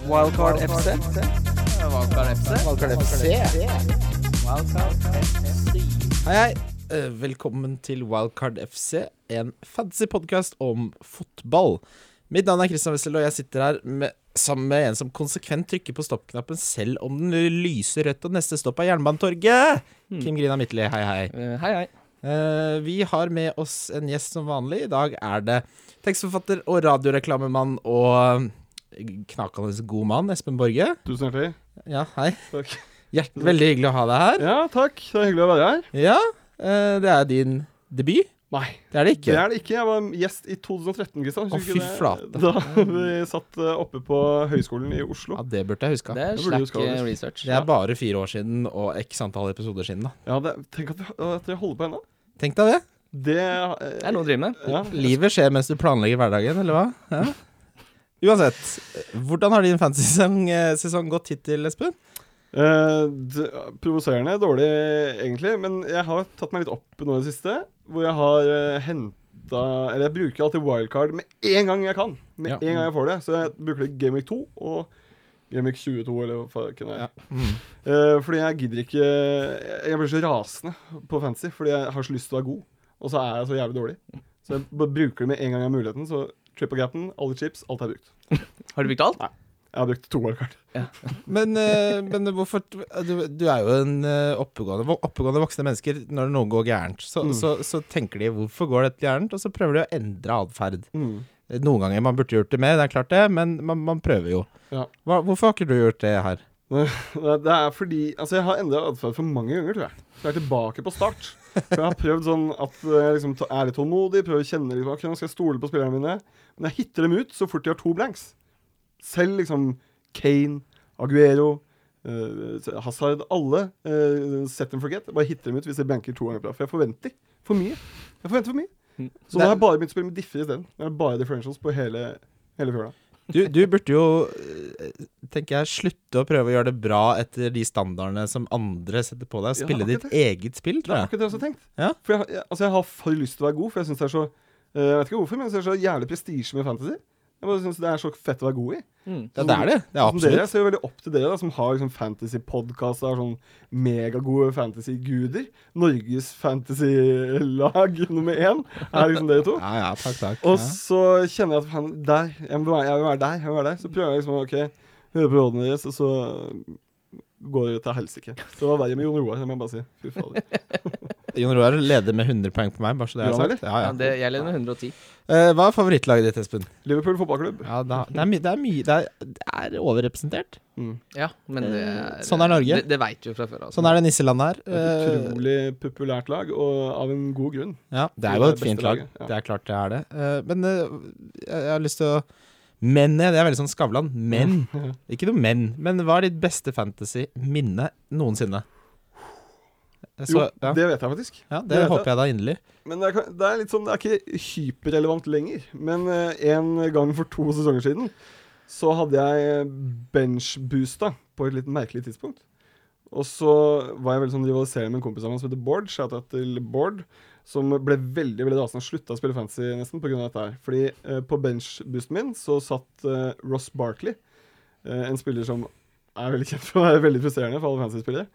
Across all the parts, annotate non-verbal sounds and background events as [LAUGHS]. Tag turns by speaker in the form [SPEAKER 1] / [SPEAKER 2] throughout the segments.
[SPEAKER 1] Wildcard FC.
[SPEAKER 2] Wildcard FC.
[SPEAKER 1] Wildcard FC.
[SPEAKER 3] Hei, hei. Eh, Velkommen til Wildcard FC, en fancy podkast om fotball. Mitt navn er Christian Wessel, og jeg sitter her med, sammen med en som konsekvent trykker på stoppknappen selv om den lyser rødt, og neste stopp er Jernbanetorget. Kim Grina Midtli, hei, hei.
[SPEAKER 1] Eh, Hei, hei.
[SPEAKER 3] Eh, vi har med oss en gjest som vanlig. I dag er det tekstforfatter og radioreklamemann og knakende god mann, Espen Borge.
[SPEAKER 2] Tusen hjertelig.
[SPEAKER 3] Ja, hei.
[SPEAKER 2] Takk.
[SPEAKER 3] Hjert veldig hyggelig å ha deg her.
[SPEAKER 2] Ja, takk. Det er hyggelig å være her.
[SPEAKER 3] Ja, eh, det er din debut.
[SPEAKER 2] Nei,
[SPEAKER 3] Det er det ikke.
[SPEAKER 2] det er det ikke. Jeg var gjest i 2013, Kristian.
[SPEAKER 3] Å, fy flate.
[SPEAKER 2] Da vi satt eh, oppe på Høgskolen i Oslo.
[SPEAKER 3] Ja, det burde jeg huska.
[SPEAKER 1] Det er
[SPEAKER 2] Det burde du
[SPEAKER 1] slack
[SPEAKER 2] skal ha
[SPEAKER 1] eh,
[SPEAKER 2] visst.
[SPEAKER 1] research.
[SPEAKER 3] Det er bare fire år siden og x antall episoder siden, da.
[SPEAKER 2] Ja, det, Tenk at, vi- at dere holder på ennå.
[SPEAKER 3] Tenk deg det.
[SPEAKER 2] Det eh,
[SPEAKER 1] Det er noe å drive med.
[SPEAKER 2] ja.
[SPEAKER 3] Livet skjer mens du planlegger hverdagen, eller hva? Ja. Uansett, hvordan har din fansesong eh, sesong gått hittil, Espen?
[SPEAKER 2] Eh, d provoserende dårlig, egentlig. Men jeg har tatt meg litt opp nå i det siste. Hvor jeg har uh, henta Eller jeg bruker alltid wildcard med en gang jeg kan. Med
[SPEAKER 3] Ja.
[SPEAKER 2] en gang jeg får det. Så jeg bruker det Game Week 2 og Game Week 22, eller hva faen jeg
[SPEAKER 3] Ja. Mm.
[SPEAKER 2] er. fordi jeg gidder ikke Jeg blir så rasende på fancy fordi jeg har så lyst til å være god, og så er jeg så jævlig dårlig. Så jeg bare bruker det med en gang jeg har muligheten. Så triple gapen, alle chips, alt er brukt.
[SPEAKER 1] Har du brukt alt?
[SPEAKER 2] Jeg har brukt to wildcard.
[SPEAKER 3] Men, eh, men hvorfor du, du er jo en eh, oppegående, vo- oppegående voksne mennesker. Når noe går gærent, så,
[SPEAKER 2] Mm.
[SPEAKER 3] så, så tenker de 'hvorfor går dette gærent?' og så prøver de å endre atferd.
[SPEAKER 2] Mm.
[SPEAKER 3] Noen ganger man burde gjort det mer, det er klart det, men man, man prøver jo.
[SPEAKER 2] Ja.
[SPEAKER 3] Hva, hvorfor har ikke du gjort det her?
[SPEAKER 2] [LAUGHS] Det det er fordi Altså, jeg har endra atferd for mange ganger, tror jeg. Så jeg er tilbake på start. For jeg har prøvd sånn at eh, jeg liksom, ta- er litt tålmodig, prøver å kjenne litt bak. Nå skal jeg stole på spillerne mine. Men jeg hitter dem ut så fort de har to blanks. Selv liksom Kane, Aguero, eh, Hazard, alle. eh, set and forget. Jeg Bare hitter dem ut hvis de blanker to ganger på rad. For jeg forventer for mye. Jeg forventer for mye. Så nå har jeg bare begynt å spille med differ isteden. Nå er det bare differentials på hele, hele fjøla.
[SPEAKER 3] Du, du burde jo, eh, tenker jeg, slutte å prøve å gjøre det bra etter de standardene som andre setter på deg.
[SPEAKER 2] Ja,
[SPEAKER 3] Spille
[SPEAKER 2] akkurat
[SPEAKER 3] ditt eget spill,
[SPEAKER 2] Det er
[SPEAKER 3] tror jeg.
[SPEAKER 2] akkurat det jeg også har tenkt.
[SPEAKER 3] Ja.
[SPEAKER 2] For jeg, jeg, altså jeg har for lyst til å være god, for jeg syns det er så eh, Jeg vet ikke hvorfor, men jeg synes det er så jævlig prestisje med fantasy. Jeg bare synes det er så fett å være god i. Sånn
[SPEAKER 3] Ja, det er det. Det er
[SPEAKER 2] Som dere, jeg
[SPEAKER 3] absolutt.
[SPEAKER 2] ser jo veldig opp til dere, da, som har liksom fantasypodkaster, har sånn megagode fantasyguder. Norges fantasylag [LAUGHS] nummer én er liksom dere to.
[SPEAKER 3] Ja, ja, takk, takk.
[SPEAKER 2] Og
[SPEAKER 3] Ja.
[SPEAKER 2] så kjenner jeg at faen, der jeg vil, være, jeg vil være der. jeg vil være der Så prøver jeg liksom OK, hører på rådene deres, og så går det til helsike. Så det var verre med Jon Roar, det må jeg bare si. Fy fader.
[SPEAKER 3] [LAUGHS] Jon Roar leder med 100 poeng på meg, bare så det er
[SPEAKER 2] Ja,
[SPEAKER 3] sagt. Ja,
[SPEAKER 1] Ja,
[SPEAKER 3] ja.
[SPEAKER 1] det, jeg leder med 110.
[SPEAKER 3] Eh, hva er favorittlaget ditt, Espen?
[SPEAKER 2] Liverpool fotballklubb.
[SPEAKER 3] Ja, da, det er mye det, er mye- det, er- det er overrepresentert.
[SPEAKER 2] Mm.
[SPEAKER 1] Ja, men det
[SPEAKER 3] Eh,
[SPEAKER 1] er,
[SPEAKER 3] sånn er Norge.
[SPEAKER 1] Det, det veit du jo fra før. Altså.
[SPEAKER 3] Sånn er det nisselandet her.
[SPEAKER 2] Det er et
[SPEAKER 3] Eh,
[SPEAKER 2] utrolig populært lag, og av en god grunn.
[SPEAKER 3] Ja, det er
[SPEAKER 2] Det
[SPEAKER 3] jo
[SPEAKER 2] er
[SPEAKER 3] et
[SPEAKER 2] beste
[SPEAKER 3] fint lag.
[SPEAKER 2] laget, ja.
[SPEAKER 3] Det er klart det er det. Eh, Men eh, jeg jeg har lyst til å Men, ja, det er veldig sånn Skavlan.
[SPEAKER 2] [LAUGHS]
[SPEAKER 3] Men. Ikke noe men. Men hva er ditt beste fantasy-minne noensinne? Jeg Så,
[SPEAKER 2] Jo,
[SPEAKER 3] ja.
[SPEAKER 2] det vet jeg faktisk.
[SPEAKER 3] ja, det,
[SPEAKER 2] det vet
[SPEAKER 3] håper jeg da inderlig.
[SPEAKER 2] Men det er, kan- det er litt sånn, det er ikke hyperrelevant lenger. Men eh, en gang for to sesonger siden så hadde jeg benchboosta på et litt merkelig tidspunkt. Og så var jeg veldig sånn rivaliserende med en kompis av meg som heter Bård, shoutout til Bård, som ble veldig veldig rasende og slutta å spille fantasy nesten pga. dette her. Fordi eh, på benchboosten min så satt eh, Ross Barkley, eh, en spiller som er veldig kjent for å være veldig frustrerende for alle fantasy-spillere.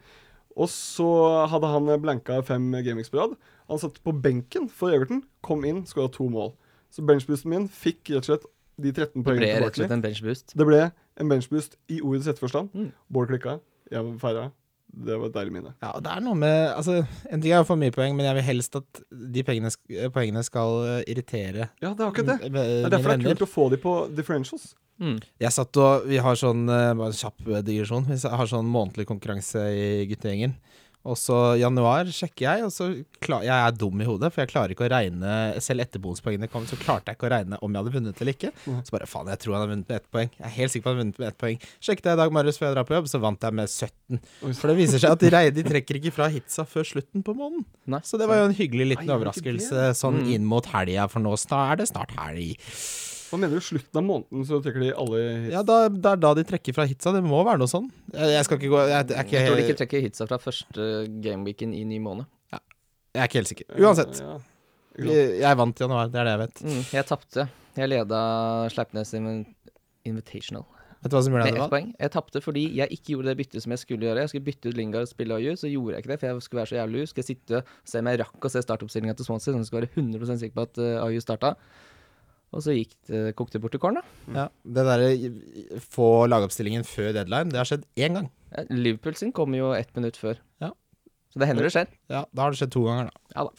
[SPEAKER 2] Og så hadde han blanka fem gameweeks på rad. Han satt på benken for Everton, kom inn, skåra to mål. Så benchboosten min fikk rett og slett de 13
[SPEAKER 1] det ble
[SPEAKER 2] poengene til
[SPEAKER 1] rett og
[SPEAKER 2] Barkley.
[SPEAKER 1] slett en benchboost.
[SPEAKER 2] Det ble en benchboost i ordets rette forstand.
[SPEAKER 1] Mm.
[SPEAKER 2] Bård klikka, jeg feira. Det var et deilig minne.
[SPEAKER 3] Ja, og det er noe med Altså, en ting er å få mye poeng, men jeg vil helst at de pengene, sk- eh, poengene skal eh, irritere
[SPEAKER 2] Ja, det er akkurat det.
[SPEAKER 3] m- eh,
[SPEAKER 2] Det
[SPEAKER 3] mine
[SPEAKER 2] er derfor det er
[SPEAKER 3] venner.
[SPEAKER 2] kult å få de på differentials.
[SPEAKER 1] Mm.
[SPEAKER 3] Jeg satt og Vi har sånn eh, Bare en kjapp digresjon. Vi sa- har sånn månedlig konkurranse i guttegjengen. Og så januar sjekker jeg, og så klar, Jeg er dum i hodet, for jeg klarer ikke å regne Selv etter bonuspoengene kom, så klarte jeg ikke å regne om jeg hadde vunnet eller ikke.
[SPEAKER 2] Mm.
[SPEAKER 3] Så bare faen, jeg tror han har vunnet med ett poeng. Jeg er helt sikker på han har vunnet med ett poeng. Sjekket jeg i dag morges før jeg drar på jobb, så vant jeg med 17.
[SPEAKER 2] Oi,
[SPEAKER 3] For det viser seg at de, rei- de trekker ikke fra hitsa før slutten på måneden.
[SPEAKER 1] Nei.
[SPEAKER 3] Så det var jo en hyggelig
[SPEAKER 2] Ai,
[SPEAKER 3] liten
[SPEAKER 2] gjorde ikke Mm. det?
[SPEAKER 3] overraskelse sånn inn mot helga, for nå snar- er det snart helg.
[SPEAKER 2] Hva mener du? Slutten av måneden så trekker de alle hit.
[SPEAKER 3] Ja, da, det er da de trekker fra hitsa. Det må være noe sånn. Jeg, jeg skal ikke gå jeg, jeg, er
[SPEAKER 1] Jeg tror de ikke
[SPEAKER 3] ikke,
[SPEAKER 1] trekker hitsa fra første gameweeken i ny måned.
[SPEAKER 3] jeg er ikke helt sikker. Uansett.
[SPEAKER 2] Ja.
[SPEAKER 3] Jeg, jeg vant i januar, det er det jeg vet.
[SPEAKER 1] Mm, jeg tapte. Jeg leda Sleipnes Invi- Invitational.
[SPEAKER 3] Vet du hva som gjør
[SPEAKER 1] Med
[SPEAKER 3] deg
[SPEAKER 1] ett
[SPEAKER 3] det?
[SPEAKER 1] poeng. Jeg tapte fordi jeg ikke gjorde det byttet som jeg skulle gjøre. Jeg skulle bytte ut Lingard og spille Ayu, så gjorde jeg ikke det, for jeg skulle være så jævlig lur. Skal jeg sitte se om jeg rakk å se startoppstillinga til Swansea, sånn at jeg skulle være 100 sikker på at uh, Ayu starta. Og så gikk det, kokte det bort til corn, da.
[SPEAKER 3] Ja, det derre få lagoppstillingen før deadline, det har skjedd én gang.
[SPEAKER 1] Ja, Liverpool sin kom jo ett minutt før.
[SPEAKER 3] Ja.
[SPEAKER 1] Så det hender det skjer.
[SPEAKER 3] Ja, da har det skjedd to ganger, da.
[SPEAKER 1] Ja da.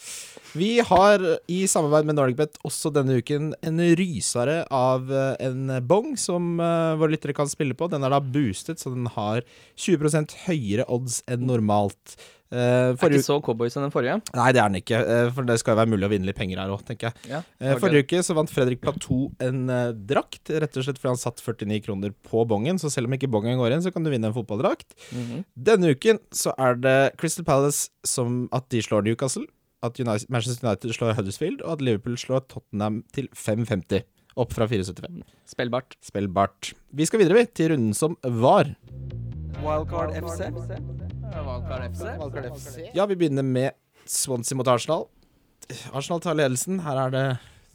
[SPEAKER 3] Vi har i samarbeid med NordicBet også denne uken en rysare av eh, en bong som eh, våre lyttere kan spille på. Den er da boostet, så den har 20 høyere odds enn normalt. Eh,
[SPEAKER 1] Er
[SPEAKER 3] forrige
[SPEAKER 1] ikke så cowboy som den forrige.
[SPEAKER 3] uke- Nei, det er den ikke, eh, for det skal jo være mulig å vinne litt penger her òg, tenker jeg.
[SPEAKER 1] Ja,
[SPEAKER 3] Eh, Forrige uke så vant Fredrik Platou en eh, drakt, rett og slett fordi han satt 49 kroner på bongen. Så selv om ikke bongen går inn, så kan du vinne en fotballdrakt.
[SPEAKER 1] Mhm.
[SPEAKER 3] Denne uken så er det Crystal Palace som at de slår Newcastle, at United, Manchester United slår Huddersfield, og at Liverpool slår Tottenham til 5,50. Opp fra 4,75.
[SPEAKER 1] Spillbart.
[SPEAKER 3] Spillbart. Vi skal videre, vi, til runden som var.
[SPEAKER 1] Wildcard FC. Wildcard FC.
[SPEAKER 3] Ja, vi begynner med Swansea mot Arsenal. Arsenal tar ledelsen. Her er det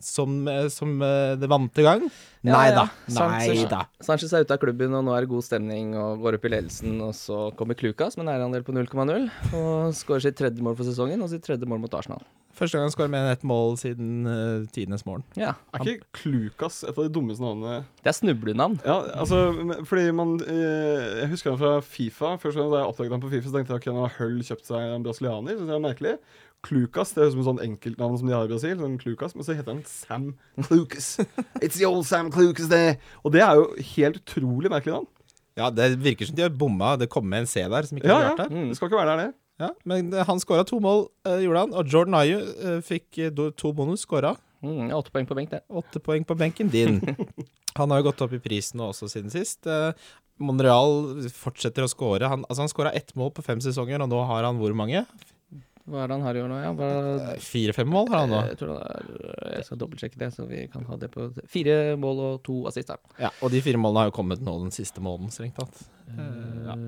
[SPEAKER 3] som, eh, som eh, det vante gang.
[SPEAKER 1] Ja,
[SPEAKER 3] Nei da.
[SPEAKER 1] ja.
[SPEAKER 3] Nei da.
[SPEAKER 1] Sanchez er ute av klubben, og nå er det god stemning og går opp i ledelsen. Og så kommer Klukas med en eierandel på 0,0 og skårer sitt tredje mål for sesongen og sitt tredje mål mot Arsenal.
[SPEAKER 3] Første gang han skårer mer enn ett mål siden eh, tidenes morgen.
[SPEAKER 1] Ja,
[SPEAKER 2] Er ikke Klukas et av de dummeste navnene
[SPEAKER 1] Det er snublenavn.
[SPEAKER 2] Ja, altså, men- fordi man eh, Jeg husker han fra Fifa. Først gang da jeg oppdaget han på Fifa, så tenkte jeg ok, nå har Hull kjøpt seg en brasilianer. Synes jeg er merkelig. Klukas det høres ut som et sånt enkeltnavn som de har i Brasil. Sånn Klukas, Men så heter han Sam [LAUGHS] Klukas. It's the old Sam Klukas day. Og det er jo helt utrolig merkelig navn.
[SPEAKER 3] Ja, det virker som de har bomma. Det kom med en C der som ikke
[SPEAKER 2] Ja,
[SPEAKER 3] har
[SPEAKER 2] ja.
[SPEAKER 3] vært der.
[SPEAKER 1] Mm.
[SPEAKER 2] Det skal ikke være der, det.
[SPEAKER 3] Ja, men eh, han skåra to mål, eh, gjorde han. Og Jordan Ayu eh, fikk eh, do- to bonus, skåra.
[SPEAKER 1] Mm, åtte poeng på benk, det.
[SPEAKER 3] Åtte poeng på benken [LAUGHS] din. Han har jo gått opp i prisen nå også siden sist. Eh, Monreal fortsetter å skåre. Han, altså, han skåra ett mål på fem sesonger, og nå har han hvor mange?
[SPEAKER 1] Hva er det han har i år nå? Ja, hva,
[SPEAKER 3] Eh, Fire-fem mål har han nå.
[SPEAKER 1] jeg, tror det er, eh, jeg skal dobbeltsjekke det, så vi kan ha det på fire mål og to assist. da.
[SPEAKER 3] Ja, og de fire målene har jo kommet nå den siste måneden, strengt tatt.
[SPEAKER 1] Eh,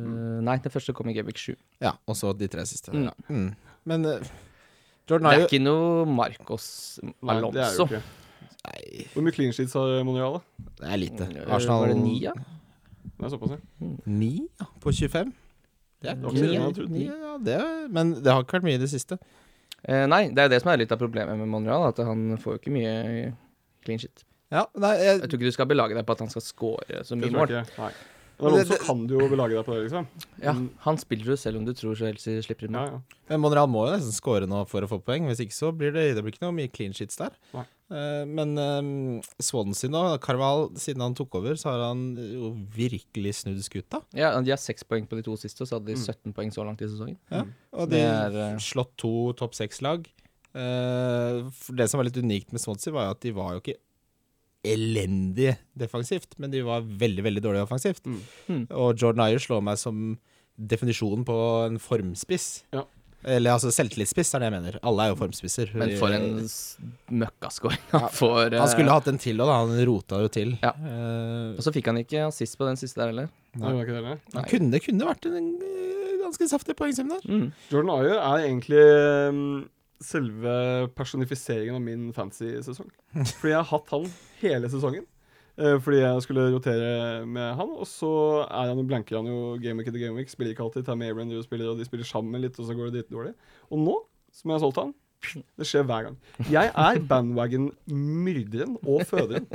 [SPEAKER 1] Nei, det første kom i Gabic 7.
[SPEAKER 3] Ja, og så de tre siste.
[SPEAKER 1] Mm.
[SPEAKER 3] Ja. Mm. Men eh,
[SPEAKER 1] Det
[SPEAKER 3] Jordan
[SPEAKER 1] er
[SPEAKER 3] Ayu
[SPEAKER 1] ikke noe Marcos
[SPEAKER 2] Nei, det er
[SPEAKER 1] Alonso.
[SPEAKER 2] jo ikke.
[SPEAKER 3] Nei,
[SPEAKER 2] Hvor mye clean sheets har Monreal, da?
[SPEAKER 3] det er lite.
[SPEAKER 1] Eh,
[SPEAKER 3] Arsenal
[SPEAKER 1] Var det ni, ja?
[SPEAKER 2] Det er såpass, ja.
[SPEAKER 3] Ni ja, på 25. Det er
[SPEAKER 2] Det
[SPEAKER 3] ikke
[SPEAKER 2] var ikke det jeg
[SPEAKER 3] ni,
[SPEAKER 2] hadde trodd.
[SPEAKER 3] ni, ja, det er, men det har ikke vært mye i det siste.
[SPEAKER 1] Eh, nei, det er jo det som er litt av problemet med Monreal, at han får jo ikke mye clean shit.
[SPEAKER 3] Ja, nei, jeg,
[SPEAKER 1] Jeg tror ikke du skal belage deg på at han skal score så
[SPEAKER 2] Det
[SPEAKER 1] mye
[SPEAKER 2] tror
[SPEAKER 1] mål.
[SPEAKER 2] jeg ikke. Nei.
[SPEAKER 3] Men
[SPEAKER 2] Men
[SPEAKER 3] det-
[SPEAKER 2] Alonso kan du jo belage deg på det, liksom.
[SPEAKER 1] Ja, han spiller jo selv om du tror Chelsea slipper inn
[SPEAKER 2] Ja,
[SPEAKER 1] mål.
[SPEAKER 2] ja.
[SPEAKER 3] men Monreal må jo nesten score nå for å få poeng. Hvis ikke så blir det, det blir ikke noe mye clean sheets der.
[SPEAKER 2] Nei.
[SPEAKER 3] Eh, men eh, Swansea nå, Carval, siden han tok over, så har han jo virkelig snudd skuta.
[SPEAKER 1] Ja, De har seks poeng på de to siste, og så hadde de
[SPEAKER 2] Mm.
[SPEAKER 1] 17 poeng så langt i sesongen.
[SPEAKER 3] Ja, og de
[SPEAKER 1] Det er, eh,
[SPEAKER 3] slått to topp seks-lag. Eh, for det som var litt unikt med Swansea, var jo at de var jo ikke elendig defensivt, men de var veldig, veldig dårlig offensivt.
[SPEAKER 2] Mm.
[SPEAKER 1] Mm.
[SPEAKER 3] Og Jordan Ayer slår meg som definisjonen på en formspiss.
[SPEAKER 2] Ja.
[SPEAKER 3] Eller altså selvtillitsspiss, er det jeg mener. Alle er jo formspisser.
[SPEAKER 1] Men for en s- møkkascoring han får. eh,
[SPEAKER 3] Han skulle hatt en til, og da. Han rota jo til.
[SPEAKER 1] Ja.
[SPEAKER 3] Eh,
[SPEAKER 1] Og så fikk han ikke assist på den siste der heller.
[SPEAKER 2] Nei, det var ikke det, eller?
[SPEAKER 3] han kunne, det kunne vært en eh, ganske saftig poengsum der.
[SPEAKER 1] Mm.
[SPEAKER 2] Jordan Ayer er egentlig mm, selve personifiseringen av min fantasy-sesong. Fordi jeg har hatt han hele sesongen. Eh, Fordi jeg skulle rotere med han. Og så er han jo blanker han jo gameweek etter gameweek. Spiller ikke alltid. Tammy Abraham driver og spiller, og de spiller sammen litt, og så går det dritdårlig. Og nå, som jeg har solgt han, det skjer hver gang. Jeg er bandwagon-myrderen og føderen.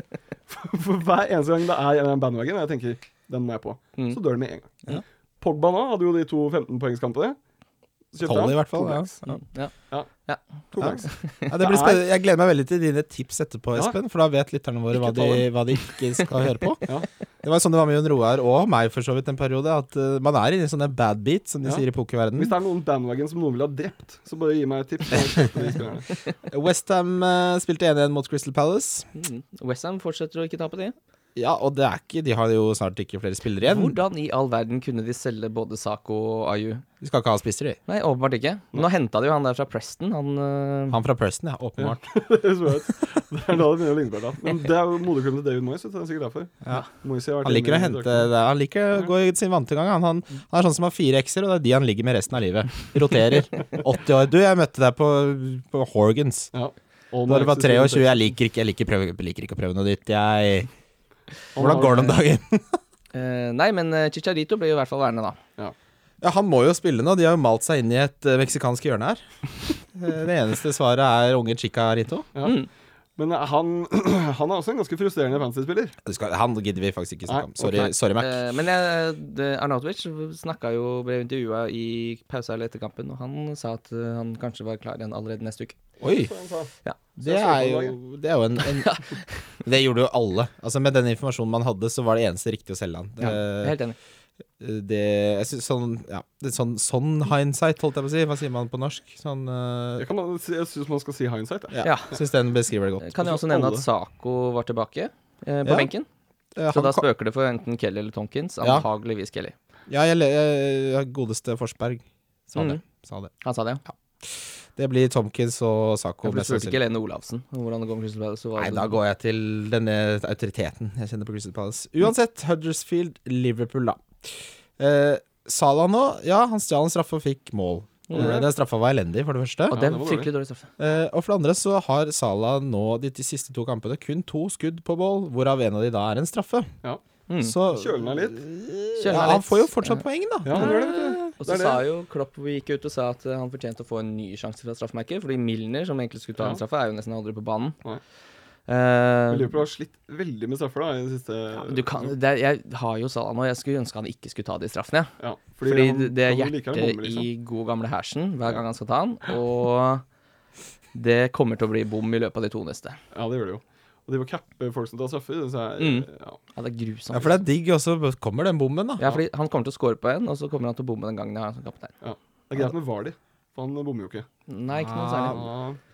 [SPEAKER 2] For, for hver eneste gang det er en eller annen bandwagon, og jeg tenker den må jeg på,
[SPEAKER 1] Mm.
[SPEAKER 2] så dør den med en gang.
[SPEAKER 3] Ja.
[SPEAKER 2] Pogba nå hadde jo de to 15-poengskampene. Så kjøpte
[SPEAKER 3] Tolv,
[SPEAKER 2] han
[SPEAKER 3] i hvert
[SPEAKER 2] to
[SPEAKER 3] fall. Ja.
[SPEAKER 2] blanks.
[SPEAKER 3] Ja.
[SPEAKER 1] Ja.
[SPEAKER 2] To blanks.
[SPEAKER 3] Ja, det blir
[SPEAKER 2] Det er-
[SPEAKER 3] spennende. Jeg gleder meg veldig til dine tips etterpå,
[SPEAKER 2] Ja.
[SPEAKER 3] Espen. For da vet lytterne våre hva
[SPEAKER 2] Ikke
[SPEAKER 3] de,
[SPEAKER 2] ta
[SPEAKER 3] hva de ikke skal høre på.
[SPEAKER 2] [LAUGHS] Ja.
[SPEAKER 3] Det var sånn det var med Jon Roar og meg for så vidt en periode. At eh, man er inne i sånne bad beat, som de
[SPEAKER 2] Ja.
[SPEAKER 3] sier i pokerverdenen.
[SPEAKER 2] Hvis det er noen bandwagon som noen vil ha drept, så bare gi meg et tips. så jeg kjøper de spillerne.
[SPEAKER 3] Westham uh, spilte 1-1 mot Crystal Palace.
[SPEAKER 1] Mm. Westham fortsetter å ikke tape, de.
[SPEAKER 3] Ja, og det er ikke De har jo snart ikke flere spillere igjen.
[SPEAKER 1] Hvordan i all verden kunne de selge både Sako og Ayu?
[SPEAKER 3] De skal ikke ha spisser, de.
[SPEAKER 1] Nei, åpenbart ikke. Nå henta de jo han der fra Preston, han eh,
[SPEAKER 3] Han fra Preston, ja. Åpenbart.
[SPEAKER 2] [LAUGHS] Det høres bra ut. Det er da det begynner å ligne på hverandre. Men det er jo moderklubben til David Moyes. vet du, Det er sikkert derfor.
[SPEAKER 3] Ja.
[SPEAKER 2] Moyes har vært
[SPEAKER 3] Han liker å
[SPEAKER 2] inne i
[SPEAKER 3] hente
[SPEAKER 2] drakten.
[SPEAKER 3] det. Han liker å gå i sin vante gang. Han, han, han er sånn som har fire ekser, og det er de han ligger med resten av
[SPEAKER 2] [LAUGHS]
[SPEAKER 3] livet. Roterer. 80 år. Du, jeg møtte deg på, på Horgans.
[SPEAKER 2] Ja. All
[SPEAKER 3] Da det var
[SPEAKER 2] Moyes'
[SPEAKER 3] 23, jeg liker ikke, jeg liker, prøve, liker ikke å prøve noe nytt. Jeg
[SPEAKER 2] Han
[SPEAKER 3] Hvordan
[SPEAKER 2] har-
[SPEAKER 3] går det om dagen?
[SPEAKER 1] Eh, nei, men eh, Chicharito blir jo i hvert fall værende, da.
[SPEAKER 3] [LAUGHS] Ja, Han må jo spille nå. De har jo malt seg inn i et eh, meksikansk hjørne her. Eh, Det eneste svaret er unge Chicarito.
[SPEAKER 2] Ja.
[SPEAKER 1] Mm.
[SPEAKER 2] Men eh, han, [CLEARS THROAT] han er også en ganske frustrerende fantasy-spiller.
[SPEAKER 3] Du skal, han gidder vi faktisk ikke
[SPEAKER 2] Nei,
[SPEAKER 3] snakke om. Sorry, sorry Mac.
[SPEAKER 1] Eh, men jeg, det- Arnautovic snakka jo, ble intervjua i pausa eller etter kampen, og han sa at eh, han kanskje var klar igjen allerede neste uke.
[SPEAKER 3] Oi,
[SPEAKER 2] Så han sa,
[SPEAKER 3] det er jo, det er jo en, [LAUGHS] en Det gjorde jo alle. Altså Med den informasjonen man hadde, så var det eneste riktig å selge han.
[SPEAKER 1] Jeg
[SPEAKER 3] Eh,
[SPEAKER 1] er helt enig.
[SPEAKER 3] det, jeg synes, sånn, ja, det, er sånn, sånn hindsight, holdt jeg på å si. Hva sier man på norsk? Sånn,
[SPEAKER 2] Jeg, kan, si- jeg syns man skal si hindsight. jeg.
[SPEAKER 3] ja,
[SPEAKER 1] Ja.
[SPEAKER 3] Syns den beskriver det godt.
[SPEAKER 1] Kan jeg også
[SPEAKER 2] hvorfor
[SPEAKER 1] nevne
[SPEAKER 2] alle?
[SPEAKER 1] at Sako var tilbake eh, på
[SPEAKER 3] Ja.
[SPEAKER 1] benken?
[SPEAKER 3] Eh,
[SPEAKER 1] Så
[SPEAKER 3] han
[SPEAKER 1] da
[SPEAKER 3] ka-
[SPEAKER 1] spøker det for enten Kelly eller Tonkins.
[SPEAKER 3] Ja.
[SPEAKER 1] Antageligvis Kelly.
[SPEAKER 3] ja, jeg, le- eh, godeste Forsberg sa
[SPEAKER 2] Mm.
[SPEAKER 3] det.
[SPEAKER 1] Mhm.
[SPEAKER 3] Sa det.
[SPEAKER 1] Han sa det, ja.
[SPEAKER 3] det blir Tomkins og Sako.
[SPEAKER 1] Jeg ble
[SPEAKER 3] mest
[SPEAKER 1] spurt
[SPEAKER 3] sannsynlig.
[SPEAKER 1] ikke Helene Olafsen om hvordan det går med Crystal Palace. så var
[SPEAKER 3] Nei,
[SPEAKER 1] det-
[SPEAKER 3] da går jeg til denne autoriteten jeg kjenner på Crystal Palace. Mm. Uansett, Huddersfield, Liverpool, da. Eh, Salah nå, ja, han stjal en straffe og fikk mål.
[SPEAKER 2] Mm.
[SPEAKER 3] Eh, den straffa var elendig, for det første.
[SPEAKER 1] Og det
[SPEAKER 2] Ja, det
[SPEAKER 1] er
[SPEAKER 2] var
[SPEAKER 1] fryktelig dårlig straffe.
[SPEAKER 3] Eh, og for det andre så har Salah nå de, de siste to kampene kun to skudd på mål, hvorav en av de da er en straffe.
[SPEAKER 2] Ja.
[SPEAKER 1] Mm.
[SPEAKER 3] Så
[SPEAKER 2] Kjøler ned litt.
[SPEAKER 3] Mm.
[SPEAKER 1] Kjøler
[SPEAKER 3] ja,
[SPEAKER 1] ned
[SPEAKER 3] han
[SPEAKER 1] litt.
[SPEAKER 3] får jo fortsatt poeng, da.
[SPEAKER 2] Ja, han gjør det, vet du.
[SPEAKER 1] Og
[SPEAKER 2] Det
[SPEAKER 1] så
[SPEAKER 2] er
[SPEAKER 1] sa jo Klopp vi gikk ut og sa at eh, han fortjente å få en ny sjanse fra straffemerket, fordi Milner, som egentlig skulle ta
[SPEAKER 2] Ja.
[SPEAKER 1] en straffe, er jo nesten aldri på banen.
[SPEAKER 2] Nei.
[SPEAKER 1] Eh,
[SPEAKER 2] Men Liverpool har slitt veldig med straffer da i det siste.
[SPEAKER 1] du kan, det er, jeg har jo Salah nå, jeg skulle ønske han ikke skulle ta de straffene. jeg.
[SPEAKER 2] Ja,
[SPEAKER 1] Fordi,
[SPEAKER 2] han-
[SPEAKER 1] det- det er
[SPEAKER 2] han liker å
[SPEAKER 1] hjertet
[SPEAKER 2] bomme, liksom.
[SPEAKER 1] i god gamle hersen hver gang han skal ta den, og det kommer til å bli bom i løpet av de to neste.
[SPEAKER 2] Ja, det gjør det jo. Og de må cappe folk som tar straffer. Så er,
[SPEAKER 1] Mm.
[SPEAKER 2] ja.
[SPEAKER 1] Ja, det er
[SPEAKER 3] Ja,
[SPEAKER 1] grusomt.
[SPEAKER 3] for det er digg, og så kommer den bommen, da.
[SPEAKER 1] Ja, fordi han kommer til å score på en, og så kommer han til å bomme den gangen jeg har han som kaptein.
[SPEAKER 2] Det er greit med Vardy, for han bommer jo ikke.
[SPEAKER 1] Nei, ikke noe
[SPEAKER 3] Ja.
[SPEAKER 1] særlig.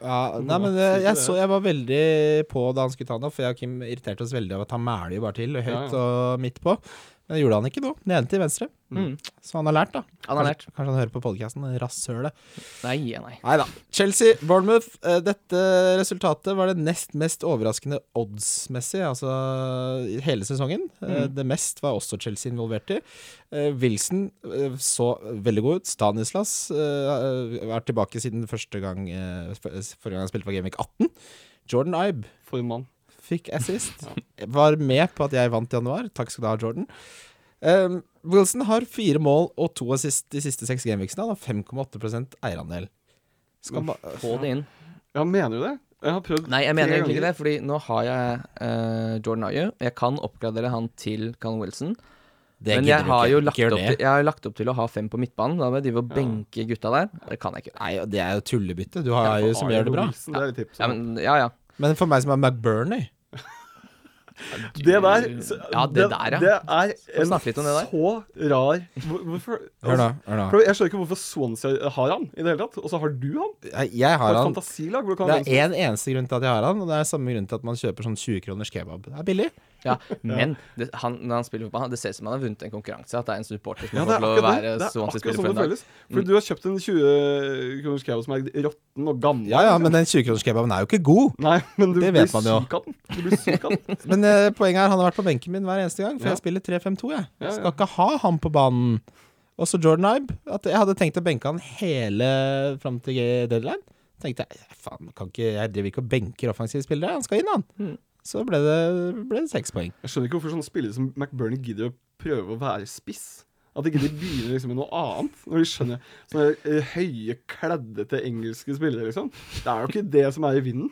[SPEAKER 2] Ja,
[SPEAKER 3] Ja, nei, men eh, jeg, så, jeg var veldig på da han skulle ta den opp, for jeg og Kim irriterte oss veldig av at han mæler jo bare til, og høyt
[SPEAKER 2] Ja,
[SPEAKER 3] og midt på. Men det gjorde han ikke nå. Den ene til venstre.
[SPEAKER 1] Mm.
[SPEAKER 3] Så han har lært, da.
[SPEAKER 1] Han har lært.
[SPEAKER 3] Kanskje, kanskje han hører på podkasten. Rasshølet.
[SPEAKER 1] Nei, ja, nei.
[SPEAKER 3] Nei da. Chelsea, Bournemouth. eh, Dette resultatet var det nest mest overraskende oddsmessig, altså i hele sesongen. Eh, Det mest var også Chelsea involvert i. Eh, Wilson eh, så veldig god ut. Stanislas eh, er tilbake siden første gang, eh, for- forrige gang han spilte for Gameweek 18. Jordan Ibe
[SPEAKER 2] for en mann.
[SPEAKER 3] fikk assist. Var med på at jeg vant i januar. Takk skal du ha, Jordan. Um, Wilson har fire mål og to assist de siste seks gameweeksene. Han har 5,8 eierandel. Skal ba
[SPEAKER 1] Få det inn.
[SPEAKER 2] Ja, mener du det? Jeg har prøvd
[SPEAKER 1] Nei, jeg
[SPEAKER 2] tre
[SPEAKER 1] mener egentlig ikke
[SPEAKER 2] ganger.
[SPEAKER 1] det, fordi nå har jeg eh, Jordan Ayew. Jeg kan oppgradere han til Callum Wilson.
[SPEAKER 3] det
[SPEAKER 1] men
[SPEAKER 3] gidder
[SPEAKER 1] jeg
[SPEAKER 3] du
[SPEAKER 1] har
[SPEAKER 3] ikke.
[SPEAKER 1] jo
[SPEAKER 3] Ikke
[SPEAKER 1] lagt
[SPEAKER 3] gjør
[SPEAKER 1] opp, til,
[SPEAKER 3] det.
[SPEAKER 1] jeg har lagt opp til å ha fem på midtbanen. Da må jeg drive og benke gutta der. Det kan jeg ikke.
[SPEAKER 3] Nei, og det er jo tullebytte. Du har jo som
[SPEAKER 2] Arne
[SPEAKER 3] gjør det bra.
[SPEAKER 2] Wilson, det er litt tips.
[SPEAKER 1] Ja, men, ja, ja.
[SPEAKER 3] Men for meg som er McBurney
[SPEAKER 2] Det der så-
[SPEAKER 1] Ja, det der, ja.
[SPEAKER 2] Det er en
[SPEAKER 1] snakke litt om det der.
[SPEAKER 2] så rar hvor- Hvorfor
[SPEAKER 3] Hør nå. hør
[SPEAKER 2] For
[SPEAKER 3] nå
[SPEAKER 2] Jeg skjønner ikke hvorfor Swansea har han i det hele tatt, og så har du han.
[SPEAKER 3] Jeg- Jeg
[SPEAKER 2] Har
[SPEAKER 3] har
[SPEAKER 2] et
[SPEAKER 3] han
[SPEAKER 2] fantasilag. Hvor du kan
[SPEAKER 3] Det
[SPEAKER 2] ha
[SPEAKER 3] er én eneste grunn til at jeg har han, og det er samme grunn til at man kjøper sånn 20 kroners kebab. Det er billig.
[SPEAKER 1] ja. Men det, han, når han spiller fotball, det ser ut som han har vunnet en konkurranse. At det er en supporter som har
[SPEAKER 2] Ja, det
[SPEAKER 1] fått
[SPEAKER 2] er
[SPEAKER 1] lov å
[SPEAKER 2] akkurat det.
[SPEAKER 1] være
[SPEAKER 2] Det er akkurat
[SPEAKER 1] Swansea-spiller
[SPEAKER 2] sånn
[SPEAKER 1] for en
[SPEAKER 2] det
[SPEAKER 1] dag.
[SPEAKER 2] føles. For du har kjøpt en 20 kroners kebab som er råtten og gammel.
[SPEAKER 3] Ja ja, men den 20 kroners kebaben er jo ikke god.
[SPEAKER 2] Nei, men du
[SPEAKER 3] Det
[SPEAKER 2] blir
[SPEAKER 3] vet man jo.
[SPEAKER 2] syk av den. Du blir syk av den.
[SPEAKER 3] [LAUGHS] Men eh, poenget er han har vært på benken min hver eneste gang, for
[SPEAKER 2] Ja.
[SPEAKER 3] jeg spiller 3-5-2. Jeg.
[SPEAKER 2] Ja, ja.
[SPEAKER 3] jeg skal ikke ha han på banen. Også Jordan Ibe. At jeg hadde tenkt å benke han hele fram til deadline. Tenkte jeg faen, kan ikke, jeg driver ikke og benker offensive spillere. Han skal inn, han.
[SPEAKER 2] Mm.
[SPEAKER 3] Så ble det, ble det seks poeng.
[SPEAKER 2] Jeg skjønner ikke hvorfor sånne spillere som McBurney gidder å prøve å være spiss. At ikke de begynner liksom med noe annet. Når de skjønner sånne eh, høye, kleddete engelske spillere, liksom. Det er jo ikke det som er i vinden.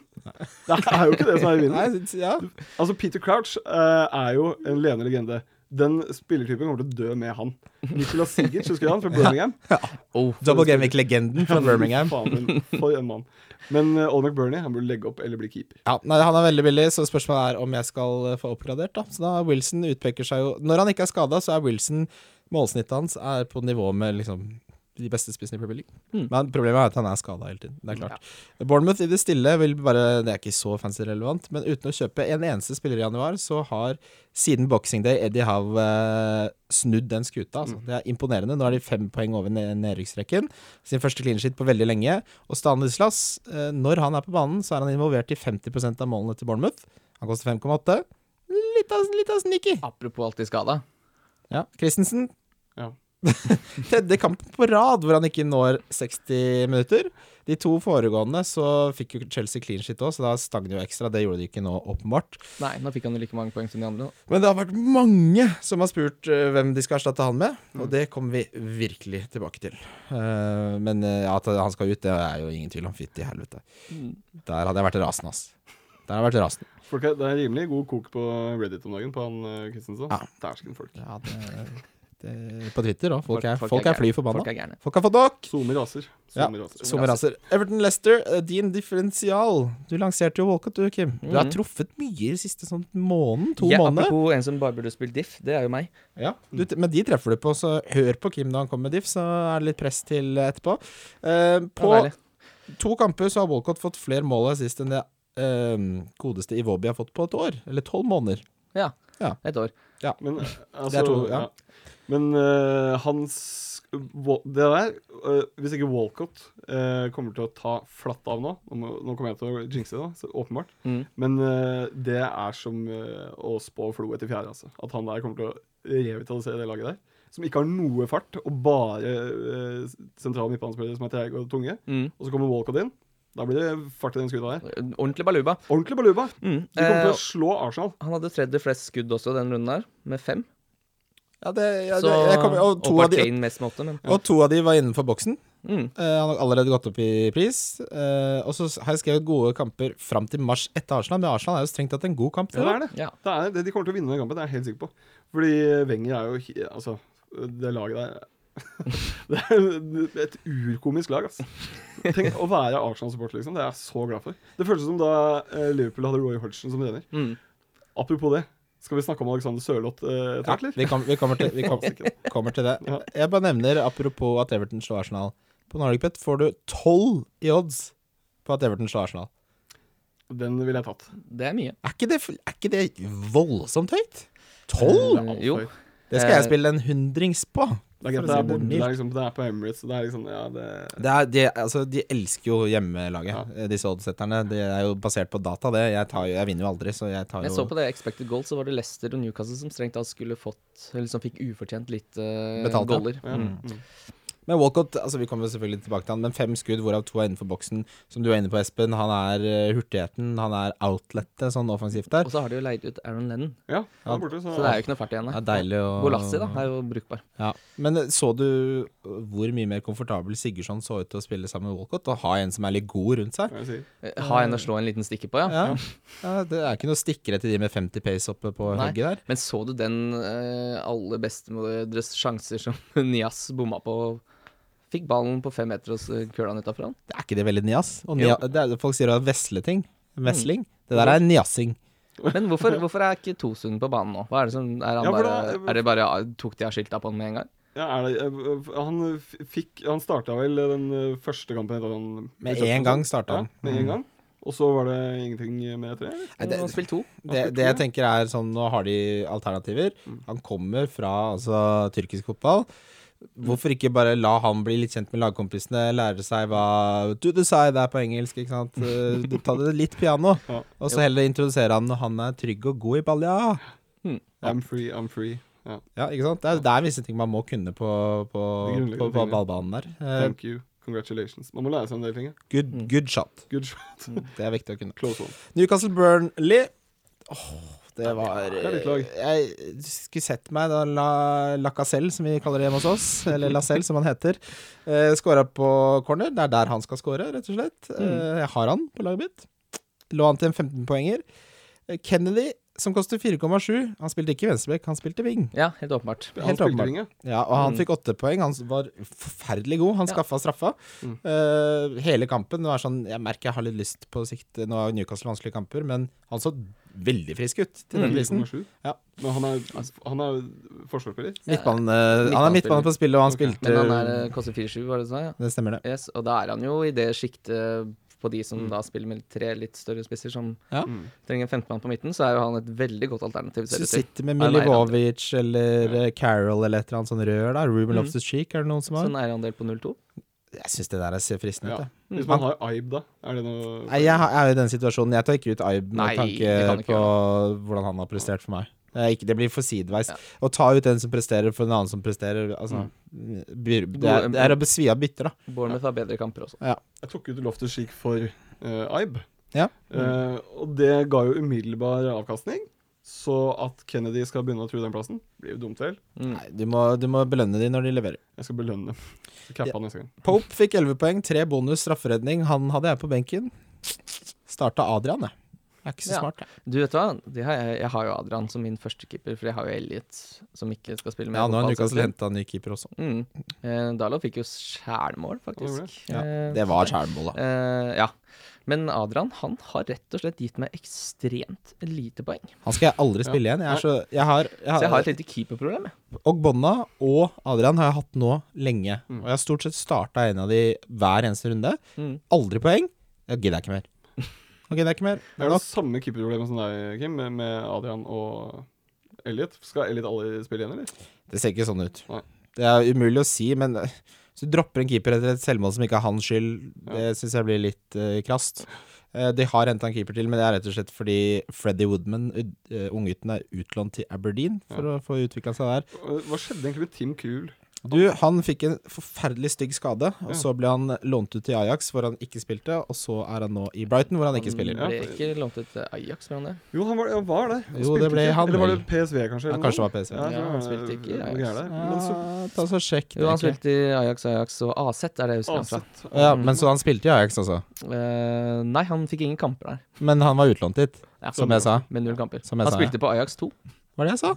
[SPEAKER 2] Det er jo ikke det som er i
[SPEAKER 3] Nei,
[SPEAKER 2] vinden.
[SPEAKER 3] ja.
[SPEAKER 2] Altså, Peter Crouch eh, er jo en levende legende. Den spillertypen kommer til å dø med han. Nicolas Sigurd, husker du han fra Birmingham?
[SPEAKER 1] Oh,
[SPEAKER 3] Double Gamic-legenden fra Birmingham.
[SPEAKER 2] Faen, men for en mann. Men uh, Old McBurney, han burde legge opp eller bli keeper.
[SPEAKER 3] Ja, nei, Han er veldig billig, så spørsmålet er om jeg skal eh, få oppgradert. da Så da Wilson utpeker seg jo Når han ikke er skada, så er Wilson Målsnittet hans er på nivå med liksom de beste spissene i Premier League. Men problemet er at han er skada hele tiden. Det er klart. Bournemouth i det stille vil bare Det er ikke så fancy relevant, men uten å kjøpe en eneste spiller i januar, så har siden Boxing Day Eddie Howe eh, snudd den skuta. Altså. Det er imponerende. Nå er de fem poeng over ned- nedrykksrekken. Sin første clean sheet på veldig lenge. Og Stanislas, eh, når han er på banen, så er han involvert i 50 av målene til Bournemouth. Han koster 5,8. Litt av, litt av sneaky.
[SPEAKER 1] Apropos alltid skada.
[SPEAKER 3] Ja. Christensen
[SPEAKER 2] Ja.
[SPEAKER 3] [LAUGHS] Tredje kampen på rad hvor han ikke når 60 minutter. De to foregående så fikk jo Chelsea clean shit òg, så da stang det jo ekstra. Det gjorde de ikke nå, åpenbart.
[SPEAKER 1] Nei, nå fikk han jo like mange poeng som de andre. da.
[SPEAKER 3] Men det har vært mange som har spurt eh, hvem de skal erstatte han med, og det kommer vi virkelig tilbake til. Eh, men eh, at han skal ut, det er jo ingen tvil om. Fytti helvete.
[SPEAKER 1] Mm.
[SPEAKER 3] Der hadde jeg vært rasende, ass. Der hadde jeg vært rasende.
[SPEAKER 2] Folk er, det er rimelig god kok på Reddit om dagen, på han eh, Kristensen.
[SPEAKER 3] Ja.
[SPEAKER 2] Dæsken, folk.
[SPEAKER 3] Ja, det, [LAUGHS] det, på Twitter òg. Folk, er- folk er fly
[SPEAKER 1] gærne.
[SPEAKER 3] forbanna.
[SPEAKER 1] Folk er gærne.
[SPEAKER 3] Folk har fått nok!
[SPEAKER 2] Zoomer raser.
[SPEAKER 3] Ja,
[SPEAKER 2] Zoomer raser.
[SPEAKER 3] Som raser. Everton Lester, din differensial. Du lanserte jo Walcott, du, Kim. Du har
[SPEAKER 1] Mhm.
[SPEAKER 3] truffet mye i det siste sånn måneden, to
[SPEAKER 1] ja,
[SPEAKER 3] måneder.
[SPEAKER 1] Apropos en som bare burde spilt diff, det er jo meg.
[SPEAKER 3] Ja, du, men de treffer du på, så hør på Kim da han kommer med diff, så er det litt press til etterpå. Eh, på
[SPEAKER 1] Ja, deilig.
[SPEAKER 3] to kamper så har Walcott fått flere mål og assist enn det eh, godeste Iwobi har fått på et år. Eller tolv måneder.
[SPEAKER 1] ja.
[SPEAKER 3] Ja.
[SPEAKER 1] Et år.
[SPEAKER 2] Men, eh, altså,
[SPEAKER 3] Det er to, ja.
[SPEAKER 2] Men eh, hans Wa- Det der eh, Hvis ikke Walcott eh, kommer til å ta flatt av nå Nå, må- nå kommer jeg til å jinxe det, da, så åpenbart.
[SPEAKER 1] Mm.
[SPEAKER 2] Men eh, det er som eh, å spå flo etter fjære. Altså. At han der kommer til å revitalisere det laget der. Som ikke har noe fart, og bare eh, sentral midtbanespillere som er treige og tunge.
[SPEAKER 1] Mm.
[SPEAKER 2] Og så kommer Walcott inn. Da blir det fart i den skuta der.
[SPEAKER 1] Ordentlig baluba.
[SPEAKER 2] Ordentlig baluba!
[SPEAKER 1] Mm.
[SPEAKER 2] De kommer
[SPEAKER 1] Eh,
[SPEAKER 2] til å slå Arsenal.
[SPEAKER 1] han hadde tredje flest skudd også den runden her, med fem.
[SPEAKER 3] Ja, det, ja,
[SPEAKER 1] Så,
[SPEAKER 3] det, jeg kommer, og, to av de,
[SPEAKER 1] Kane mest med åtte, men
[SPEAKER 3] og to av de var innenfor boksen.
[SPEAKER 1] mm.
[SPEAKER 3] Eh, han har allerede gått opp i pris. Eh, og så har jeg skrevet gode kamper fram til mars etter Arsenal, men Arsenal er jo strengt tatt en god kamp.
[SPEAKER 2] Ja, det er det.
[SPEAKER 1] Ja.
[SPEAKER 2] Det er, det, de kommer til å vinne den kampen, det er jeg helt sikker på. Fordi Wenger er jo he- Altså, det laget der [LAUGHS] Det er et urkomisk lag, altså. Tenk å være Arsenal-supporter, liksom. Det er jeg så glad for. Det føltes som da eh, Liverpool hadde Roy Hodgson som trener.
[SPEAKER 1] Mm.
[SPEAKER 2] Apropos det, skal vi snakke om Alexander Sørloth eh, etter
[SPEAKER 3] Ja,
[SPEAKER 2] hvert, eller?
[SPEAKER 3] vi, kom, vi, kommer til, vi kom, kommer til [LAUGHS] det.
[SPEAKER 2] Ja.
[SPEAKER 3] Jeg bare nevner, apropos at Everton slår Arsenal. På NordicBet får du tolv i odds på at Everton slår Arsenal.
[SPEAKER 2] Den ville jeg tatt.
[SPEAKER 1] Det er mye.
[SPEAKER 3] Er ikke det, er ikke det voldsomt høyt? Tolv?
[SPEAKER 1] Eh,
[SPEAKER 2] alt
[SPEAKER 1] jo.
[SPEAKER 2] for-
[SPEAKER 3] Det skal jeg spille en hundrings på.
[SPEAKER 2] Det er greit,
[SPEAKER 3] for
[SPEAKER 2] det
[SPEAKER 3] å si
[SPEAKER 2] er borte, det
[SPEAKER 3] mildt.
[SPEAKER 2] er, liksom, det er på Emirates, så det er liksom Ja, det
[SPEAKER 3] Det er, de, altså, de elsker jo hjemmelaget, eh, disse oddsetterne. Det er jo basert på data, det. Jeg, tar jo, jeg vinner jo aldri, så jeg tar
[SPEAKER 1] Jeg så
[SPEAKER 3] jo
[SPEAKER 1] på det expected goal, så var det Leicester og Newcastle som strengt tatt skulle fått Eller som fikk ufortjent litt uh,
[SPEAKER 3] Betalt, ja.
[SPEAKER 1] goller.
[SPEAKER 2] ja.
[SPEAKER 1] Mm.
[SPEAKER 2] mm.
[SPEAKER 3] Men Walcott, altså vi kommer selvfølgelig tilbake til han, men fem skudd, hvorav to er innenfor boksen. Som du er inne på, Espen. Han er eh, hurtigheten, han er outlettet sånn offensivt der.
[SPEAKER 1] Og så har de jo leid ut Aaron Lennon,
[SPEAKER 2] ja han er borte, så,
[SPEAKER 1] så det er jo ikke noe fart igjen.
[SPEAKER 3] Det
[SPEAKER 1] nei.
[SPEAKER 3] er deilig å
[SPEAKER 1] Golassi da, er jo brukbar.
[SPEAKER 3] Ja. Men eh, så du hvor mye mer komfortabel Sigurdsson så ut til å spille sammen med Walcott? Å ha en som er litt god rundt seg?
[SPEAKER 2] hva jeg sier.
[SPEAKER 1] Eh, Ha en å slå en liten stikke på, ja.
[SPEAKER 3] Ja. ja Det er ikke noe stikkere til de med 50 pace oppe på
[SPEAKER 1] Nei.
[SPEAKER 3] hugget der.
[SPEAKER 1] Men så du den eh, aller beste med deres sjanser som [LAUGHS] Nias bomma på? Fikk ballen på fem meter og så køla han utafor han?
[SPEAKER 3] Det er ikke det veldig nias. Og
[SPEAKER 1] Jo.
[SPEAKER 3] nia, det er, folk sier det er vesleting. Vesling. Det der er niassing.
[SPEAKER 1] Men hvorfor, hvorfor er ikke Tosund på banen nå? Hva Er det som, er, han
[SPEAKER 2] Ja, for
[SPEAKER 1] bare,
[SPEAKER 2] da-
[SPEAKER 1] er det bare Tok de av skilta på han med en gang?
[SPEAKER 2] Ja, er det, eh, han f- fikk Han starta vel den eh, første kampen etter at han
[SPEAKER 3] Med en gang Mm. starta han.
[SPEAKER 2] Ja, med en gang. Og så var det ingenting mer etter det? eller?
[SPEAKER 3] Nei, det-
[SPEAKER 1] Han spilte to.
[SPEAKER 3] Det, det jeg tenker er sånn, Nå har de alternativer.
[SPEAKER 2] Mm.
[SPEAKER 3] Han kommer fra altså, tyrkisk fotball. Hvorfor ikke bare la han bli litt kjent med lagkompisene, lære seg hva To the side er på engelsk, ikke sant. Eh, Ta det litt piano.
[SPEAKER 2] Ja.
[SPEAKER 3] Og så heller introdusere han når han er trygg og god i ball, ja.
[SPEAKER 2] I'm free, I'm free. Ja.
[SPEAKER 3] ja ikke sant? Det er, det er visse ting man må kunne på, på,
[SPEAKER 2] De grunnleggende
[SPEAKER 3] på, på
[SPEAKER 2] tingene.
[SPEAKER 3] ballbanen der. Eh,
[SPEAKER 2] Thank you. Congratulations. Man må lære seg en del ting. ja.
[SPEAKER 3] good, good shot.
[SPEAKER 2] Good shot.
[SPEAKER 3] Det er viktig å kunne.
[SPEAKER 2] Close one.
[SPEAKER 3] Newcastle Burnley. Åh, det var eh,
[SPEAKER 2] det er ditt lag.
[SPEAKER 3] Jeg skulle sett meg da La, Lacazelle, som vi kaller det hjemme hos oss, eller Lacelle, som han heter, eh, skåra på corner. Det er der han skal skåre, rett og slett.
[SPEAKER 2] Mm.
[SPEAKER 3] Eh, jeg har han på laget mitt. Lå han til en 15-poenger. Eh, Kennedy, som koster 4,7. Han spilte ikke venstrebekk, han spilte wing.
[SPEAKER 1] Ja, helt åpenbart.
[SPEAKER 2] [LAUGHS] Han
[SPEAKER 3] Helt
[SPEAKER 2] spilte
[SPEAKER 3] åpenbart.
[SPEAKER 2] ring, ja.
[SPEAKER 3] Ja, og han
[SPEAKER 1] Mm.
[SPEAKER 3] fikk åtte poeng. Han var forferdelig god. Han
[SPEAKER 1] Ja.
[SPEAKER 3] skaffa straffa
[SPEAKER 2] Mm.
[SPEAKER 3] eh, hele kampen. Nå er sånn, jeg merker jeg har litt lyst på sikt Nå er jo Newcastle vanskelige kamper, men han så veldig frisk ut til
[SPEAKER 1] Mm.
[SPEAKER 3] den prisen.
[SPEAKER 2] 4,7.
[SPEAKER 3] Ja.
[SPEAKER 2] Men han er, han er forsvarsspiller.
[SPEAKER 3] Midtbanen, eh, han er midtbane på spillet, og han spilte
[SPEAKER 1] Men han er eh, koster 4-7, var det du sa? Ja.
[SPEAKER 3] Det stemmer, det.
[SPEAKER 1] Yes, og da er han jo i det sjiktet på de som da spiller med tre litt større spisser, som
[SPEAKER 3] Ja.
[SPEAKER 2] Mm.
[SPEAKER 1] trenger en femtemann på midten, så er jo han et veldig godt alternativ. ser det
[SPEAKER 3] Hvis du
[SPEAKER 1] til.
[SPEAKER 3] sitter med
[SPEAKER 1] Nei, nei,
[SPEAKER 3] Milivovic eller eh, Carroll eller et eller annet sånn rør der, Ruben
[SPEAKER 1] Mm. Sånn.
[SPEAKER 3] Loftus-Cheek, er det noen som
[SPEAKER 1] Så
[SPEAKER 3] har?
[SPEAKER 1] en eierandel på 0-2.
[SPEAKER 3] Jeg syns det Mm. der ser fristende
[SPEAKER 2] Ja.
[SPEAKER 3] ut, jeg.
[SPEAKER 2] Hvis man har Aib, da, er det noe
[SPEAKER 3] Nei, Jeg har- jeg er jo i den situasjonen. Jeg tar ikke ut Aib med
[SPEAKER 1] Nei, det
[SPEAKER 3] tanke
[SPEAKER 1] kan du ikke
[SPEAKER 3] på hvordan han har prestert for meg. Eh, ikke, det blir for sideveis. Å ta ut en som presterer for en annen som presterer altså,
[SPEAKER 1] Mm.
[SPEAKER 3] byr, det, er, det er å besvi av bytter, da.
[SPEAKER 1] Bournemouth har bedre kamper også.
[SPEAKER 2] Jeg tok ut Loftus Cheek for eh, Ibe.
[SPEAKER 3] Ja.
[SPEAKER 2] Eh, og det ga jo umiddelbar avkastning. Så at Kennedy skal begynne å true den plassen, blir jo dumt vel.
[SPEAKER 1] Mm.
[SPEAKER 3] Nei, du, må, du må belønne de når de leverer.
[SPEAKER 2] Jeg skal belønne dem. Så cappa
[SPEAKER 3] Ja.
[SPEAKER 2] neste gang.
[SPEAKER 3] Pope fikk 11 poeng, 3 bonus strafferedning. Han hadde jeg på benken. Starta Adrian, jeg. Jeg er ikke så
[SPEAKER 1] Ja.
[SPEAKER 3] smart, jeg.
[SPEAKER 1] Du, vet du hva? Det har jeg, jeg har jo Adrian som min første keeper, for jeg har jo Elliot som ikke skal spille med.
[SPEAKER 3] Ja, nå
[SPEAKER 1] fotball,
[SPEAKER 3] har Newcastle
[SPEAKER 1] selvfølgelig.
[SPEAKER 3] henta ny keeper også.
[SPEAKER 1] Mm. Eh, Dalot fikk jo skjælmål,
[SPEAKER 2] gjorde
[SPEAKER 1] faktisk.
[SPEAKER 3] Ja,
[SPEAKER 1] Eh,
[SPEAKER 3] Det var skjærmål, da.
[SPEAKER 1] eh, ja. Men Adrian han har rett og slett gitt meg ekstremt lite poeng.
[SPEAKER 3] Han skal jeg aldri spille igjen. Jeg, er så, jeg har,
[SPEAKER 1] Så
[SPEAKER 3] jeg
[SPEAKER 1] jeg har
[SPEAKER 3] har
[SPEAKER 1] et lite keeperproblem. jeg.
[SPEAKER 3] Ogbonna og Adrian har jeg hatt nå lenge.
[SPEAKER 2] Mm.
[SPEAKER 3] Og jeg har stort sett starta en av de hver eneste runde.
[SPEAKER 1] Mm.
[SPEAKER 3] Aldri poeng. Jeg gidder ikke mer.
[SPEAKER 2] [LAUGHS]
[SPEAKER 3] Jeg gidder ikke mer.
[SPEAKER 2] Det er det samme keeperproblemet som deg, Kim, med- med Adrian og Elliot. Skal Elliot aldri spille igjen, eller?
[SPEAKER 3] Det ser ikke sånn ut.
[SPEAKER 2] Nei.
[SPEAKER 3] Det er umulig å si, men øh, hvis du dropper en keeper etter et selvmål som ikke er hans skyld, det syns jeg blir litt øh, krast. Eh, de har henta en keeper til, men det er rett og slett fordi Freddy Woodman, uh, unggutten, er utlånt til Aberdeen for å få utvikla seg der.
[SPEAKER 2] Og Hva skjedde egentlig med Tim Kuhl?
[SPEAKER 3] Du, han fikk en forferdelig stygg skade, og så ble han lånt ut til Ajax, hvor han ikke spilte, og så er han nå i Brighton, hvor han ikke spiller.
[SPEAKER 1] Han ble ikke lånt ut til Ajax, ble han det?
[SPEAKER 2] Jo, han var, han var der. Han
[SPEAKER 3] Jo, det
[SPEAKER 2] spilte
[SPEAKER 3] ble
[SPEAKER 2] ikke.
[SPEAKER 3] han
[SPEAKER 2] Eller var
[SPEAKER 3] vel.
[SPEAKER 2] det PSV, kanskje?
[SPEAKER 3] Ja,
[SPEAKER 2] eller
[SPEAKER 3] kanskje
[SPEAKER 2] noe?
[SPEAKER 3] det var PSV.
[SPEAKER 2] Ja, jeg tror
[SPEAKER 1] Ja, han
[SPEAKER 2] det-
[SPEAKER 1] spilte ikke i
[SPEAKER 2] noe
[SPEAKER 1] Ajax.
[SPEAKER 2] greier der. Men så
[SPEAKER 3] Ja, ta så sjekk
[SPEAKER 1] Jo, han
[SPEAKER 3] egentlig.
[SPEAKER 1] spilte i Ajax, Ajax og AZ, er det jeg husker. Altså.
[SPEAKER 2] Ansett.
[SPEAKER 3] Ja, men så han spilte i Ajax, altså.
[SPEAKER 1] Eh, nei, han fikk ingen kamper der.
[SPEAKER 3] Men han var utlånt dit,
[SPEAKER 1] Ja,
[SPEAKER 3] som jeg sa.
[SPEAKER 1] Med null kamper.
[SPEAKER 3] Som jeg
[SPEAKER 1] han
[SPEAKER 3] sa, ja.
[SPEAKER 1] spilte på Ajax 2.
[SPEAKER 3] Hva er det jeg sa?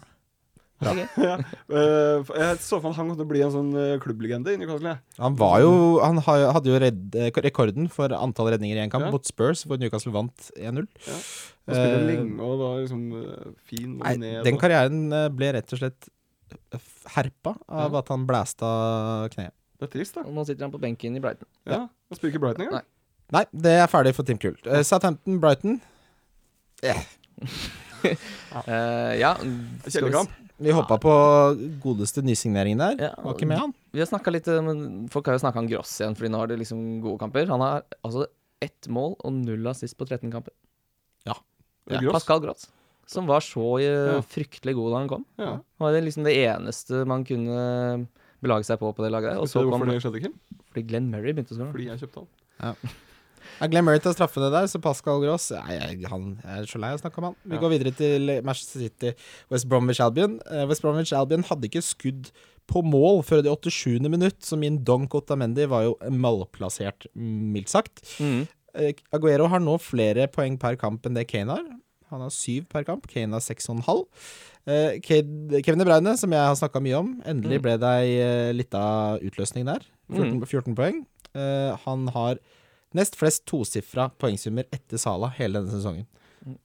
[SPEAKER 3] Bra.
[SPEAKER 1] Ok.
[SPEAKER 2] Eh, for jeg så for meg at han kom til å bli en sånn eh, klubblegende i Newcastle. jeg.
[SPEAKER 3] Han var jo Han har- hadde jo redd, eh, rekorden for antall redninger i en kamp
[SPEAKER 2] Ja.
[SPEAKER 3] mot Spurs, hvor Newcastle vant 1-0.
[SPEAKER 2] Han spilte
[SPEAKER 3] Eh,
[SPEAKER 2] lenge og var liksom eh, fin og
[SPEAKER 3] Nei,
[SPEAKER 2] ned.
[SPEAKER 3] den
[SPEAKER 2] og-
[SPEAKER 3] karrieren eh, ble rett og slett eh, f- herpa av
[SPEAKER 2] Ja.
[SPEAKER 3] at han blæsta kneet.
[SPEAKER 2] Det er trist, da.
[SPEAKER 1] Og nå sitter han på benken i Brighton.
[SPEAKER 2] Ja, Han spiller ikke Brighton engang.
[SPEAKER 1] Nei.
[SPEAKER 3] Nei, det er ferdig for Tim Kuhl. Eh, Southampton, Brighton.
[SPEAKER 1] Eh, ja, skal vi s-
[SPEAKER 2] Kjellerkamp.
[SPEAKER 3] Vi hoppa på godeste nysigneringen der.
[SPEAKER 1] Ja,
[SPEAKER 3] Var ikke med han.
[SPEAKER 1] Vi har snakka litt eh, men Folk har jo snakka om Gross igjen, Fordi nå har de liksom gode kamper. Han har altså ett mål og null assist på 13 kamper.
[SPEAKER 2] Ja.
[SPEAKER 1] Ja, Pascal Gross, som var så eh,
[SPEAKER 2] Ja.
[SPEAKER 1] fryktelig god da han kom.
[SPEAKER 2] Ja.
[SPEAKER 1] Han var det liksom det eneste man kunne belage seg på på det laget. der, Og
[SPEAKER 2] Vet
[SPEAKER 1] så
[SPEAKER 2] du
[SPEAKER 1] kom
[SPEAKER 2] hvorfor det skjedde, Kim?
[SPEAKER 1] fordi Glenn Murray begynte å skåre.
[SPEAKER 2] Fordi jeg kjøpte han.
[SPEAKER 3] Jeg glemmer ikke å straffe det der, så Pascal Gross Nei, jeg, han, jeg er så lei av å snakke om han. Vi
[SPEAKER 2] Ja.
[SPEAKER 3] går videre til Manchester City, West Bromwich Albion. Eh, West Bromwich Albion hadde ikke skudd på mål før det 87. minutt, så min donk Otamendi var jo malplassert, mildt sagt.
[SPEAKER 1] Mm.
[SPEAKER 3] Eh, Aguero har nå flere poeng per kamp enn det Kane har. Han har syv per kamp, Kane har seks og en halv. Eh, Ke- Kevin De Bruyne, som jeg har snakka mye om, endelig
[SPEAKER 1] Mm.
[SPEAKER 3] ble det ei eh, lita utløsning der. 14,
[SPEAKER 1] Mm.
[SPEAKER 3] 14 poeng. Eh, han har nest flest tosifra poengsummer etter Sala hele denne sesongen.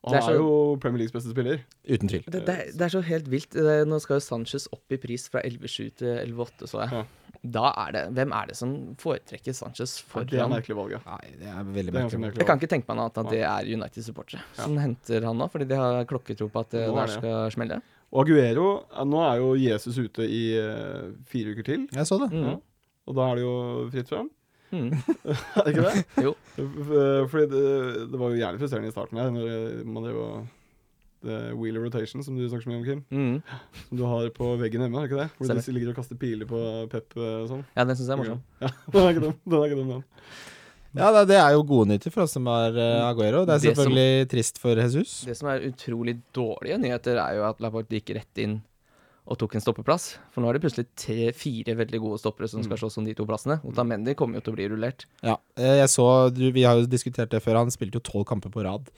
[SPEAKER 2] Og
[SPEAKER 1] Det
[SPEAKER 2] han
[SPEAKER 1] er så-
[SPEAKER 2] er, jo Premier Leagues beste spiller.
[SPEAKER 3] Uten tvil.
[SPEAKER 1] Det, det, er- det er så helt vilt. Det er- Nå skal jo Sanchez opp i pris fra 11,7 til 11,8, så jeg.
[SPEAKER 2] Ja.
[SPEAKER 1] Da er det Hvem er det som foretrekker Sanchez
[SPEAKER 2] Det er
[SPEAKER 1] foran
[SPEAKER 2] merkelig valg, ja.
[SPEAKER 3] Nei, det er veldig
[SPEAKER 2] Det er ganske
[SPEAKER 3] merkelig.
[SPEAKER 2] merkelig
[SPEAKER 1] Jeg kan
[SPEAKER 2] valg.
[SPEAKER 1] ikke tenke meg noe annet enn at det er United-supportere som henter han nå, fordi de har klokketro på at det
[SPEAKER 2] Nå er
[SPEAKER 1] der
[SPEAKER 2] det,
[SPEAKER 1] skal smelle.
[SPEAKER 2] Og Aguero eh, Nå er jo Jesus ute i eh, fire uker til,
[SPEAKER 3] Jeg så det.
[SPEAKER 1] Mm.
[SPEAKER 2] og da er det jo fritt fram.
[SPEAKER 1] Mm.
[SPEAKER 2] [LAUGHS] Er det ikke det?
[SPEAKER 1] [LAUGHS] Jo.
[SPEAKER 2] Eh, Fordi det, det var jo jævlig frustrerende i starten her, når eh, man drev og det er wheel of rotation, som du snakker så mye om, Kim.
[SPEAKER 1] Mm.
[SPEAKER 2] Som du har på veggen hjemme, er det ikke det? Hvor
[SPEAKER 1] Stemmer.
[SPEAKER 2] de ligger og kaster piler på Pep eh, og sånn.
[SPEAKER 1] Ja, den syns jeg er morsom.
[SPEAKER 2] Ja, [LAUGHS] den er ikke dum, den. Er ikke dum, den.
[SPEAKER 3] Ja, det, det er jo gode nyheter for oss som har eh, Aguero. Det er
[SPEAKER 1] Det som-
[SPEAKER 3] selvfølgelig trist for Jesus.
[SPEAKER 1] Det som er utrolig dårlige nyheter, er jo at Laporte gikk rett inn og tok en stoppeplass. For nå er det plutselig tre-fire veldig gode stoppere som
[SPEAKER 2] Mm.
[SPEAKER 1] skal slåss om de to plassene. Otamendi kommer jo til å bli rullert.
[SPEAKER 3] Ja, eh, jeg så du, Vi har jo diskutert det før. Han spilte jo tolv kamper på rad.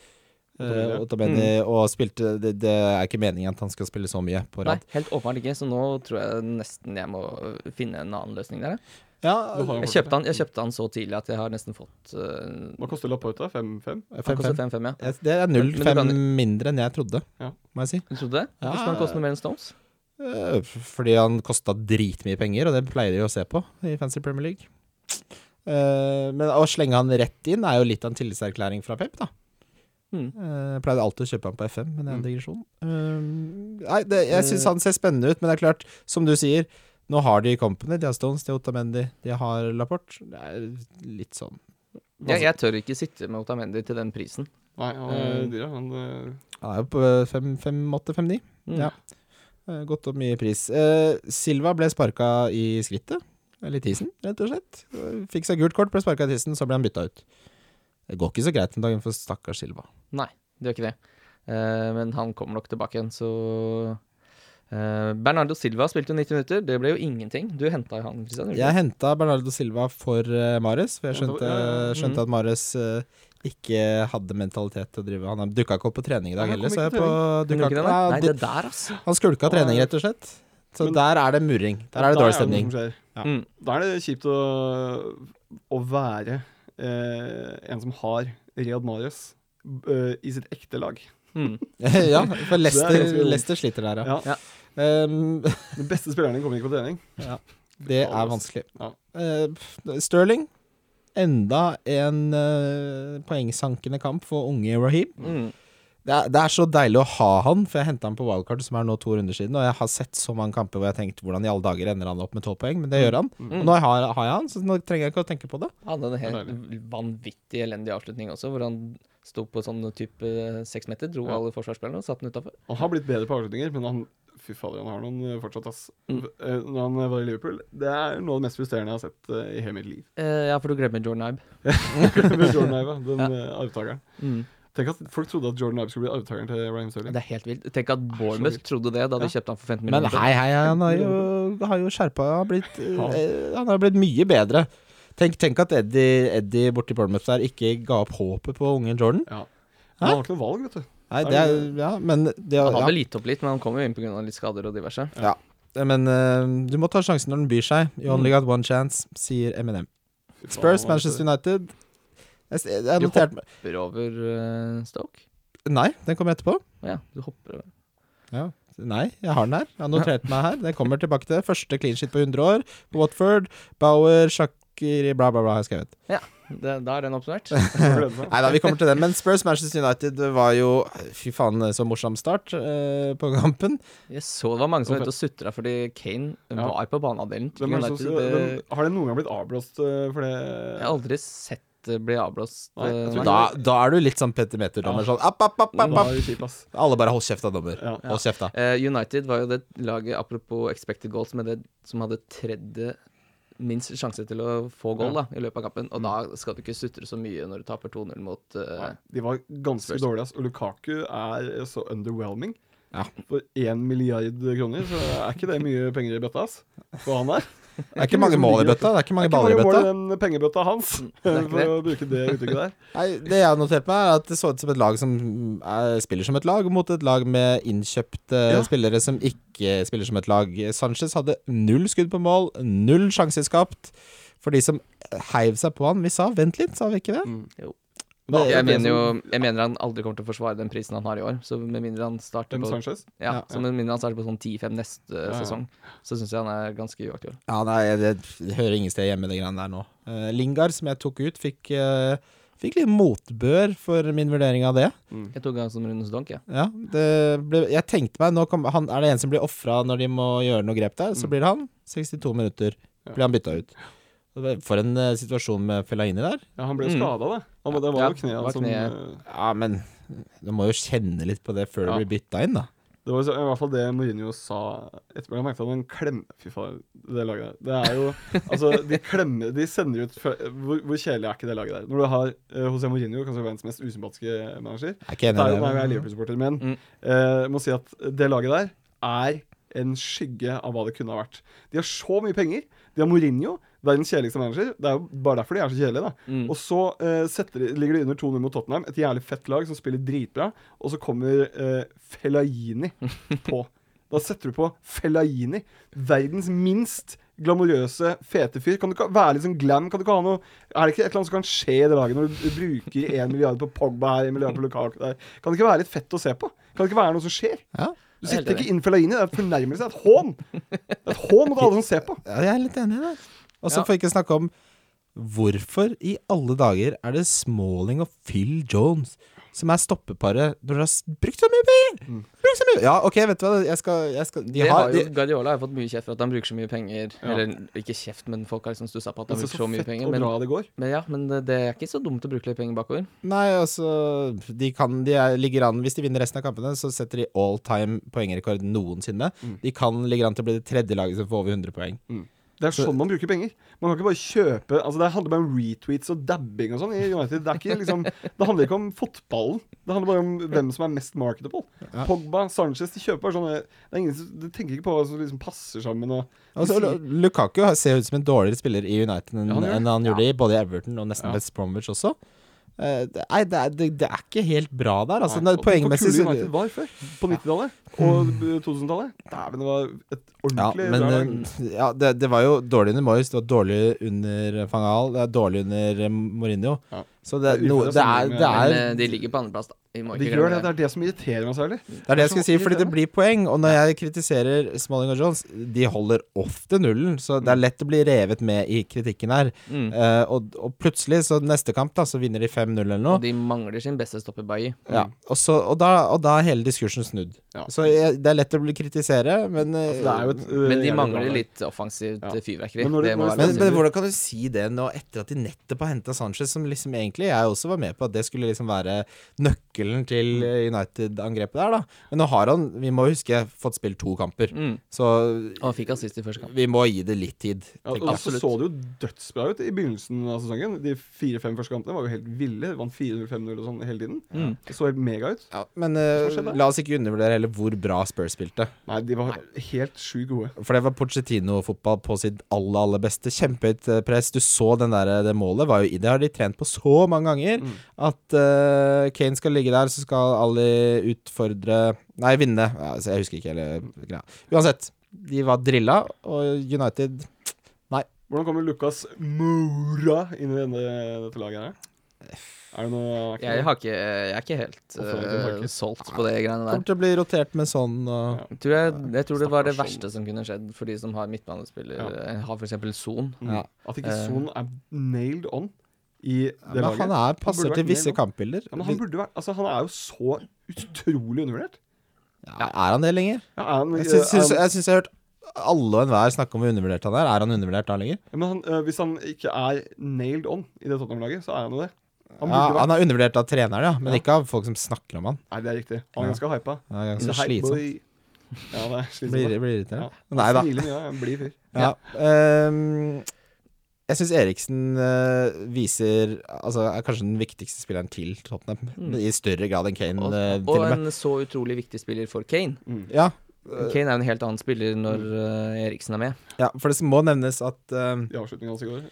[SPEAKER 3] Eh, Otamendi, Og spilte det, det er ikke meningen at han skal spille så mye på
[SPEAKER 1] Nei,
[SPEAKER 3] rad.
[SPEAKER 1] helt åpenbart ikke, så nå tror jeg nesten jeg må øh, finne en annen løsning der. jeg.
[SPEAKER 2] Du
[SPEAKER 3] Ja,
[SPEAKER 2] har jo
[SPEAKER 1] Jeg
[SPEAKER 2] vært
[SPEAKER 1] kjøpte han, jeg kjøpte han så tidlig at jeg har nesten fått øh,
[SPEAKER 2] Hva koster Lapauta? 5-5?
[SPEAKER 1] Han kostet
[SPEAKER 3] 5-5.
[SPEAKER 1] 5-5, ja.
[SPEAKER 3] Jeg- Det er
[SPEAKER 1] Men- men du
[SPEAKER 3] 0-5
[SPEAKER 1] kan-
[SPEAKER 3] mindre enn jeg trodde,
[SPEAKER 2] Ja.
[SPEAKER 3] må jeg si.
[SPEAKER 1] Du trodde det?
[SPEAKER 3] Ja.
[SPEAKER 1] Hvorfor skal han koste noe mer enn Stones?
[SPEAKER 3] Eh, f- Fordi han kosta dritmye penger, og det pleier de å se på i Fancy Premier League. Eh, men å slenge han rett inn er jo litt av en tillitserklæring fra Pep, da.
[SPEAKER 1] Mm.
[SPEAKER 3] Eh, Jeg pleide alltid å kjøpe han på FM, men det er en digresjon. Eh, nei, det, jeg syns han ser spennende ut, men det er klart, som du sier, nå har de Company, de har Stones, de har Otamendi, de har Laporte. Det er litt sånn
[SPEAKER 1] Jeg, jeg tør ikke sitte med Otamendi til den prisen.
[SPEAKER 2] Nei, han er dyr, ja. Han, eh,
[SPEAKER 3] Han er jo på 5-8-5-9.
[SPEAKER 1] Mm.
[SPEAKER 3] Ja. Eh, Gått opp mye i pris. Eh, Silva ble sparka i skrittet, eller tisen, rett og slett. Eh, Fikk seg gult kort, ble sparka i tissen, så ble han bytta ut. Det går ikke så greit den dagen for stakkars Silva.
[SPEAKER 1] Nei, det gjør ikke det. Eh, men han kommer nok tilbake igjen, så eh, Bernardo Silva spilte jo 90 minutter. Det ble jo ingenting. Du henta jo han, Christian. gjorde du
[SPEAKER 3] Jeg henta Bernardo Silva for eh, Mares, for jeg
[SPEAKER 2] Ja, det var-
[SPEAKER 3] skjønte,
[SPEAKER 2] ja, Mm. ja,
[SPEAKER 1] mhm.
[SPEAKER 3] skjønte at Mares eh, ikke hadde mentalitet til å drive Han dukka ikke opp på trening i dag
[SPEAKER 2] Nei, han
[SPEAKER 3] heller,
[SPEAKER 2] kom
[SPEAKER 3] så
[SPEAKER 2] ikke
[SPEAKER 3] jeg på
[SPEAKER 2] på
[SPEAKER 1] ikke? Gjorde
[SPEAKER 3] dukka
[SPEAKER 1] du ikke
[SPEAKER 3] ikke
[SPEAKER 1] det? Nei,
[SPEAKER 3] Nei,
[SPEAKER 1] det der, altså.
[SPEAKER 3] Han skulka trening,
[SPEAKER 2] Nei.
[SPEAKER 3] rett og slett. Så
[SPEAKER 2] Men-
[SPEAKER 3] der er det murring. Der er det
[SPEAKER 2] Da
[SPEAKER 3] dårlig
[SPEAKER 2] noe
[SPEAKER 3] stemning.
[SPEAKER 2] som skjer.
[SPEAKER 3] Ja.
[SPEAKER 1] Mm.
[SPEAKER 2] Da er det kjipt å, å være eh, en som har Riyad Mahrez eh, i sitt ekte lag.
[SPEAKER 1] [LAUGHS] Mm.
[SPEAKER 3] [LAUGHS] ja, for Leicester,
[SPEAKER 2] ganske vondt.
[SPEAKER 3] Leicester sliter der, ja.
[SPEAKER 2] Ja.
[SPEAKER 3] Ehm,
[SPEAKER 2] Den beste spilleren din kommer ikke på trening.
[SPEAKER 3] Det er
[SPEAKER 2] Alles.
[SPEAKER 3] vanskelig.
[SPEAKER 2] Ja.
[SPEAKER 3] Eh, pff, Sterling. Enda en eh, poengsankende kamp for unge Raheem.
[SPEAKER 1] Mm.
[SPEAKER 3] Det er, det er så deilig å ha han, for jeg henta han på wildcard, som er nå to runder siden, og jeg har sett så mange kamper hvor jeg har tenkt hvordan i alle dager ender han opp med tolv poeng, men det gjør han. Og nå har, har jeg han, så nå trenger jeg ikke å tenke på det.
[SPEAKER 1] Hadde en
[SPEAKER 2] Det er
[SPEAKER 1] helt vanvittig elendig avslutning også, hvor han sto på sånn type eh, seks meter, dro
[SPEAKER 2] Ja.
[SPEAKER 1] alle forsvarsspillerne og satte den utafor.
[SPEAKER 2] Han har blitt bedre på avslutninger, men han Fy fader, han har noen eh, fortsatt, ass.
[SPEAKER 1] Mm.
[SPEAKER 2] Eh, Når han var i Liverpool Det er noe av det mest frustrerende jeg har sett eh, i hele mitt
[SPEAKER 3] [LAUGHS]
[SPEAKER 2] liv.
[SPEAKER 1] ja, for du glemmer Jordan Ibe.
[SPEAKER 2] Med Jordan Ive, den eh, arvtakeren.
[SPEAKER 1] Mm.
[SPEAKER 2] Tenk at folk trodde at Jordan Ive skulle bli arvtakeren til Ryan Sterling.
[SPEAKER 1] Det er helt vilt. Tenk at Bournemouth trodde det da de
[SPEAKER 2] Ja.
[SPEAKER 1] kjøpte han for 15
[SPEAKER 3] Men
[SPEAKER 1] millioner.
[SPEAKER 3] hei, hei, han har jo, har jo skjerpa Han har blitt, eh, han har blitt mye bedre. Tenk, tenk at Eddie, Eddie borti Bournemouth der ikke ga opp håpet på unge Jordan.
[SPEAKER 2] Ja. Men han har ikke noe valg, vet du.
[SPEAKER 3] Nei, det er, ja, men det,
[SPEAKER 1] Han
[SPEAKER 3] ja.
[SPEAKER 1] hadde litt opp litt, men han kom jo inn pga. litt skader og diverse.
[SPEAKER 3] Ja, men eh, du må ta sjansen når den byr seg. You only
[SPEAKER 2] Mm.
[SPEAKER 3] got one chance, sier Eminem.
[SPEAKER 2] Fy faen,
[SPEAKER 3] Spurs,
[SPEAKER 2] han har ikke-
[SPEAKER 3] Manchester United Jeg, s- jeg
[SPEAKER 1] Du
[SPEAKER 3] noterte meg
[SPEAKER 1] hopper over eh, Stoke?
[SPEAKER 3] Nei, den kommer etterpå.
[SPEAKER 1] Å Ja, du hopper over.
[SPEAKER 3] Ja. Nei, jeg har den her. Jeg har notert meg her. Den kommer tilbake til det. Første clean shit på 100 år. På Watford, Bauer, Shakiri, bla, bla, bla. har Jeg skrevet.
[SPEAKER 1] Det, da er den [LAUGHS] oppsummert.
[SPEAKER 2] han gleder seg.
[SPEAKER 3] Nei da, vi kommer til den. Men Spurs, Manchester United var jo Fy faen, så morsom start eh, på kampen.
[SPEAKER 1] Jeg så det var mange som var ute og sutra fordi Kane
[SPEAKER 2] Ja.
[SPEAKER 1] var på banehalvdelen. til
[SPEAKER 2] Hvem er det
[SPEAKER 1] United.
[SPEAKER 2] som, hvem,
[SPEAKER 1] Det-
[SPEAKER 2] har det noen gang blitt avblåst eh, for det?
[SPEAKER 1] Jeg har aldri sett det bli avblåst.
[SPEAKER 2] Nei, jeg
[SPEAKER 1] eh,
[SPEAKER 2] tror ikke
[SPEAKER 3] Da, da er du litt sånn Petter Meter-dommer. Sånn app, app, app, app,
[SPEAKER 2] Da
[SPEAKER 3] app.
[SPEAKER 2] er det kjip, ass.
[SPEAKER 3] Alle bare hold kjefta, dommer.
[SPEAKER 2] Ja.
[SPEAKER 3] Hold kjefta.
[SPEAKER 1] Eh, United var jo det laget, apropos expected goals, med det som hadde tredje minst sjanse til å få goal da, i løpet av kampen. Og da skal du ikke sutre så mye når du taper 2-0 mot eh,
[SPEAKER 2] Mm. Nei, De var ganske
[SPEAKER 1] Spurs.
[SPEAKER 2] dårlige, ass. Og Lukaku er så underwhelming.
[SPEAKER 3] Ja.
[SPEAKER 2] For én milliard kroner, så er ikke det mye penger i bøtta, ass. For han der.
[SPEAKER 3] Det er ikke mange mål i bøtta. Det er ikke mange
[SPEAKER 2] Det er
[SPEAKER 3] baller i
[SPEAKER 2] ikke
[SPEAKER 3] bøtta.
[SPEAKER 2] mange mål i den pengebøtta hans,
[SPEAKER 1] Mm, det er ikke
[SPEAKER 2] [LAUGHS] for å bruke det uttrykket der.
[SPEAKER 3] Nei, Det jeg har notert meg, er at det så ut som et lag som er, spiller som et lag, mot et lag med innkjøpte
[SPEAKER 2] Ja.
[SPEAKER 3] spillere som ikke spiller som et lag. Sanchez hadde null skudd på mål, null sjanser skapt. For de som heiv seg på han Vi sa 'vent litt', sa vi ikke det?
[SPEAKER 2] Det er
[SPEAKER 1] jeg
[SPEAKER 2] akkurat det
[SPEAKER 1] mener jo
[SPEAKER 2] som-
[SPEAKER 1] Jeg mener han aldri kommer til å forsvare den prisen han har i år. Så med mindre han starter
[SPEAKER 2] Dem
[SPEAKER 1] på
[SPEAKER 2] Sanchez.
[SPEAKER 1] Ja,
[SPEAKER 3] Ja.
[SPEAKER 1] så med mindre han starter på sånn 10-5 neste eh,
[SPEAKER 2] Ja, ja.
[SPEAKER 1] sesong, så syns jeg han er ganske uaktuell.
[SPEAKER 3] Ja, nei, det, det hører ingen sted hjemme, det greiene der nå. Eh, Lingard, som jeg tok ut, fikk, eh, fikk litt motbør for min vurdering av det.
[SPEAKER 1] Jeg tok han som rundens donk, jeg.
[SPEAKER 3] Ja, det ble, jeg tenkte meg nå kom, han, Er det en som blir ofra når de må gjøre noe grep der, så blir det han. 62 minutter blir han bytta ut. Og det- For en eh, situasjon med Fellaini der.
[SPEAKER 2] Ja, han ble
[SPEAKER 1] Mm.
[SPEAKER 2] skada, da. Han, det var
[SPEAKER 1] Ja,
[SPEAKER 2] jo kneet
[SPEAKER 1] det var
[SPEAKER 2] hans som
[SPEAKER 1] kneet.
[SPEAKER 2] eh,
[SPEAKER 3] Ja, men du må jo kjenne litt på det før
[SPEAKER 2] Ja.
[SPEAKER 3] du blir bytta inn, da.
[SPEAKER 2] Det var så- i hvert fall det Mourinho sa etterpå. Jeg merket at han klem... Fy faen, det laget der. Det er jo Altså, de klemmer De sender ut fra- hvor, hvor kjedelig er ikke det laget der? Når du har eh, José Mourinho, kanskje verdens mest usympatiske manager
[SPEAKER 3] Jeg er ikke
[SPEAKER 2] Det er
[SPEAKER 3] enig
[SPEAKER 2] jo
[SPEAKER 3] i
[SPEAKER 2] nei, jeg er
[SPEAKER 3] det.
[SPEAKER 2] Liverpool-supporter, men
[SPEAKER 1] Mm.
[SPEAKER 2] eh, jeg må si at det laget der er en skygge av hva det kunne ha vært. De har så mye penger. De har Mourinho, verdens kjedeligste manager. Det er jo bare derfor de er så kjedelige, da.
[SPEAKER 1] Mm.
[SPEAKER 2] Og så eh, setter de, ligger de under 2-0 mot Tottenham, et jævlig fett lag som spiller dritbra, og så kommer eh, Fellaini på. Da setter du på Fellaini, verdens minst glamorøse, fete fyr. Kan du ikke være litt sånn glam? Kan du ikke ha noe Er det ikke et eller annet som kan skje i det laget når du bruker én milliard på Pogba her, en milliard på Lukaku der? Kan det ikke være litt fett å se på? Kan det ikke være noe som skjer?
[SPEAKER 3] Ja.
[SPEAKER 2] Du
[SPEAKER 1] Jeg er helt
[SPEAKER 2] sitter ikke
[SPEAKER 1] enig.
[SPEAKER 2] inn Fellaini, det er en fornærmelse, det er et hån! Det er et hån mot alle som ser på.
[SPEAKER 3] Ja, jeg er litt enig i det. Og så
[SPEAKER 1] Ja.
[SPEAKER 3] får vi ikke snakke om hvorfor i alle dager er det Smalling og Phil Jones som er stoppeparet når dere har s- brukt så mye penger!
[SPEAKER 2] Mm.
[SPEAKER 3] Brukt så mye Ja, OK, vet du hva, jeg skal, jeg skal De
[SPEAKER 1] det
[SPEAKER 3] har,
[SPEAKER 1] har jo,
[SPEAKER 3] de,
[SPEAKER 1] Guardiola har fått mye kjeft for at han bruker så mye penger.
[SPEAKER 2] Ja.
[SPEAKER 1] Eller ikke kjeft, men folk har liksom stussa på at han
[SPEAKER 2] Altså,
[SPEAKER 1] bruker så mye penger.
[SPEAKER 2] og
[SPEAKER 1] Men,
[SPEAKER 2] bra det går.
[SPEAKER 1] men ja, men eh, det det er ikke så dumt å bruke litt penger bakover.
[SPEAKER 3] Nei, altså De, kan, de er, ligger an Hvis de vinner resten av kampene, så setter de all time poengrekord noensinne.
[SPEAKER 2] Mm.
[SPEAKER 3] De kan ligger an til å bli det tredje laget som får over 100 poeng.
[SPEAKER 2] Det er
[SPEAKER 3] Så-
[SPEAKER 2] sånn man bruker penger. Man kan ikke bare kjøpe Altså Det handler bare om retweets og dabbing og sånn i United. Det, er ikke, liksom, det handler ikke om fotballen. Det handler bare om hvem som er mest marketable.
[SPEAKER 3] Ja.
[SPEAKER 2] Pogba, Sanchez, de kjøper bare sånne Det er ingen som de tenker ikke på hva som liksom passer sammen og
[SPEAKER 3] Altså, Lu- Lukaku har- ser ut som en dårligere spiller i United enn
[SPEAKER 2] Ja, han gjør det.
[SPEAKER 3] enn han gjorde i både Everton og nesten
[SPEAKER 2] Ja.
[SPEAKER 3] West Bromwich også. Eh, det- Nei, det er, det, det er ikke helt bra der. Altså,
[SPEAKER 2] Nei,
[SPEAKER 3] Nei,
[SPEAKER 2] og tenk hvor
[SPEAKER 3] poengmessig så-
[SPEAKER 2] kule United var før. På 90-tallet og 2000-tallet. Dæven, det var et
[SPEAKER 3] Ja,
[SPEAKER 2] ordentlig
[SPEAKER 3] men
[SPEAKER 2] bra lag.
[SPEAKER 3] eh, ja, det, det var jo dårlig under Moyes, det var dårlig under eh, Van Gaal, det er dårlig under eh, Mourinho.
[SPEAKER 2] Ja.
[SPEAKER 3] Så det,
[SPEAKER 2] Det er
[SPEAKER 3] no,
[SPEAKER 2] ufint å
[SPEAKER 3] det, er,
[SPEAKER 2] sammenligne med-
[SPEAKER 3] det,
[SPEAKER 1] Men
[SPEAKER 3] er,
[SPEAKER 1] eh, de ligger på andreplass, da. Vi må
[SPEAKER 2] De
[SPEAKER 1] ikke
[SPEAKER 2] gjør det,
[SPEAKER 1] glemme
[SPEAKER 2] det
[SPEAKER 1] det.
[SPEAKER 2] er det som irriterer meg særlig.
[SPEAKER 3] det er det jeg
[SPEAKER 2] Det er
[SPEAKER 3] skulle si,
[SPEAKER 2] så
[SPEAKER 3] fordi det blir poeng. Og når jeg kritiserer Smalling og Jones, de holder ofte nullen, så det er lett å bli revet med i kritikken her.
[SPEAKER 1] Mm.
[SPEAKER 3] Eh, og, og plutselig, så neste kamp, da, så vinner de 5-0 eller
[SPEAKER 1] Og
[SPEAKER 3] noe.
[SPEAKER 1] de mangler sin beste stopper Bailly.
[SPEAKER 3] Ja, og, så, og, da, og da er hele diskursen snudd.
[SPEAKER 2] Ja.
[SPEAKER 3] Så jeg, det er lett å bli kritisere, men eh,
[SPEAKER 2] Det er jo et, øh,
[SPEAKER 1] Men de
[SPEAKER 2] jævlig bra
[SPEAKER 1] mangler
[SPEAKER 2] lag.
[SPEAKER 1] litt offensivt
[SPEAKER 2] Ja.
[SPEAKER 1] eh, fyrverkeri.
[SPEAKER 2] Men når du-
[SPEAKER 1] Altså, Det må være
[SPEAKER 3] Men,
[SPEAKER 2] når du-
[SPEAKER 1] lov å si.
[SPEAKER 3] men hvordan kan du si det nå etter at de nettopp har henta Sanchez, som liksom egentlig jeg også var med på at det skulle liksom være nøkkelen til eh, United-angrepet der, da. Men nå har han, vi må huske, fått spilt to kamper.
[SPEAKER 1] Mm.
[SPEAKER 3] Så
[SPEAKER 1] Og han fikk assist i første kamp.
[SPEAKER 3] vi må gi det litt tid.
[SPEAKER 2] Ja, altså-
[SPEAKER 3] tenker
[SPEAKER 2] og
[SPEAKER 3] jeg.
[SPEAKER 2] så
[SPEAKER 1] absolutt.
[SPEAKER 2] så det jo dødsbra ut i begynnelsen av sesongen. De fire-fem første kampene var jo helt ville. Vant 4-0-5-0 og sånn hele tiden.
[SPEAKER 1] Mm.
[SPEAKER 2] Det så helt mega ut.
[SPEAKER 3] Ja, men eh,
[SPEAKER 2] Hva skjedde?
[SPEAKER 3] la oss ikke undervurdere heller hvor bra Spurs spilte.
[SPEAKER 2] Nei, de var helt sjukt gode.
[SPEAKER 3] For det var Pochettino-fotball på sitt aller, aller beste. Kjempehøyt eh, press. Du så den der, eh, det målet. Var jo, det har de trent på så mange ganger.
[SPEAKER 2] Mm.
[SPEAKER 3] At eh, Kane skal ligge der, så skal Ali utfordre Nei, vinne. Ja, Altså, jeg husker ikke hele greia. Uansett, de var drilla, og United
[SPEAKER 2] Hvordan kommer Lucas Moura inn i denne, dette laget her? Er det noe er ikke
[SPEAKER 1] Jeg,
[SPEAKER 2] det-
[SPEAKER 1] har ikke, jeg er ikke helt
[SPEAKER 2] Offensiv,
[SPEAKER 1] eh,
[SPEAKER 2] faktisk.
[SPEAKER 1] solgt på det greiene der.
[SPEAKER 3] kommer til å bli rotert med sånn og
[SPEAKER 2] Ja.
[SPEAKER 1] Tror jeg, jeg tror det var det
[SPEAKER 2] Stakkars
[SPEAKER 1] verste som kunne skjedd for de som har midtbanespiller,
[SPEAKER 2] Ja.
[SPEAKER 1] eh, har f.eks. Son.
[SPEAKER 2] Mm.
[SPEAKER 3] Ja.
[SPEAKER 2] At ikke Son er nailed on i det
[SPEAKER 3] Men
[SPEAKER 2] laget.
[SPEAKER 3] han er, passer
[SPEAKER 2] burde
[SPEAKER 3] til
[SPEAKER 2] vært
[SPEAKER 3] visse
[SPEAKER 2] med nå.
[SPEAKER 3] kampbilder.
[SPEAKER 2] ja, men han burde vært Altså, han er jo så utrolig undervurdert.
[SPEAKER 3] Ja, er han det lenger?
[SPEAKER 2] Ja, er han,
[SPEAKER 3] Jeg syns, syns,
[SPEAKER 2] er han,
[SPEAKER 3] jeg, syns jeg har hørt alle og enhver snakke om hvor undervurdert han er. Er han undervurdert da lenger?
[SPEAKER 2] ja, men han, øh, hvis han ikke er nailed on i det Tottenham-laget, så er han jo det. Han
[SPEAKER 3] ja,
[SPEAKER 2] burde vært
[SPEAKER 3] han er undervurdert av treneren, ja, men
[SPEAKER 2] Ja.
[SPEAKER 3] ikke av folk som snakker om han.
[SPEAKER 2] Nei, det er riktig. Han er ganske hypa.
[SPEAKER 3] Ja, det er
[SPEAKER 2] He's a
[SPEAKER 3] ganske
[SPEAKER 2] hype
[SPEAKER 3] slitsomt.
[SPEAKER 2] boy. Ja, det er
[SPEAKER 3] Det
[SPEAKER 2] slitsomt.
[SPEAKER 3] Blir,
[SPEAKER 2] da.
[SPEAKER 3] det blir irriterende.
[SPEAKER 2] Ja.
[SPEAKER 3] Nei da.
[SPEAKER 2] Han smiler mye, ja. Han blir fyr.
[SPEAKER 3] Ja. ehm, jeg syns Eriksen eh, viser Altså er kanskje den viktigste spilleren til Tottenham.
[SPEAKER 1] Mm.
[SPEAKER 3] I større grad enn Kane,
[SPEAKER 1] Og,
[SPEAKER 3] eh,
[SPEAKER 1] og
[SPEAKER 3] til og med. Eh,
[SPEAKER 1] en så utrolig viktig spiller for Kane.
[SPEAKER 3] Ja,
[SPEAKER 1] Kane er jo en helt annen spiller når
[SPEAKER 3] mm.
[SPEAKER 1] eh, Eriksen er med.
[SPEAKER 3] ja, for det må nevnes at ehm,
[SPEAKER 2] I avslutningen hans i går.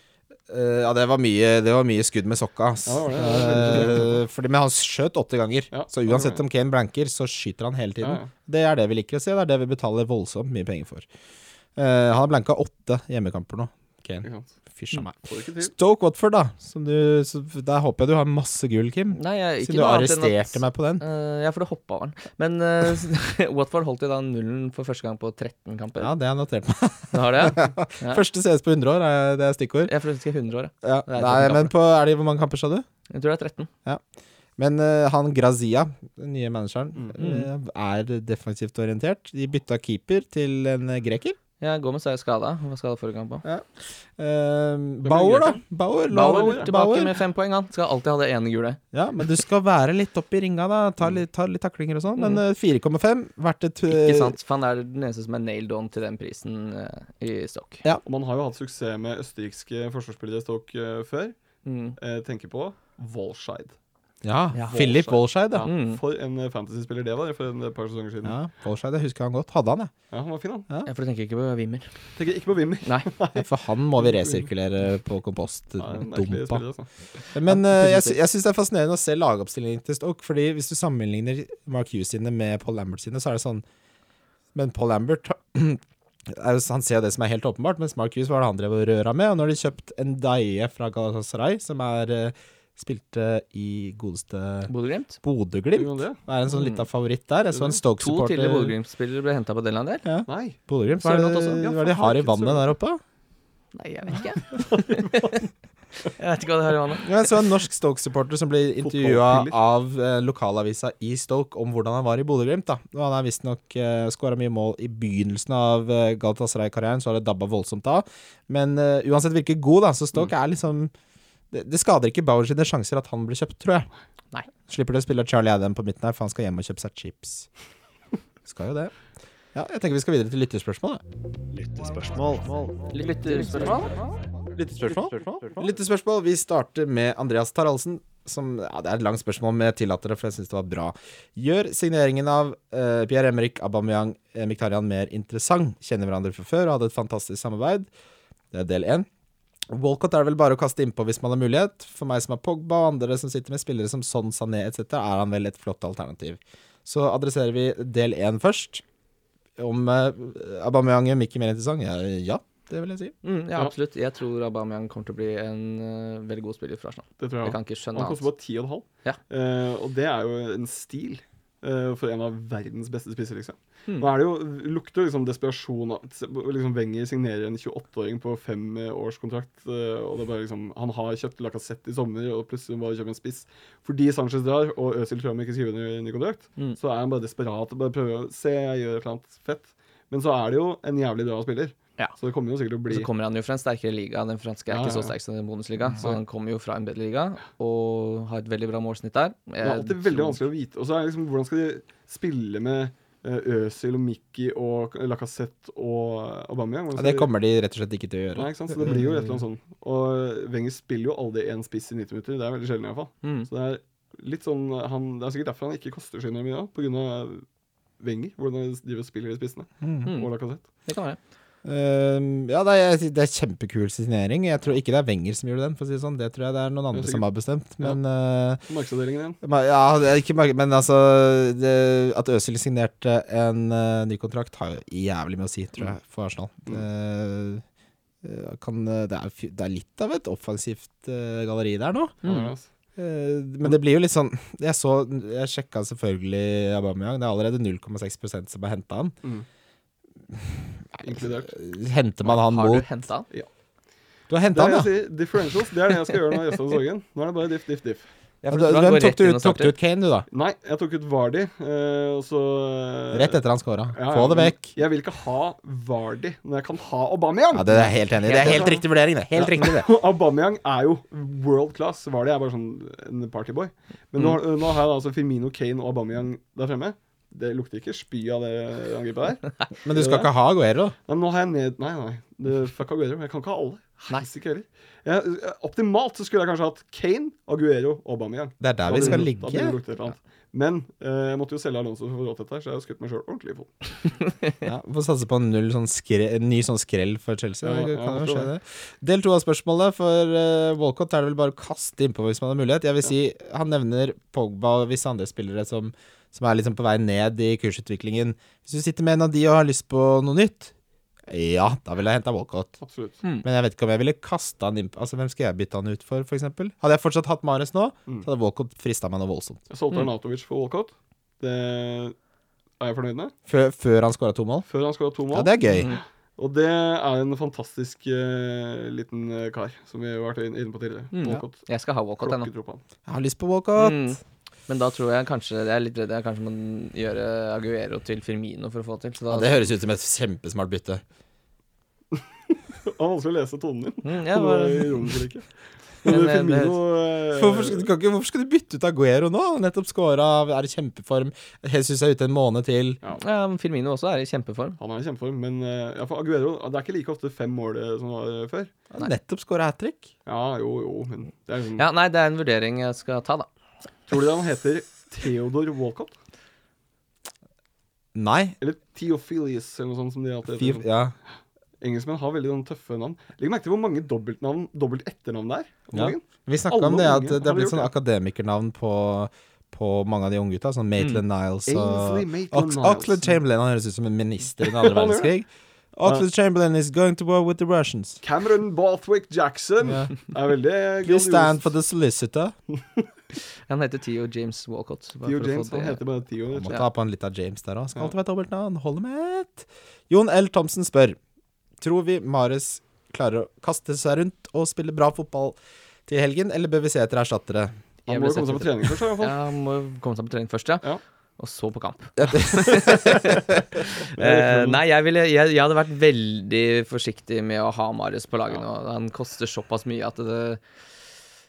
[SPEAKER 3] eh, Ja, det var mye, det var mye skudd med sokka. ass.
[SPEAKER 2] Ja, det var det, det var
[SPEAKER 3] Eh, fordi, men han skjøt åtte ganger.
[SPEAKER 2] Ja, Mm.
[SPEAKER 3] så
[SPEAKER 2] det var det.
[SPEAKER 3] uansett om Kane blanker, så skyter han hele tiden.
[SPEAKER 2] Ja, ja.
[SPEAKER 3] Det er det vi liker å se. Det er det vi betaler voldsomt mye penger for. Eh, han har blanka åtte hjemmekamper nå. Kane.
[SPEAKER 2] Ikke sant.
[SPEAKER 3] Fysj a meg.
[SPEAKER 2] Får det ikke til.
[SPEAKER 3] Stoke Watford, da. Som du, så der håper jeg du har masse gull, Kim.
[SPEAKER 1] Nei, jeg,
[SPEAKER 3] Siden
[SPEAKER 1] ikke
[SPEAKER 3] du
[SPEAKER 1] noe annet enn at-
[SPEAKER 3] arresterte meg på den.
[SPEAKER 1] Eh, ja, for det hoppa over den. Men eh, [LAUGHS] Watford holdt jo da nullen for første gang på 13 kamper.
[SPEAKER 3] Ja, det har jeg notert meg.
[SPEAKER 1] Du har det? ja? Ja.
[SPEAKER 3] [LAUGHS] Første CS på 100 år, er, det er stikkord.
[SPEAKER 1] Jeg husker 100 år. ja.
[SPEAKER 3] Ja.
[SPEAKER 1] Det er
[SPEAKER 3] Nei,
[SPEAKER 1] sånn
[SPEAKER 3] men på, er det hvor mange kamper, sa du?
[SPEAKER 1] Jeg tror det er 13.
[SPEAKER 3] Men eh, han Grazia, den nye manageren,
[SPEAKER 1] Mm.
[SPEAKER 3] eh, er defensivt orientert. De bytta keeper til en eh, greker.
[SPEAKER 1] Ja, Gomez er jo skada. Var skada forrige kamp òg.
[SPEAKER 3] Eh,
[SPEAKER 2] er
[SPEAKER 3] Bauer, da.
[SPEAKER 2] greker?
[SPEAKER 3] Bauer, la-
[SPEAKER 1] Bauer
[SPEAKER 2] ja.
[SPEAKER 1] tilbake
[SPEAKER 3] Bauer.
[SPEAKER 1] med fem poeng, han. Skal alltid ha det ene gule.
[SPEAKER 3] Ja, men du skal være litt opp i ringa, da. Ta litt, ta litt taklinger og sånn. Men eh, 4,5 verdt et eh,
[SPEAKER 1] Ikke sant? For han er den eneste som er nailed on til den prisen eh, i stokk.
[SPEAKER 2] Og Man har jo hatt suksess med østerrikske forsvarsspillere i Stoke eh, før.
[SPEAKER 1] Mm.
[SPEAKER 2] Eh, tenker på Walscheid.
[SPEAKER 3] Ja,
[SPEAKER 1] Ja.
[SPEAKER 3] Philip Wolscheid,
[SPEAKER 2] Ja,
[SPEAKER 3] ja.
[SPEAKER 1] Mm.
[SPEAKER 2] For en eh, fantasyspiller det var for en eh, par sesonger siden. Ja.
[SPEAKER 3] ja Wolscheid, jeg husker han godt. Hadde han, jeg.
[SPEAKER 2] han var fin, han.
[SPEAKER 1] Ja, for du tenker ikke på Wimmer.
[SPEAKER 2] Tenker ikke på Wimmer.
[SPEAKER 1] Nei.
[SPEAKER 3] Ja, For han må vi resirkulere på kompost.
[SPEAKER 2] Ja, en merkelig
[SPEAKER 3] Dumpa.
[SPEAKER 2] spiller, altså.
[SPEAKER 3] Men
[SPEAKER 1] Ja,
[SPEAKER 3] eh, jeg, sy-
[SPEAKER 1] definitivt.
[SPEAKER 3] jeg syns det er fascinerende å se lagoppstillingen til Stoke. Fordi hvis du sammenligner Mark Hughes sine med Paul Lambert sine, så er det sånn Men Paul Lambert [CLEARS THROAT] er jo- han ser jo det som er helt åpenbart, mens Mark Hughes var det han drev og røra med. Og nå har de kjøpt en daie fra Galatasaray, som er eh, spilte i godeste
[SPEAKER 1] Bodø-Glimt.
[SPEAKER 2] Gjorde
[SPEAKER 3] Bodø-Glimt.
[SPEAKER 2] han det?
[SPEAKER 3] Er en sånn lita favoritt der. Jeg så en
[SPEAKER 1] To tidligere
[SPEAKER 3] Stoke-supporter
[SPEAKER 1] Bodø-Glimt-spillere ble henta på den der.
[SPEAKER 3] ja.
[SPEAKER 2] Nei.
[SPEAKER 3] Bodø-Glimt, hva er det
[SPEAKER 1] Sørloth også.
[SPEAKER 2] Ja,
[SPEAKER 3] hva er det de har i
[SPEAKER 2] faen,
[SPEAKER 3] vannet der oppe?
[SPEAKER 1] Nei, jeg vet ikke. [LAUGHS] Jeg vet ikke hva det her var nå.
[SPEAKER 3] Jeg så en norsk Stoke-supporter som ble intervjua
[SPEAKER 2] Fotballpiller.
[SPEAKER 3] av eh, lokalavisa i Stoke om hvordan han var i Bodø-Glimt. da. Og Han har visstnok eh, skåra mye mål i begynnelsen av eh, Galatasaray-karrieren, så har det dabba voldsomt av. Men eh, uansett virker god, da, så Stoke er liksom det, det skader ikke Bauer sine sjanser at han blir kjøpt, tror jeg.
[SPEAKER 1] Nei.
[SPEAKER 3] Slipper det å spille Charlie Adam på midten her, for han skal hjem og kjøpe seg chips. Skal jo det. Ja, jeg tenker vi skal videre til lytterspørsmål. da.
[SPEAKER 1] Lytterspørsmål?
[SPEAKER 3] Lyttespørsmål. Vi starter med Andreas Taraldsen. Som, ja, det er et langt spørsmål, men jeg tillater det, for jeg syns det var bra. Gjør signeringen av eh, Pierre-Emerick Aubameyang eh, Mkhitaryan mer interessant? Kjenner hverandre fra før og hadde et fantastisk samarbeid. Det er del én. Walcott er det vel bare å kaste innpå hvis man har mulighet. For meg som er Pogba og andre som sitter med spillere som Son, Sané etc., er han vel et flott alternativ. Så adresserer vi del én først. Om eh, Aubameyang er ikke mer interessant? Ja, ja, det vil jeg si.
[SPEAKER 1] Mm, ja,
[SPEAKER 2] Ja.
[SPEAKER 1] absolutt. Jeg tror Aubameyang kommer til å bli en eh, veldig god spiller for Arsenal.
[SPEAKER 2] Det tror
[SPEAKER 1] Jeg
[SPEAKER 2] jeg.
[SPEAKER 1] kan ikke
[SPEAKER 2] også.
[SPEAKER 1] skjønne
[SPEAKER 2] Han koster
[SPEAKER 1] annet.
[SPEAKER 2] bare
[SPEAKER 1] Ja.
[SPEAKER 2] 10,5. Eh, og det er jo en stil eh, for en av verdens beste spisser, liksom.
[SPEAKER 1] Hmm.
[SPEAKER 2] Nå er det jo, lukter jo liksom desperasjon av se- liksom Wenger signerer en 28-åring på eh, femårskontrakt, uh, og det er bare liksom Han har kjøpt Lacassette i sommer, og plutselig må han bare kjøpe en spiss. Fordi Sanchez drar, og Øzil tror han ikke skriver under ny kontrakt,
[SPEAKER 1] Mm.
[SPEAKER 2] så er han bare desperat og bare prøver å Se, jeg gjør et eller annet fett. Men så er det jo en jævlig bra spiller,
[SPEAKER 1] Ja.
[SPEAKER 2] så det kommer jo sikkert til å
[SPEAKER 1] Og
[SPEAKER 2] bli
[SPEAKER 1] så kommer han jo fra en sterkere liga. Den franske er
[SPEAKER 2] Ja,
[SPEAKER 1] ikke
[SPEAKER 2] ja,
[SPEAKER 1] så
[SPEAKER 2] ja.
[SPEAKER 1] sterk som den Bundesliga, så han kommer jo fra en bedre liga og har et veldig bra målsnitt der.
[SPEAKER 2] Det er alltid veldig vanskelig å vite. Og så er det liksom, hvordan skal de spille med eh, Øzil og Mickey og Lacassette og Aubameyang?
[SPEAKER 3] Ja,
[SPEAKER 2] Hvordan skal
[SPEAKER 3] det
[SPEAKER 2] de-
[SPEAKER 3] kommer de rett og slett ikke til å gjøre.
[SPEAKER 2] Nei, ikke sant? Så det blir jo et eller annet sånn. Og Wenger spiller jo aldri én spiss i 90 minutter. Det er veldig sjelden, iallfall.
[SPEAKER 1] Mm.
[SPEAKER 2] Så det er litt sånn han, Det er sikkert derfor han ikke koster så innmari mye, da, på grunn av Wenger. Hvordan de driver og spiller de spissene.
[SPEAKER 1] Mm.
[SPEAKER 2] Og Lacassette.
[SPEAKER 1] Det kan være.
[SPEAKER 3] Ehm, ja, det er, det er kjempekul signering. Jeg tror ikke det er Wenger som gjorde den, for å si det sånn. Det tror jeg det er noen andre
[SPEAKER 2] sikkert.
[SPEAKER 3] som har bestemt.
[SPEAKER 2] Ja.
[SPEAKER 3] Men eh,
[SPEAKER 2] Markedsavdelingen igjen.
[SPEAKER 3] ma- Ja, det er ikke mange Men altså det, At Øzil signerte en eh, ny kontrakt, har jo jævlig mye å si, tror jeg, for Arsenal. Eh, eh, kan, eh, det, er, fy- det er litt av et offensivt eh, galleri der nå.
[SPEAKER 2] Ja,
[SPEAKER 1] Mm.
[SPEAKER 2] altså.
[SPEAKER 3] Eh, Men det blir jo litt sånn Jeg så Jeg sjekka selvfølgelig Aubameyang. Det er allerede 0,6 som har henta han.
[SPEAKER 2] Mm. Inkludert.
[SPEAKER 3] Henter man han
[SPEAKER 1] Har
[SPEAKER 3] mot
[SPEAKER 1] du henta han?
[SPEAKER 3] Du har
[SPEAKER 2] Det
[SPEAKER 3] henta
[SPEAKER 2] er det
[SPEAKER 3] han,
[SPEAKER 2] jeg sier. Differentials. Det er det jeg skal gjøre nå i resten av sesongen. Nå er det bare diff, diff, diff.
[SPEAKER 3] ja.
[SPEAKER 1] for
[SPEAKER 3] Du,
[SPEAKER 1] da
[SPEAKER 3] Altså, hvem
[SPEAKER 1] går
[SPEAKER 3] tok
[SPEAKER 1] rett
[SPEAKER 3] du,
[SPEAKER 1] inn
[SPEAKER 3] ut,
[SPEAKER 1] og
[SPEAKER 3] tok du
[SPEAKER 1] starter.
[SPEAKER 3] ut Kane, du, da?
[SPEAKER 2] Nei, jeg tok ut Vardi, eh, og så eh,
[SPEAKER 3] Rett etter han scora.
[SPEAKER 2] Ja,
[SPEAKER 3] Få
[SPEAKER 2] ja,
[SPEAKER 3] det
[SPEAKER 2] men
[SPEAKER 3] vekk.
[SPEAKER 2] Jeg vil ikke ha Vardi når jeg kan ha Aubameyang.
[SPEAKER 3] Ja, det er jeg helt enig. i. Det er helt riktig vurdering, det. Helt riktig, det.
[SPEAKER 2] [LAUGHS] Aubameyang er jo world class. Vardi er bare sånn en partyboy. Men
[SPEAKER 3] Mm.
[SPEAKER 2] nå, nå har jeg da altså Firmino, Kane og Aubameyang der fremme. Det lukter ikke spy av det
[SPEAKER 3] [LAUGHS]
[SPEAKER 2] angrepet der.
[SPEAKER 3] [LAUGHS] Men du skal ikke ha Aguero.
[SPEAKER 2] Men nå har jeg ned Nei, nei. Det, fuck Aguero. Jeg kan ikke ha alle. Helsike heller. Jeg, jeg- optimalt så skulle jeg kanskje hatt Kane, Aguero og Aubameyang.
[SPEAKER 3] Det er
[SPEAKER 2] Da
[SPEAKER 3] der vi
[SPEAKER 2] hadde
[SPEAKER 3] skal
[SPEAKER 2] det- da hadde det
[SPEAKER 3] ligge.
[SPEAKER 2] luktet et eller annet. Men eh, jeg måtte jo selge Alonso for å få råd til dette, her, så jeg har skutt meg sjøl ordentlig i foten.
[SPEAKER 3] Ja, Får satse på en null sånn skre, en ny sånn skrell for Chelsea.
[SPEAKER 2] Ja,
[SPEAKER 3] det kan
[SPEAKER 2] ja,
[SPEAKER 3] jo
[SPEAKER 2] jeg tror
[SPEAKER 3] skje det. Del to av spørsmålet. For eh, Walcott er det vel bare å kaste innpå hvis man har mulighet. Jeg vil si Han nevner Pogba og visse andre spillere som, som er liksom på vei ned i kursutviklingen. Hvis du sitter med en av de og har lyst på noe nytt, ja, da ville jeg henta Walcott.
[SPEAKER 2] Absolutt.
[SPEAKER 3] Men jeg vet ikke om jeg ville kasta han innpå Altså, hvem skal jeg bytte han ut for, f.eks.? Hadde jeg fortsatt hatt Mares nå, så hadde Walcott frista meg noe voldsomt.
[SPEAKER 2] Jeg solgte Arnatovic for Walcott. Det er jeg fornøyd med.
[SPEAKER 3] Før, før han skåra to mål.
[SPEAKER 2] Før han skåra to mål.
[SPEAKER 3] Ja, det er gøy.
[SPEAKER 2] Og det er en fantastisk eh, liten eh, kar, som vi har vært inn- inne på tidligere. Walcott.
[SPEAKER 1] Jeg skal ha Walcott ennå.
[SPEAKER 2] Klokketro på han. [LAUGHS]
[SPEAKER 3] Jeg har lyst på Walcott.
[SPEAKER 1] Mm. Men da tror jeg kanskje Jeg er litt redd jeg kanskje må gjøre Aguero til Firmino for å få til. Så da,
[SPEAKER 3] Ja, det høres ut som et kjempesmart bytte.
[SPEAKER 2] Det var vanskelig å lese tonen din.
[SPEAKER 1] mm,
[SPEAKER 2] Ja,
[SPEAKER 1] jeg var,
[SPEAKER 2] ironisk ikke.
[SPEAKER 1] Men,
[SPEAKER 2] Men
[SPEAKER 1] eh, det-
[SPEAKER 2] Firmino eh,
[SPEAKER 3] Hvorfor skal, du kan ikke, hvorfor skal du bytte ut Aguero nå? Han har Nettopp scora, er i kjempeform. Jesus er ute en måned til.
[SPEAKER 1] ja, men Firmino også er i kjempeform.
[SPEAKER 2] Han er i kjempeform, men eh, ja, for Aguero Det er ikke like ofte fem mål eh, som det var eh, før.
[SPEAKER 3] Han har nettopp scora hat trick.
[SPEAKER 2] Ja, jo, jo, men det er liksom
[SPEAKER 1] Ja, nei, det er en vurdering jeg skal ta, da.
[SPEAKER 2] Tror dere han heter Theodor Walcott?
[SPEAKER 3] Nei.
[SPEAKER 2] Eller Theophilus, eller noe sånt som de alltid
[SPEAKER 3] Fy,
[SPEAKER 2] heter. sånn.
[SPEAKER 3] ja.
[SPEAKER 2] Engelskmenn har veldig sånn tøffe navn. Legg merke til hvor mange dobbeltnavn, dobbelt etternavn det er. om
[SPEAKER 3] Ja.
[SPEAKER 2] dagen.
[SPEAKER 3] Vi snakka om
[SPEAKER 2] Alle
[SPEAKER 3] det at
[SPEAKER 2] unge
[SPEAKER 3] det
[SPEAKER 2] har
[SPEAKER 3] har blitt
[SPEAKER 2] gjort
[SPEAKER 3] sånn
[SPEAKER 2] det.
[SPEAKER 3] akademikernavn på, på mange av de unge gutta. Sånn Maitland Niles
[SPEAKER 2] Mm. Ainsley
[SPEAKER 3] og
[SPEAKER 2] Maitland
[SPEAKER 3] Ox
[SPEAKER 2] Niles.
[SPEAKER 3] Oxlade Chamberlain. Han høres ut som en minister
[SPEAKER 2] [LAUGHS]
[SPEAKER 3] i den andre
[SPEAKER 2] Han gjør
[SPEAKER 3] verdenskrig. Oxlade Chamberlain is going to war with the Russians.
[SPEAKER 2] Cameron Bathwick Jackson
[SPEAKER 3] Ja.
[SPEAKER 2] er
[SPEAKER 3] [LAUGHS]
[SPEAKER 2] veldig
[SPEAKER 3] Please stand
[SPEAKER 2] grandios.
[SPEAKER 3] for the solicitor.
[SPEAKER 1] Han heter Theo James Walcott. bare
[SPEAKER 2] Theo
[SPEAKER 1] for å få
[SPEAKER 2] James, han
[SPEAKER 1] det-
[SPEAKER 2] heter bare Theo.
[SPEAKER 3] Man
[SPEAKER 2] vet
[SPEAKER 3] må
[SPEAKER 2] du.
[SPEAKER 1] Ja.
[SPEAKER 3] ta på en litt av James der òg. Skal alltid være dobbeltnavn. Holder med ett. Jon L. Thomsen spør Tror vi Mares klarer å kaste seg rundt og spille bra fotball til helgen, eller bør vi se etter erstattere?
[SPEAKER 2] Han
[SPEAKER 1] Jeg
[SPEAKER 2] må
[SPEAKER 1] ble
[SPEAKER 2] jo komme seg på
[SPEAKER 1] sett-
[SPEAKER 2] trening først, i hvert fall.
[SPEAKER 1] Ja, han må komme seg på trening først, ja.
[SPEAKER 2] Ja.
[SPEAKER 1] Og så på kamp. [LAUGHS]
[SPEAKER 3] Ja,
[SPEAKER 1] Eh, nei, jeg, ville, jeg, jeg hadde vært veldig forsiktig med å ha Marius på laget nå. Han koster såpass mye at det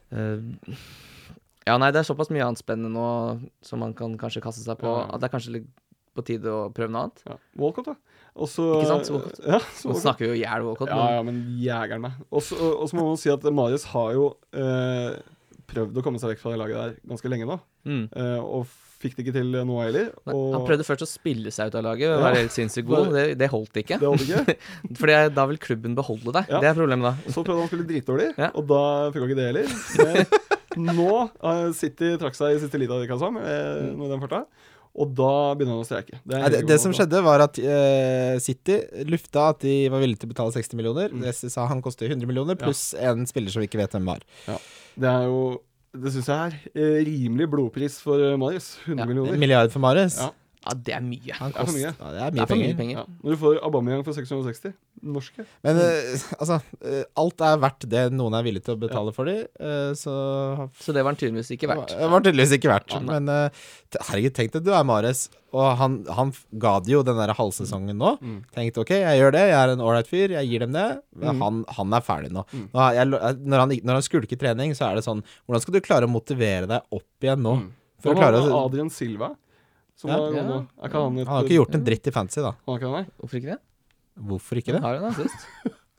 [SPEAKER 1] eh, Ja, nei, det er såpass mye annet spennende nå som man kan kanskje kaste seg på,
[SPEAKER 2] Ja.
[SPEAKER 1] at det er kanskje litt på tide å prøve noe annet.
[SPEAKER 2] Ja. Walcott, da. Og så
[SPEAKER 1] Ikke sant, så Walcott.
[SPEAKER 2] Ja, så
[SPEAKER 1] Nå
[SPEAKER 2] Walcott.
[SPEAKER 1] snakker vi jo i hjel Walcott,
[SPEAKER 2] Ja, ja, men jegeren meg. Og så og så må man si at Marius har jo eh, prøvd å komme seg vekk fra det laget der ganske lenge nå,
[SPEAKER 1] men mm.
[SPEAKER 2] eh, og fikk det ikke til eh, nå heller.
[SPEAKER 1] Nei,
[SPEAKER 2] Og
[SPEAKER 1] Han prøvde først å spille seg ut av laget og
[SPEAKER 2] Ja.
[SPEAKER 1] være helt sinnssykt god. Det, det holdt ikke.
[SPEAKER 2] det holdt ikke.
[SPEAKER 1] Fordi da vil klubben beholde deg.
[SPEAKER 2] Ja.
[SPEAKER 1] Det er problemet da.
[SPEAKER 2] Så prøvde han å spille dritdårlig,
[SPEAKER 1] Ja.
[SPEAKER 2] og da funka ikke det heller. Men nå eh, City trakk seg i siste lita, virka det som, eh, når den farta. Og da begynner han å streike. Det, er
[SPEAKER 3] Nei, Mm. det,
[SPEAKER 2] helt
[SPEAKER 3] det som
[SPEAKER 2] uholdbart.
[SPEAKER 3] skjedde, var at eh, City lufta at de var villige til å betale 60 millioner.
[SPEAKER 2] Mm.
[SPEAKER 3] Det sa han koster 100 millioner, pluss en spiller som vi ikke vet hvem var.
[SPEAKER 2] Det er jo Det syns jeg er eh, rimelig blodpris for eh, Marius. 100
[SPEAKER 1] Ja,
[SPEAKER 3] En
[SPEAKER 2] millioner.
[SPEAKER 3] milliard for Marius.
[SPEAKER 2] Ja.
[SPEAKER 1] Ja, det er mye.
[SPEAKER 3] Han
[SPEAKER 2] Det er for
[SPEAKER 3] kost,
[SPEAKER 2] mye.
[SPEAKER 3] ja, det er
[SPEAKER 1] Det
[SPEAKER 3] mye
[SPEAKER 1] er for mye
[SPEAKER 3] penger.
[SPEAKER 1] penger.
[SPEAKER 2] Ja. Når du får Aubameyang for 660 norske
[SPEAKER 3] Men eh, [LAUGHS] altså, eh, alt er verdt det noen er villig til å betale for de, eh, så
[SPEAKER 1] Så det var han tydeligvis ikke verdt.
[SPEAKER 3] Det var tydeligvis ikke verdt.
[SPEAKER 1] Ja, nei.
[SPEAKER 3] men eh, te- herregud, tenk deg du er Mares, og han, han f- ga det jo den der halvsesongen nå.
[SPEAKER 2] Mm.
[SPEAKER 3] Tenkte ok, jeg gjør det, jeg er en ålreit fyr, jeg gir dem det. Men
[SPEAKER 2] Mm.
[SPEAKER 3] han, han er ferdig nå.
[SPEAKER 2] Mm.
[SPEAKER 3] nå er jeg, når, han, ikke- når han skulker trening, så er det sånn Hvordan skal du klare å motivere deg opp igjen nå?
[SPEAKER 2] Mm.
[SPEAKER 3] For å
[SPEAKER 2] Da
[SPEAKER 3] klare
[SPEAKER 2] var det
[SPEAKER 3] å
[SPEAKER 2] Adrian Silva. Som
[SPEAKER 3] Ja.
[SPEAKER 2] var god nå. Er ikke han et
[SPEAKER 3] Han har ikke gjort en dritt i fantasy, da.
[SPEAKER 2] Han er ikke han, nei?
[SPEAKER 1] Hvorfor ikke det?
[SPEAKER 3] Hvorfor ikke det?
[SPEAKER 1] Har han assist?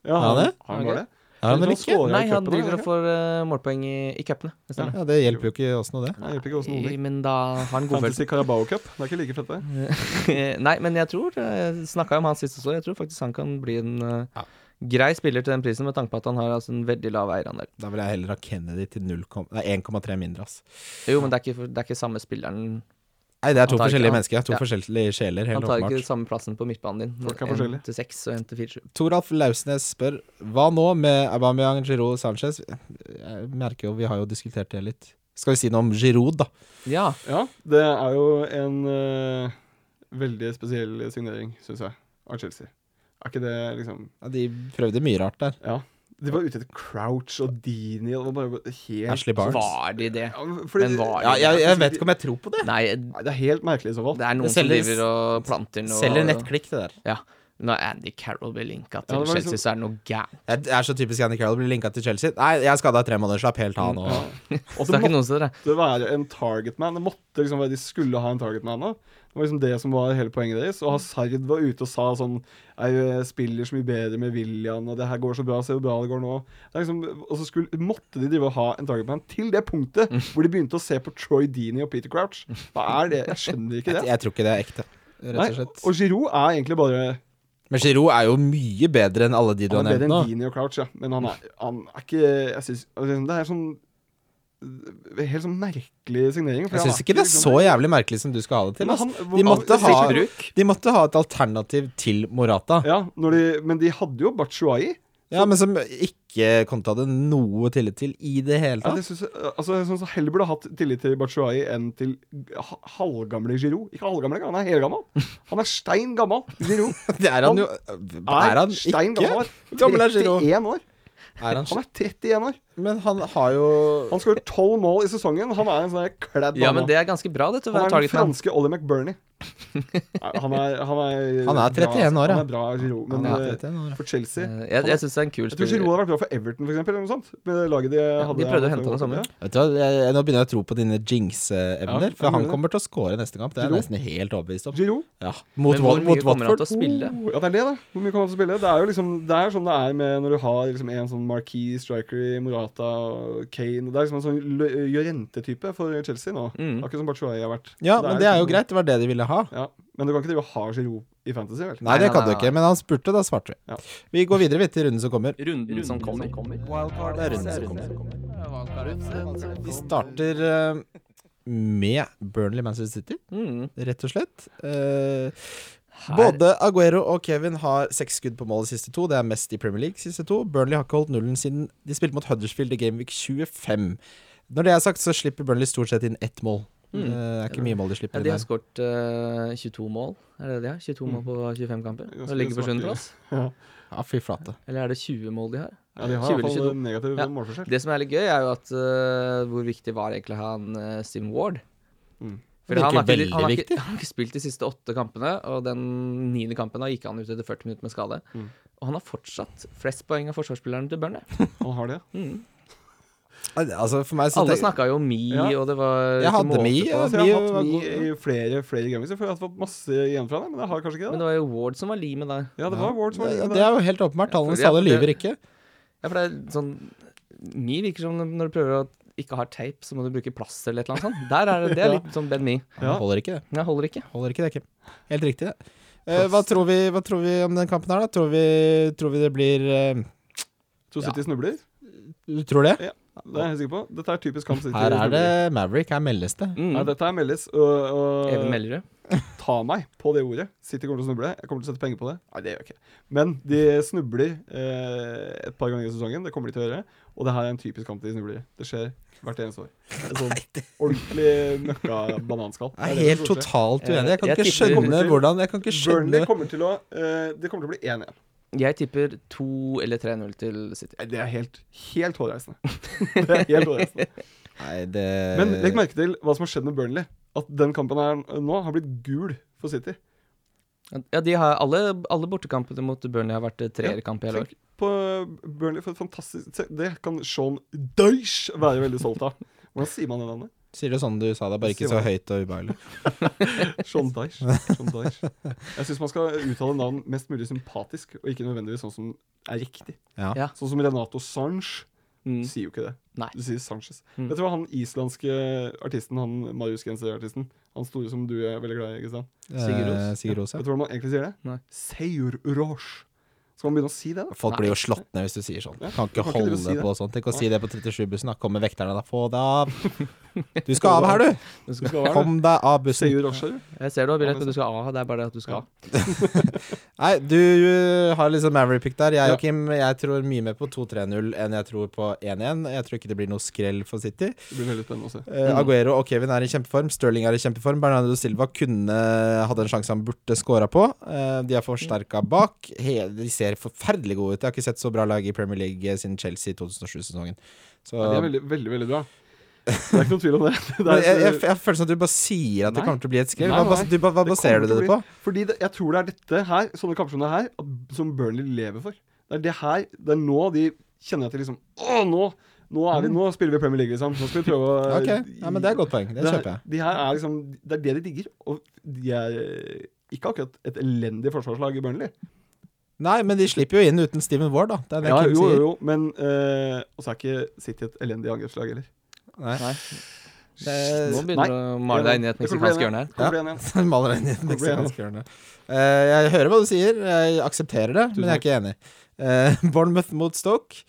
[SPEAKER 2] Ja,
[SPEAKER 3] han
[SPEAKER 2] han,
[SPEAKER 3] det?
[SPEAKER 2] han var det.
[SPEAKER 3] Er han vel
[SPEAKER 2] Han
[SPEAKER 3] ikke?
[SPEAKER 2] scorer
[SPEAKER 1] Nei,
[SPEAKER 2] i
[SPEAKER 1] han
[SPEAKER 2] cupen,
[SPEAKER 1] driver
[SPEAKER 2] ikke?
[SPEAKER 1] og får eh, målpoeng i, i cupene. Det stemmer.
[SPEAKER 3] Ja, Det hjelper jo ikke oss noe, det.
[SPEAKER 2] Nei, hjelper ikke oss noe.
[SPEAKER 1] Nei, men da har han god følelse.
[SPEAKER 2] Fantasy Carabao Cup. Det er ikke like fett, det.
[SPEAKER 1] [LAUGHS] Nei, men jeg tror Jeg snakka om han sist også. Jeg tror faktisk han kan bli en eh,
[SPEAKER 3] Ja.
[SPEAKER 1] grei spiller til den prisen, med tanke på at han har altså, en veldig lav eierandel.
[SPEAKER 3] Da vil jeg heller ha Kennedy til 0,- nei, 1,3 mindre, ass.
[SPEAKER 1] Jo, men det er ikke, for- det er ikke samme spilleren.
[SPEAKER 3] Nei, det er
[SPEAKER 1] Han
[SPEAKER 3] to
[SPEAKER 1] tar ikke-
[SPEAKER 3] forskjellige
[SPEAKER 1] han-
[SPEAKER 3] mennesker. To
[SPEAKER 1] ja.
[SPEAKER 3] forskjellige sjeler, helt
[SPEAKER 1] Han tar ikke
[SPEAKER 3] åpenbart.
[SPEAKER 1] samme plassen på midtbanen din.
[SPEAKER 2] Folk er
[SPEAKER 1] En
[SPEAKER 2] forskjellige.
[SPEAKER 1] til seks og en til fire. sju.
[SPEAKER 3] Toralf Lausnes spør Hva nå med Aubameyang, Giroud, Sanchez? Jeg merker jo, vi har jo diskutert det litt. Skal vi si noe om Giroud, da?
[SPEAKER 1] Ja.
[SPEAKER 2] Ja, det er jo en eh, veldig spesiell signering, syns jeg, av Chelsea. Er ikke det liksom
[SPEAKER 3] Ja, de prøvde mye rart der.
[SPEAKER 2] Ja. De var ute etter Crouch og Dini og det var bare helt
[SPEAKER 3] Ashley Barnes.
[SPEAKER 1] Var de det?
[SPEAKER 2] Ja, fordi,
[SPEAKER 1] Men var-
[SPEAKER 3] Ja, jeg, jeg vet ikke om jeg tror på det.
[SPEAKER 1] Nei,
[SPEAKER 2] Nei, Det er helt merkelig i så fall.
[SPEAKER 1] det er noen
[SPEAKER 3] Det selger-
[SPEAKER 1] som driver og planter noe
[SPEAKER 3] Selger nettklikk, det der.
[SPEAKER 1] Ja. Når Andy Carroll blir linka til
[SPEAKER 2] Ja, det var
[SPEAKER 1] Chelsea,
[SPEAKER 2] liksom-
[SPEAKER 1] så er det noe gærent.
[SPEAKER 3] Jeg- Det er så typisk Andy Carroll blir linka til Chelsea. Nei, jeg er skada i tre måneder, slapp helt av nå.
[SPEAKER 1] Og så er [LAUGHS] det ikke noen som
[SPEAKER 2] måtte være en target man. Det måtte liksom være, De skulle ha en target man nå. Det var liksom det som var hele poenget deres. Og Hazard var ute og sa sånn Jeg eh, spiller så mye bedre med William, og det her går så bra, se hvor bra det går nå. Det er liksom, og så skulle, måtte de drive og ha en target man til det punktet
[SPEAKER 3] Mm.
[SPEAKER 2] hvor de begynte å se på Troy Deany og Peter Crouch. Hva er det? Jeg skjønner
[SPEAKER 3] [LAUGHS]
[SPEAKER 2] ikke
[SPEAKER 3] Jeg,
[SPEAKER 2] det.
[SPEAKER 3] jeg tror ikke det er ekte, rett og
[SPEAKER 2] Nei,
[SPEAKER 3] slett.
[SPEAKER 2] og Giroud er egentlig bare
[SPEAKER 3] Men Giroud er jo mye bedre enn alle de du har
[SPEAKER 2] Han er
[SPEAKER 3] nevnt
[SPEAKER 2] bedre enn
[SPEAKER 3] nå.
[SPEAKER 2] Deany og Crouch, ja. Men han er, han er ikke jeg synes, Det er sånn Helt sånn merkelig signering. for
[SPEAKER 3] Jeg
[SPEAKER 2] han
[SPEAKER 3] syns ikke det er
[SPEAKER 2] liksom-
[SPEAKER 3] så jævlig merkelig som du skal ha det til.
[SPEAKER 2] Men
[SPEAKER 3] ass.
[SPEAKER 2] han-
[SPEAKER 3] De måtte
[SPEAKER 2] han-
[SPEAKER 3] ha,
[SPEAKER 1] bruk.
[SPEAKER 3] de måtte ha et alternativ til Morata.
[SPEAKER 2] Ja, når de, men de hadde jo Batshuayi.
[SPEAKER 3] Ja, men som ikke Konta hadde noe tillit til i det hele
[SPEAKER 2] Ja,
[SPEAKER 3] tatt.
[SPEAKER 2] det synes jeg, altså, jeg synes han heller burde hatt tillit til Batshuayi enn til ha- halvgamle Giroud. Ikke halvgamle, engang, han er helgammal. Han er stein gammal. Giroud
[SPEAKER 3] Det er han jo [LAUGHS] Er han
[SPEAKER 2] stein
[SPEAKER 3] ikke?
[SPEAKER 2] gammal.
[SPEAKER 3] Gammel er Giroud.
[SPEAKER 2] 31 år.
[SPEAKER 3] Er han,
[SPEAKER 2] Han er 31 år.
[SPEAKER 3] men han har jo
[SPEAKER 2] Han skårer 12 mål i sesongen. Han er en sånn der kledd
[SPEAKER 1] Ja, men
[SPEAKER 2] gammel.
[SPEAKER 1] det er ganske bra, det, til å
[SPEAKER 2] Han
[SPEAKER 1] være
[SPEAKER 2] er den
[SPEAKER 1] target man.
[SPEAKER 2] franske Ollie McBurnie. Nei, Han er, han er,
[SPEAKER 3] Han er 31 år, ja.
[SPEAKER 2] ja. Han er bra, Giroud. Men
[SPEAKER 3] Han er
[SPEAKER 2] eh,
[SPEAKER 3] 31 år, ja.
[SPEAKER 2] for Chelsea
[SPEAKER 1] Eh, Jeg, jeg syns det er en kul
[SPEAKER 2] Jeg tror Giroud hadde vært bra for Everton, for eksempel. Eller noe sånt. Med det laget de hadde.
[SPEAKER 1] de prøvde å hente han i sommer.
[SPEAKER 3] Vet du hva, jeg, jeg- Nå begynner jeg å tro på dine jinx-evner,
[SPEAKER 2] Ja,
[SPEAKER 3] for han
[SPEAKER 2] gjør det.
[SPEAKER 3] kommer til å score neste kamp. Det er jeg
[SPEAKER 2] Giroud.
[SPEAKER 3] nesten helt overbevist om.
[SPEAKER 2] Giroud
[SPEAKER 3] Ja. Mot,
[SPEAKER 1] Men
[SPEAKER 3] Wat-
[SPEAKER 1] hvor mye
[SPEAKER 3] mot
[SPEAKER 1] kommer han til
[SPEAKER 3] Watford.
[SPEAKER 1] å spille?
[SPEAKER 2] Oh, Ja, det er det, da. Hvor mye kan man spille? Det er jo liksom Det er sånn det er med når du har liksom en sånn marquee striker i Morata og Kane. Det er liksom en sånn lø- Llorente-type for Chelsea nå.
[SPEAKER 1] Mm.
[SPEAKER 2] Akkurat som Bachuay har vært.
[SPEAKER 3] Ja, men det er jo
[SPEAKER 2] liksom-
[SPEAKER 3] greit. Det var det de ville ha.
[SPEAKER 2] Ja, Men du kan ikke drive og ha Giroud i Fantasy, vel? [LAUGHS]
[SPEAKER 3] Nei,
[SPEAKER 1] Nei,
[SPEAKER 3] det kan du
[SPEAKER 1] nei, nei.
[SPEAKER 3] ikke. Men han spurte, da svarte vi.
[SPEAKER 2] Ja.
[SPEAKER 3] Vi går videre vi, til runden som kommer.
[SPEAKER 1] Runden som kommer.
[SPEAKER 3] Wildcard er runden som kommer. Vi starter eh, med Burnley Manchester City,
[SPEAKER 1] Mm.
[SPEAKER 3] rett og slett. Eh,
[SPEAKER 1] Her-
[SPEAKER 3] Både Aguero og Kevin har seks skudd på mål de siste to. Det er mest i Premier League de siste to. Burnley har ikke holdt nullen siden de spilte mot Huddersfield i Gameweek 25. Når det er sagt, så slipper Burnley stort sett inn ett mål. Eh,
[SPEAKER 1] Mm.
[SPEAKER 3] Det er ikke mye mål de
[SPEAKER 1] Ja,
[SPEAKER 3] slipper
[SPEAKER 1] de har
[SPEAKER 3] inn. der.
[SPEAKER 1] skåret eh, 22 mål, er det det de har? 22 mål på 25 kamper?
[SPEAKER 2] Mm. Ganske
[SPEAKER 1] Og ligger på
[SPEAKER 2] svakt,
[SPEAKER 1] sjuendeplass?
[SPEAKER 3] Ja, fy flate.
[SPEAKER 1] Eller er det 20 mål de har?
[SPEAKER 2] Ja, de har i hvert
[SPEAKER 1] 20-22.
[SPEAKER 2] fall negativ
[SPEAKER 1] Ja.
[SPEAKER 2] målforskjell.
[SPEAKER 1] Det som er litt gøy, er jo at eh, hvor viktig var egentlig han eh, Sim Ward?
[SPEAKER 2] Mm.
[SPEAKER 1] For
[SPEAKER 3] Virker
[SPEAKER 1] han har, ikke,
[SPEAKER 3] veldig
[SPEAKER 1] han, har ikke, han
[SPEAKER 3] viktig.
[SPEAKER 1] har ikke spilt de siste åtte kampene, og den niende kampen da gikk han ut etter 40 minutter med skade.
[SPEAKER 2] Mm.
[SPEAKER 1] Og han har fortsatt flest poeng av forsvarsspillerne til Burnley.
[SPEAKER 2] Han har det.
[SPEAKER 1] Mm.
[SPEAKER 3] Altså, for meg [LAUGHS] så
[SPEAKER 1] Alle
[SPEAKER 3] tenk-
[SPEAKER 1] snakka jo om Mi,
[SPEAKER 2] Ja.
[SPEAKER 1] og det var
[SPEAKER 3] Jeg
[SPEAKER 1] ikke
[SPEAKER 3] hadde
[SPEAKER 1] måte
[SPEAKER 3] Mi,
[SPEAKER 1] på.
[SPEAKER 3] ja.
[SPEAKER 2] Altså, jeg har
[SPEAKER 3] Mye
[SPEAKER 2] hatt
[SPEAKER 3] var
[SPEAKER 2] mye
[SPEAKER 3] god,
[SPEAKER 2] i flere, flere ganger, så jeg føler jeg har fått masse igjen fra det, men jeg har kanskje ikke
[SPEAKER 1] Men
[SPEAKER 2] det.
[SPEAKER 1] det var jo Ward som var limet der.
[SPEAKER 2] da. Ja, det var Ward som var
[SPEAKER 3] Ja,
[SPEAKER 2] inne
[SPEAKER 3] det
[SPEAKER 2] der.
[SPEAKER 3] er jo helt åpenbart. Tallenes
[SPEAKER 1] Ja, for-
[SPEAKER 3] tale
[SPEAKER 1] ja,
[SPEAKER 3] lyver ikke.
[SPEAKER 1] Ja, for det er sånn Mi virker som når du prøver å ikke ha teip, så må du bruke plaster eller et eller annet sånt. Der er
[SPEAKER 3] [LAUGHS]
[SPEAKER 1] det, det er litt sånn Ben Mi.
[SPEAKER 2] Ja.
[SPEAKER 3] Han holder ikke det.
[SPEAKER 1] Men jeg holder ikke.
[SPEAKER 3] Holder ikke det, Kim. Helt riktig, det. Eh, hva, tror vi, hva tror vi om den kampen her, da? Tror vi, tror vi det blir eh,
[SPEAKER 2] To City snubler.
[SPEAKER 3] Du tror det?
[SPEAKER 2] Det er jeg helt sikker på. Dette er typisk kamp City
[SPEAKER 3] Her er det
[SPEAKER 2] snubler.
[SPEAKER 3] Maverick, her meldes det.
[SPEAKER 1] Mm.
[SPEAKER 2] Nei, dette er meldes. Og,
[SPEAKER 1] Even
[SPEAKER 2] og
[SPEAKER 1] Mellerud.
[SPEAKER 2] ta meg på det ordet. City kommer til å snuble. Jeg kommer til å sette penger på det. Nei, det gjør jeg ikke. Men de snubler eh, et par ganger i sesongen. Det kommer de til å gjøre. Og det her er en typisk kamp de snubler i. Det skjer hvert eneste år. Et sånt sånn ordentlig møkka bananskall. Det
[SPEAKER 3] Jeg er
[SPEAKER 2] er det
[SPEAKER 3] helt
[SPEAKER 2] som kommer til å skje.
[SPEAKER 3] totalt uenig. Jeg kan
[SPEAKER 1] Jeg
[SPEAKER 3] ikke
[SPEAKER 1] tipper-
[SPEAKER 3] skjønne hvordan Jeg kan ikke skjønne
[SPEAKER 2] Burnley kommer til å eh, Det kommer til å bli 1-1.
[SPEAKER 1] Jeg tipper 2 eller 3-0 til City.
[SPEAKER 2] Nei, Det er helt, helt
[SPEAKER 3] [LAUGHS]
[SPEAKER 2] hårreisende. det er helt hårreisende.
[SPEAKER 3] Nei, det
[SPEAKER 2] Men legg merke til hva som har skjedd med Burnley. At den kampen her nå har blitt gul for City.
[SPEAKER 1] Ja, de har alle, alle bortekampene mot Burnley har vært eh, treerkamp i hele år.
[SPEAKER 2] Tenk på eh, Burnley for et fantastisk se, Det kan Sean Dyche være veldig stolt av. Hvordan sier man det navnet?
[SPEAKER 3] Sier det sånn du sa det, bare ikke så høyt og ubehagelig.
[SPEAKER 2] Sean Dyche. Sean Dyche. Jeg syns man skal uttale navn mest mulig sympatisk, og ikke nødvendigvis sånn som er riktig.
[SPEAKER 3] Ja.
[SPEAKER 1] Ja.
[SPEAKER 2] Sånn som Renato Sanche. Du
[SPEAKER 1] Mm.
[SPEAKER 2] sier jo ikke det.
[SPEAKER 1] Nei.
[SPEAKER 2] Du sier Sanchez.
[SPEAKER 1] Mm.
[SPEAKER 2] Vet du hva han islandske artisten, han mariusgenserartisten, han store som du er veldig glad i, Kristian
[SPEAKER 1] Sigurd Ros.
[SPEAKER 3] Eh, Sigurd Ros, ja.
[SPEAKER 2] Vet du hvordan man egentlig sier det?
[SPEAKER 1] Nei.
[SPEAKER 2] Seur Roche. Skal man begynne å si det, da?
[SPEAKER 3] Folk
[SPEAKER 1] Nei.
[SPEAKER 3] blir jo slått ned hvis du sier sånn.
[SPEAKER 2] Ja,
[SPEAKER 3] Kan
[SPEAKER 2] du
[SPEAKER 3] ikke
[SPEAKER 2] kan ikke drive og
[SPEAKER 3] holde
[SPEAKER 2] si det.
[SPEAKER 3] på sånn. Tenk å si det på 37-bussen. Da kommer vekterne da. Få deg av! Du skal av her, du!
[SPEAKER 2] Det skal være det.
[SPEAKER 3] Kom deg av bussen.
[SPEAKER 2] Seur Roche, er du?
[SPEAKER 1] Jeg ser du har billett, men du skal av. Det er bare det at du skal av.
[SPEAKER 3] Nei, du uh, har liksom Maverick-pick der. Jeg
[SPEAKER 2] Ja.
[SPEAKER 3] og Kim, jeg tror mye mer på 2-3-0 enn jeg tror på 1-1. Jeg tror ikke det blir noe skrell for City.
[SPEAKER 2] Det blir veldig spennende å se.
[SPEAKER 3] Eh, Aguero og Kevin er i kjempeform. Sterling er i kjempeform. Bernardo Silva kunne hadde en sjanse han burde scora på. Eh, de er forsterka bak. He, de ser forferdelig gode ut. Jeg har ikke sett så bra lag i Premier League eh, siden Chelsea i 2007-sesongen. Så
[SPEAKER 2] Ja, de er veldig, veldig, veldig bra. Det er ikke noen tvil [LAUGHS] om det. det
[SPEAKER 3] Men
[SPEAKER 2] er,
[SPEAKER 3] jeg, jeg, jeg føler som at du bare sier at det
[SPEAKER 2] Nei.
[SPEAKER 3] kommer til å bli et skriv.
[SPEAKER 2] Nei,
[SPEAKER 3] Hva, hva,
[SPEAKER 2] nei.
[SPEAKER 3] du, hva, hva
[SPEAKER 2] Det
[SPEAKER 3] baserer
[SPEAKER 2] kommer
[SPEAKER 3] du det
[SPEAKER 2] til å
[SPEAKER 3] på?
[SPEAKER 2] fordi det, jeg tror det er dette her, sånne kamper som det her, at, som Burnley lever for. Det er det her, det er nå de kjenner at de liksom Å, nå! Nå, er vi, nå spiller vi Premier League, liksom. Nå skal vi prøve å [LAUGHS]
[SPEAKER 3] Ok, ja, men Det er et godt poeng. Det
[SPEAKER 2] er-
[SPEAKER 3] kjøper jeg.
[SPEAKER 2] De her er liksom, det er det de digger. Og de er eh, ikke akkurat et elendig forsvarslag i Burnley.
[SPEAKER 3] Nei, men de slipper jo inn uten Steven Ward, da. Det er det
[SPEAKER 2] Ja,
[SPEAKER 3] Kim
[SPEAKER 2] jo,
[SPEAKER 3] sier.
[SPEAKER 2] jo, jo, men eh, Og så er ikke City et elendig angrepslag heller.
[SPEAKER 3] Nei.
[SPEAKER 1] Nei. Eh, Nå
[SPEAKER 3] Det,
[SPEAKER 1] begynner du å male deg inn i et
[SPEAKER 2] Det kommer til å
[SPEAKER 1] meksikansk
[SPEAKER 2] bli
[SPEAKER 1] hjørne her.
[SPEAKER 2] Det kommer til å bli
[SPEAKER 3] [LAUGHS]
[SPEAKER 2] en igjen.
[SPEAKER 3] maler inn i et
[SPEAKER 2] Hvor ble jeg nå?
[SPEAKER 3] meksikansk hjørne. Eh, jeg hører hva du sier, jeg aksepterer det, men jeg er ikke enig. Eh, [LAUGHS] Bournemouth mot Stoke.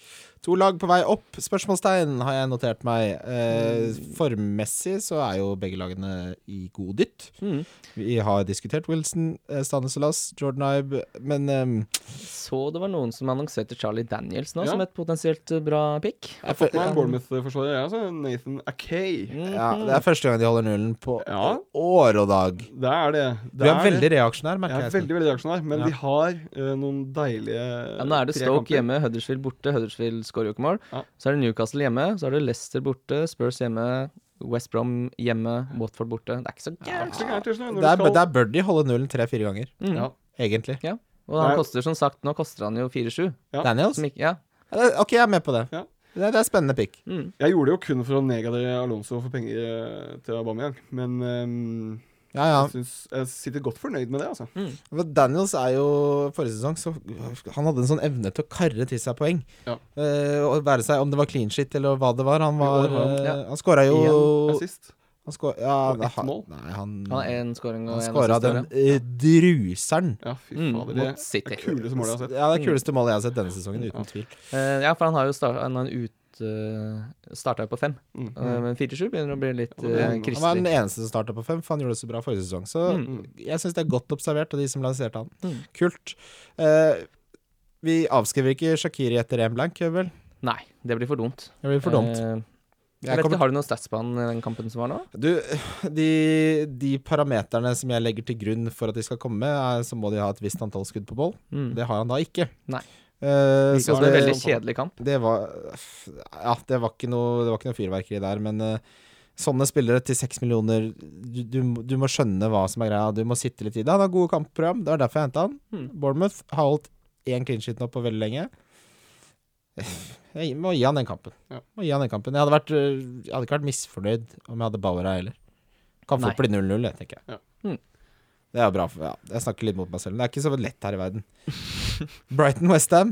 [SPEAKER 3] To lag på vei opp, spørsmålstegn, har jeg notert meg. Eh,
[SPEAKER 2] Mm.
[SPEAKER 3] formmessig så er jo begge lagene i god dytt.
[SPEAKER 1] Mm.
[SPEAKER 3] Vi har diskutert Wilson, eh, Stanislas, Jordan Ibe, men ehm,
[SPEAKER 1] Så det var noen som annonserte Charlie Daniels nå
[SPEAKER 2] Ja.
[SPEAKER 1] som et potensielt eh, bra pick.
[SPEAKER 2] Jeg har fått meg en Bournemouth-forsvarer, jeg altså. Nathan Akay.
[SPEAKER 3] ja, Det er første gang de holder nullen på
[SPEAKER 2] Ja.
[SPEAKER 3] år og dag.
[SPEAKER 2] Det er det.
[SPEAKER 3] Du
[SPEAKER 2] det
[SPEAKER 3] er veldig reaksjonær,
[SPEAKER 2] Jeg
[SPEAKER 3] merker
[SPEAKER 2] er
[SPEAKER 3] jeg. Espen.
[SPEAKER 2] veldig veldig reaksjonær, men
[SPEAKER 3] Ja.
[SPEAKER 2] de har eh, noen deilige
[SPEAKER 1] Ja, nå er det
[SPEAKER 2] tre
[SPEAKER 1] Stoke
[SPEAKER 2] kamper.
[SPEAKER 1] hjemme, Huddersfield borte. Huddersfield skårer jo ikke mål.
[SPEAKER 2] Ja.
[SPEAKER 1] Så er det Newcastle hjemme, så er det Leicester borte, Spurs hjemme, West Brom hjemme, Watford borte. Det er ikke så
[SPEAKER 2] Det er
[SPEAKER 1] gærent.
[SPEAKER 2] ikke så gærent, Jørgen, når du
[SPEAKER 3] Der,
[SPEAKER 2] skal-
[SPEAKER 3] der bør de holde nullen tre-fire ganger,
[SPEAKER 1] Mm.
[SPEAKER 2] Ja.
[SPEAKER 3] egentlig.
[SPEAKER 1] Og han
[SPEAKER 2] Nei.
[SPEAKER 1] koster som sagt, nå koster han jo 4-7.
[SPEAKER 2] Ja.
[SPEAKER 3] Daniels?
[SPEAKER 1] som ikke- Ja.
[SPEAKER 3] Ja, det- Ok, jeg er med på det.
[SPEAKER 2] Ja.
[SPEAKER 3] Det, det er spennende pick.
[SPEAKER 1] Mm.
[SPEAKER 2] Jeg gjorde det jo kun for å negadere Alonso for penger eh, til Aubameyang, men ehm,
[SPEAKER 3] Ja, ja.
[SPEAKER 2] jeg, synes, jeg sitter godt fornøyd med det, altså.
[SPEAKER 3] Men Daniels er jo Forrige sesong så Han hadde en sånn evne til å karre til seg poeng.
[SPEAKER 2] Ja.
[SPEAKER 3] Eh, og være seg om det var clean shit eller hva det var. Han var
[SPEAKER 2] I år har han-
[SPEAKER 3] eh, Han skåra jo
[SPEAKER 2] Assist.
[SPEAKER 3] han skåra, ja,
[SPEAKER 2] Og ett
[SPEAKER 3] han-
[SPEAKER 2] mål.
[SPEAKER 3] Nei,
[SPEAKER 1] Han
[SPEAKER 3] han,
[SPEAKER 1] har én scoring og
[SPEAKER 3] han
[SPEAKER 1] én
[SPEAKER 3] skåra den
[SPEAKER 1] assist.
[SPEAKER 3] eh, druseren.
[SPEAKER 2] Ja, fy
[SPEAKER 1] Mm, mot
[SPEAKER 2] fader. Det
[SPEAKER 1] City.
[SPEAKER 2] er kuleste målet jeg har sett.
[SPEAKER 3] Ja, det kuleste målet jeg har sett denne sesongen,
[SPEAKER 2] Ja.
[SPEAKER 3] uten tvil.
[SPEAKER 1] Eh, ja, for han har jo starta Han har ut, eh, starta jo på fem.
[SPEAKER 2] Mm.
[SPEAKER 1] Eh, men 4-7 begynner å bli litt
[SPEAKER 2] Ja, det er
[SPEAKER 1] eh,
[SPEAKER 2] en-
[SPEAKER 3] Han var den
[SPEAKER 1] kristelig.
[SPEAKER 3] eneste som starta på fem, for han gjorde det så bra forrige sesong. Så
[SPEAKER 2] Mm.
[SPEAKER 3] jeg syns det er godt observert av de som lanserte han.
[SPEAKER 1] Mm.
[SPEAKER 3] Kult. Eh, vi avskriver ikke Shakiri etter én blank, gjør vi vel?
[SPEAKER 1] Nei, det blir for dumt.
[SPEAKER 3] Det blir for dumt.
[SPEAKER 1] Eh, jeg
[SPEAKER 3] Jeg
[SPEAKER 1] vet
[SPEAKER 3] kommer
[SPEAKER 1] ikke, Har du noen stats på han i den kampen som var nå?
[SPEAKER 3] Du, de, de parameterne som jeg legger til grunn for at de skal komme, er, så må de ha et visst antall skudd på bål.
[SPEAKER 1] Mm.
[SPEAKER 3] Det har han da ikke.
[SPEAKER 1] Nei.
[SPEAKER 3] Eh,
[SPEAKER 1] Virka
[SPEAKER 3] så
[SPEAKER 1] som en
[SPEAKER 3] det-
[SPEAKER 1] veldig kjedelig kamp.
[SPEAKER 3] Det var Ja, det var ikke noe, det var ikke noe fyrverkeri der, men eh, sånne spillere til seks millioner du, du, må- du må skjønne hva som er greia. Du må sitte litt i det. Han har gode kampprogram, det var derfor jeg henta han.
[SPEAKER 1] Hmm.
[SPEAKER 3] Bournemouth har holdt én clean sheet nå på veldig lenge. Jeg må gi han den kampen.
[SPEAKER 2] Ja.
[SPEAKER 3] Må gi han den kampen. Jeg hadde, vært, eh, jeg hadde ikke vært misfornøyd om jeg hadde Bauer her heller. Kan fort bli 0-0, det, tenker jeg.
[SPEAKER 2] Ja.
[SPEAKER 1] Hmm.
[SPEAKER 3] Det er bra for ja. Jeg snakker litt mot meg selv. Det er ikke så lett her i verden. [LAUGHS] Brighton-Westham.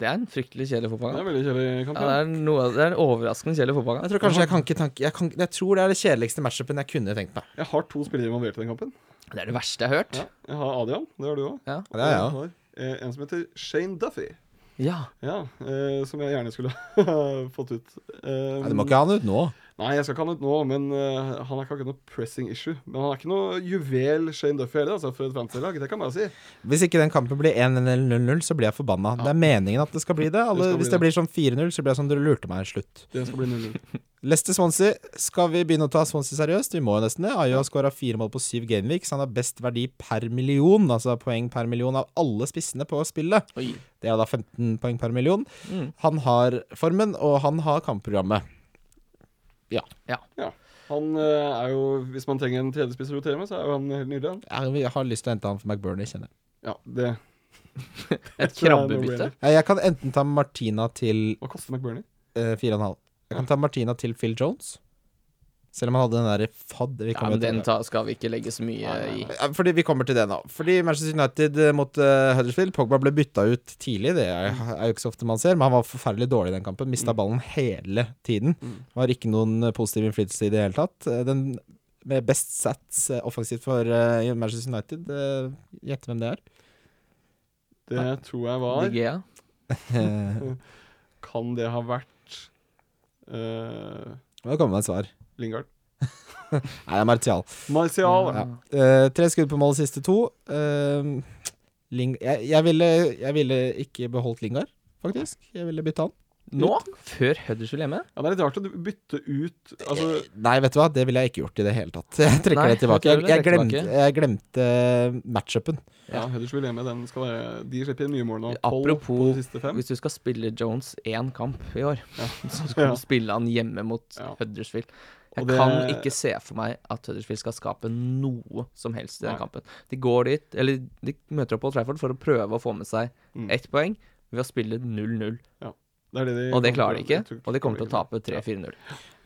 [SPEAKER 1] Det er en fryktelig kjedelig
[SPEAKER 2] Det er
[SPEAKER 1] fotballkamp.
[SPEAKER 2] en veldig kjedelig
[SPEAKER 1] Ja,
[SPEAKER 2] kamp.
[SPEAKER 1] det
[SPEAKER 2] Ja,
[SPEAKER 1] er, noe, det er en overraskende kjedelig fotballkamp.
[SPEAKER 3] Jeg tror kanskje jeg kan ikke tanke jeg, kan, jeg tror det er det kjedeligste matchupen jeg kunne tenkt meg.
[SPEAKER 2] Jeg har to spillere involvert i den kampen.
[SPEAKER 1] Det er det verste jeg har hørt.
[SPEAKER 2] Ja. Jeg har Adrian, det har du òg.
[SPEAKER 1] Ja.
[SPEAKER 3] Ja, det er jeg også.
[SPEAKER 2] eh, En som heter Shane Duffy.
[SPEAKER 1] ja.
[SPEAKER 2] Ja, eh, som jeg gjerne skulle [LAUGHS] ha fått ut. Eh,
[SPEAKER 3] Nei, du må ikke ha han ut nå.
[SPEAKER 2] Nei, jeg skal ikke ha han ut nå, men eh, han er ikke akkurat noe pressing issue. Men han er ikke noe juvel Shane Duffy heller, altså, for et fantasy-lag. Det kan man jo si.
[SPEAKER 3] Hvis ikke den kampen blir 1-0 eller 0-0, så blir jeg forbanna. Det er meningen at det skal bli det. Alle,
[SPEAKER 2] Det skal bli
[SPEAKER 3] hvis
[SPEAKER 2] det.
[SPEAKER 3] det blir sånn 4-0, så blir jeg sånn dere lurte meg. Slutt.
[SPEAKER 2] Det skal bli 0-0.
[SPEAKER 3] Leicester Swansea, skal vi begynne å ta Swansea seriøst? Vi må jo nesten det. Ayo har skåra fire mål på syv gameweeks. Han har best verdi per million, altså poeng per million av alle spissene på spillet.
[SPEAKER 1] Oi.
[SPEAKER 3] Det er da 15 poeng per million.
[SPEAKER 1] Mm.
[SPEAKER 3] Han har formen, og han har kampprogrammet.
[SPEAKER 2] Han eh, er jo, hvis man trenger en tredjespiss å rotere med, så er jo han helt nydelig. han.
[SPEAKER 3] Jeg har lyst til å hente han for McBurney, kjenner jeg.
[SPEAKER 2] Ja, det
[SPEAKER 1] Et
[SPEAKER 2] tror jeg er noe
[SPEAKER 1] krabbebytte.
[SPEAKER 2] brainer.
[SPEAKER 3] Ja, Jeg kan enten ta Martina til
[SPEAKER 2] Hva koster McBurnie?
[SPEAKER 3] eh, 4,5. Jeg kan ta Martina til Phil Jones. Selv om han hadde den der fadd vi
[SPEAKER 1] Ja,
[SPEAKER 3] kommer,
[SPEAKER 1] men den
[SPEAKER 3] til,
[SPEAKER 1] ta, skal vi ikke legge så mye i.
[SPEAKER 3] Ja, fordi vi kommer til det nå. Fordi Manchester United eh, mot eh, Huddersfield Pogba ble bytta ut tidlig, det er er jo ikke så ofte man ser, men han var forferdelig dårlig i den kampen.
[SPEAKER 1] Mm.
[SPEAKER 3] Mista ballen hele tiden. Var ikke noen eh, positiv innflytelse i det hele tatt. Eh, Den med best sats eh, offensivt for eh, Manchester United, eh, gjett
[SPEAKER 1] [LAUGHS]
[SPEAKER 3] hvem det er?
[SPEAKER 2] Det tror jeg
[SPEAKER 1] De
[SPEAKER 2] var
[SPEAKER 1] Gea.
[SPEAKER 3] Eh,
[SPEAKER 2] Kan det ha vært eh,
[SPEAKER 3] Må jo komme med et svar.
[SPEAKER 2] Lingard?
[SPEAKER 3] Nei, det er Martial.
[SPEAKER 2] Martial.
[SPEAKER 1] Ja.
[SPEAKER 3] Eh, tre skudd på mål de siste to. Eh, Ling jeg, jeg, ville, jeg ville ikke beholdt Lingard, faktisk. Jeg ville bytte han.
[SPEAKER 1] Nå, før Huddersfield hjemme.
[SPEAKER 2] Ja, det er litt rart å bytte ut Altså,
[SPEAKER 3] Nei, vet du hva, det ville jeg ikke gjort i det hele tatt. [LAUGHS] Jeg trekker
[SPEAKER 1] Nei,
[SPEAKER 3] det tilbake.
[SPEAKER 1] jeg
[SPEAKER 3] Jeg,
[SPEAKER 1] tror
[SPEAKER 3] jeg,
[SPEAKER 1] det trekker
[SPEAKER 3] glemte, jeg glemte matchupen.
[SPEAKER 2] ja, Huddersfield hjemme, den skal være De slipper inn mye mål nå. Tolv på
[SPEAKER 1] Apropos-
[SPEAKER 2] de siste fem.
[SPEAKER 1] Hvis du skal spille Jones én kamp i år, [LAUGHS] så skal
[SPEAKER 2] Ja.
[SPEAKER 1] du spille han hjemme mot
[SPEAKER 2] Ja.
[SPEAKER 1] Huddersfield. Jeg
[SPEAKER 2] Og det-
[SPEAKER 1] kan ikke se for meg at Huddersfield skal skape noe som helst i den
[SPEAKER 2] Nei.
[SPEAKER 1] kampen. De går dit, eller de møter opp på Old Trafford for å prøve å få med seg
[SPEAKER 2] Mm.
[SPEAKER 1] ett poeng ved å spille 0-0.
[SPEAKER 2] Det er det de
[SPEAKER 1] Og det
[SPEAKER 2] kommer
[SPEAKER 1] klarer de
[SPEAKER 2] til å-
[SPEAKER 1] ikke,
[SPEAKER 2] jeg tror-
[SPEAKER 1] og de kommer til å tape
[SPEAKER 2] Ja.
[SPEAKER 1] 3-4-0.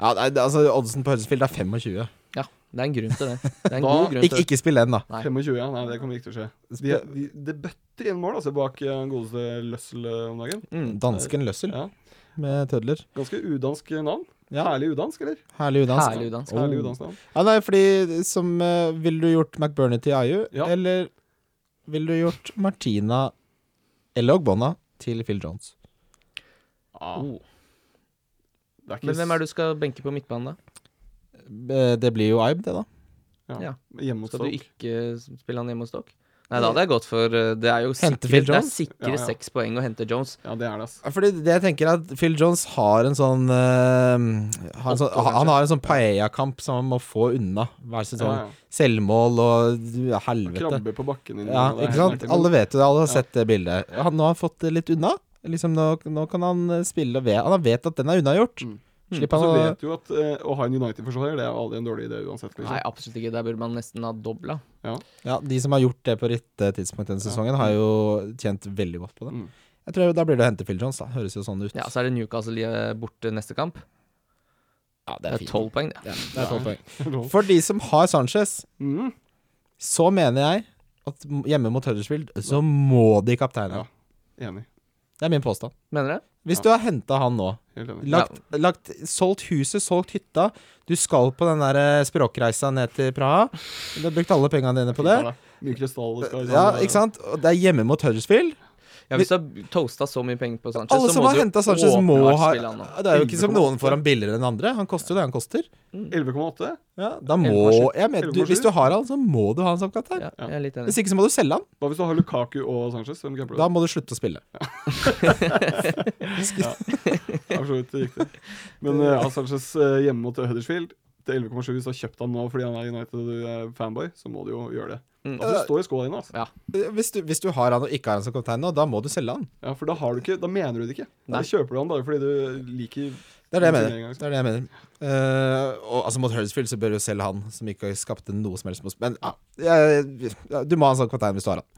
[SPEAKER 3] Ja, nei, det- altså, Oddsen på Huddersfield er 25.
[SPEAKER 1] Ja, det er en grunn
[SPEAKER 2] [LAUGHS]
[SPEAKER 1] til det. Det er en
[SPEAKER 2] Da-
[SPEAKER 1] god grunn
[SPEAKER 3] Ikke,
[SPEAKER 1] til det.
[SPEAKER 3] ikke spill den, da.
[SPEAKER 1] Nei.
[SPEAKER 2] 25, ja. Nei, det kommer ikke til å skje. De, de, det bøtter inn mål, altså, bak eh, godeste Løssel eh, om dagen.
[SPEAKER 1] Mm.
[SPEAKER 3] Dansken Løssel
[SPEAKER 2] Ja.
[SPEAKER 3] med tødler.
[SPEAKER 2] Ganske udansk navn.
[SPEAKER 3] Ja,
[SPEAKER 2] Herlig udansk, eller?
[SPEAKER 3] herlig udansk.
[SPEAKER 1] Herlig udansk.
[SPEAKER 3] Oh.
[SPEAKER 2] Herlig udansk navn.
[SPEAKER 3] Ja, nei, fordi som eh, Ville du gjort McBurney til Ayu,
[SPEAKER 2] Ja.
[SPEAKER 3] eller ville du gjort Martina eller Ogbonna til Phil Jones?
[SPEAKER 2] Ja,
[SPEAKER 1] Oh.
[SPEAKER 2] Ah. det er ikke
[SPEAKER 1] Men hvem er det du skal benke på midtbanen, da?
[SPEAKER 3] Eh, Det blir jo Ibe, det, da.
[SPEAKER 2] Ja.
[SPEAKER 1] Ja.
[SPEAKER 2] Hjemme hos
[SPEAKER 1] Skal du
[SPEAKER 2] folk.
[SPEAKER 1] ikke spille han hjemme hos dere? Nei, da hadde jeg gått for eh, Det er jo
[SPEAKER 3] Hente
[SPEAKER 1] sikre,
[SPEAKER 3] Phil
[SPEAKER 1] det er
[SPEAKER 3] Jones?
[SPEAKER 1] sikre
[SPEAKER 2] Ja, ja.
[SPEAKER 1] seks poeng å hente Jones.
[SPEAKER 2] Ja, det er det, altså.
[SPEAKER 3] Ja, Fordi det jeg tenker er at Phil Jones har en sånn, eh, har en sånn
[SPEAKER 2] Åtte,
[SPEAKER 3] Han har en sånn paella-kamp som han må få unna hver sesong.
[SPEAKER 2] Ja, ja.
[SPEAKER 3] Selvmål og du, helvete.
[SPEAKER 2] Krabbe på bakken din.
[SPEAKER 3] Ja,
[SPEAKER 2] det er
[SPEAKER 3] ikke
[SPEAKER 2] helt
[SPEAKER 3] sant?
[SPEAKER 2] merkelig.
[SPEAKER 3] Alle vet jo det, alle har
[SPEAKER 2] Ja.
[SPEAKER 3] sett det bildet. Han, nå har han fått det litt unna. Liksom nå, nå kan han eh, spille og ve- Han vet at den er unnagjort.
[SPEAKER 2] Mm.
[SPEAKER 3] Slipper
[SPEAKER 2] Og så
[SPEAKER 3] han å
[SPEAKER 2] vet du at eh, å ha en United-forsvarer, det er aldri en dårlig idé uansett.
[SPEAKER 1] Nei,
[SPEAKER 2] Liksom. [LAUGHS]
[SPEAKER 1] absolutt ikke. Der burde man nesten ha dobla.
[SPEAKER 3] Ja, de som har gjort det på riktig tidspunkt denne sesongen, har jo tjent veldig godt på det.
[SPEAKER 2] Mm. altså,
[SPEAKER 3] Jeg tror Da blir det å hente Phil Jones, da. Høres jo sånn ut.
[SPEAKER 1] Ja, så er det Newcastle eh, borte neste kamp.
[SPEAKER 3] Ja,
[SPEAKER 1] Det er
[SPEAKER 3] fint.
[SPEAKER 1] tolv poeng, det.
[SPEAKER 3] Ja, det er tolv poeng.
[SPEAKER 2] Rolf.
[SPEAKER 3] For de som har Sanchez,
[SPEAKER 2] Mm.
[SPEAKER 3] så mener jeg at m- hjemme mot Huddersfield så må de kapteine.
[SPEAKER 2] Ja. Enig.
[SPEAKER 3] Det er min påstand.
[SPEAKER 1] Mener du?
[SPEAKER 3] Hvis
[SPEAKER 2] Ja.
[SPEAKER 3] du har henta han nå,
[SPEAKER 2] Helt enig.
[SPEAKER 3] lagt, lagt, solgt huset, solgt hytta Du skal på den der eh, språkreisa ned til Praha. Du har brukt alle pengene dine på det.
[SPEAKER 2] Ja, da. Mye krystall det
[SPEAKER 1] liksom,
[SPEAKER 2] skal
[SPEAKER 3] Ja, ikke sant? Og det er hjemme mot Huddersfield.
[SPEAKER 1] Ja, Hvis du har toasta så mye penger på Sanchez,
[SPEAKER 3] Alle
[SPEAKER 1] så
[SPEAKER 3] som
[SPEAKER 1] må
[SPEAKER 3] har
[SPEAKER 1] du
[SPEAKER 3] henta Sanchez, må
[SPEAKER 1] åpenbart
[SPEAKER 3] ha
[SPEAKER 1] spille han nå.
[SPEAKER 3] Det er jo ikke som noen får han billigere enn andre. Han koster jo det han koster.
[SPEAKER 2] 11,8?
[SPEAKER 3] Ja, da må
[SPEAKER 1] 11,7.
[SPEAKER 3] jeg mener, du, Hvis du har han, så må du ha han som kaptein.
[SPEAKER 1] Ja, jeg er litt enig.
[SPEAKER 3] Hvis ikke så må du selge han.
[SPEAKER 2] Hva hvis du har Lukaku og Sanchez? Hvem gambler du?
[SPEAKER 3] Da må du slutte å
[SPEAKER 1] [LAUGHS]
[SPEAKER 3] spille. [LAUGHS]
[SPEAKER 2] Absolutt riktig. Men eh, ja, Sanchez eh, hjemme mot Huddersfield til 11,7 hvis du har kjøpt han nå fordi han er United og du er fanboy, så må du jo gjøre det.
[SPEAKER 1] Mm.
[SPEAKER 2] Altså, det står i skåla dine, altså.
[SPEAKER 3] Hvis du, hvis du har han og ikke har han som kaptein nå, da må du selge han.
[SPEAKER 2] Ja, for da har du ikke Da mener du det ikke. Da
[SPEAKER 1] Nei.
[SPEAKER 2] kjøper du han bare fordi du liker
[SPEAKER 3] Det er det jeg
[SPEAKER 2] Ikke
[SPEAKER 3] mener.
[SPEAKER 2] engang.
[SPEAKER 3] Det er det jeg mener. Eh, og altså Mot Huddersfield så bør jo selv han, som ikke skapte noe som helst mot Men ja, jeg- ja, du må ha en sånn kaptein hvis du har han.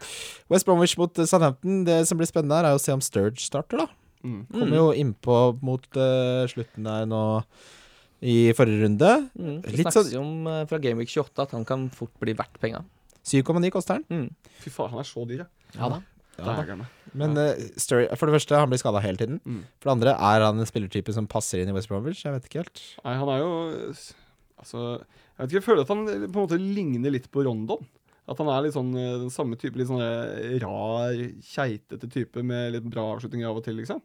[SPEAKER 3] West Bromwich mot eh, Southampton. Det som blir spennende her, er jo å se om Sturge starter, da.
[SPEAKER 2] Mm.
[SPEAKER 3] Kommer jo innpå mot eh, slutten der nå i forrige runde.
[SPEAKER 1] Mm. Det
[SPEAKER 3] Litt sånn
[SPEAKER 1] snakkes jo om eh, fra Gameweek 28 at han kan fort bli verdt penga.
[SPEAKER 3] 7,9 koster han.
[SPEAKER 1] Mm.
[SPEAKER 2] Fy faen, han er så dyr, ja.
[SPEAKER 1] Ja da.
[SPEAKER 2] Dægerne.
[SPEAKER 3] Men eh, Sturridge- for det første, han blir skada hele tiden.
[SPEAKER 2] Mm.
[SPEAKER 3] For det andre, er han en spillertype som passer inn i West Bromwich? Jeg vet ikke helt.
[SPEAKER 2] Nei, han er jo Altså, jeg vet ikke, jeg føler at han eh, på en måte ligner litt på Rondon. At han er litt sånn eh, den samme type, litt sånn eh, rar, keitete type med litt bra avslutninger av og til, liksom.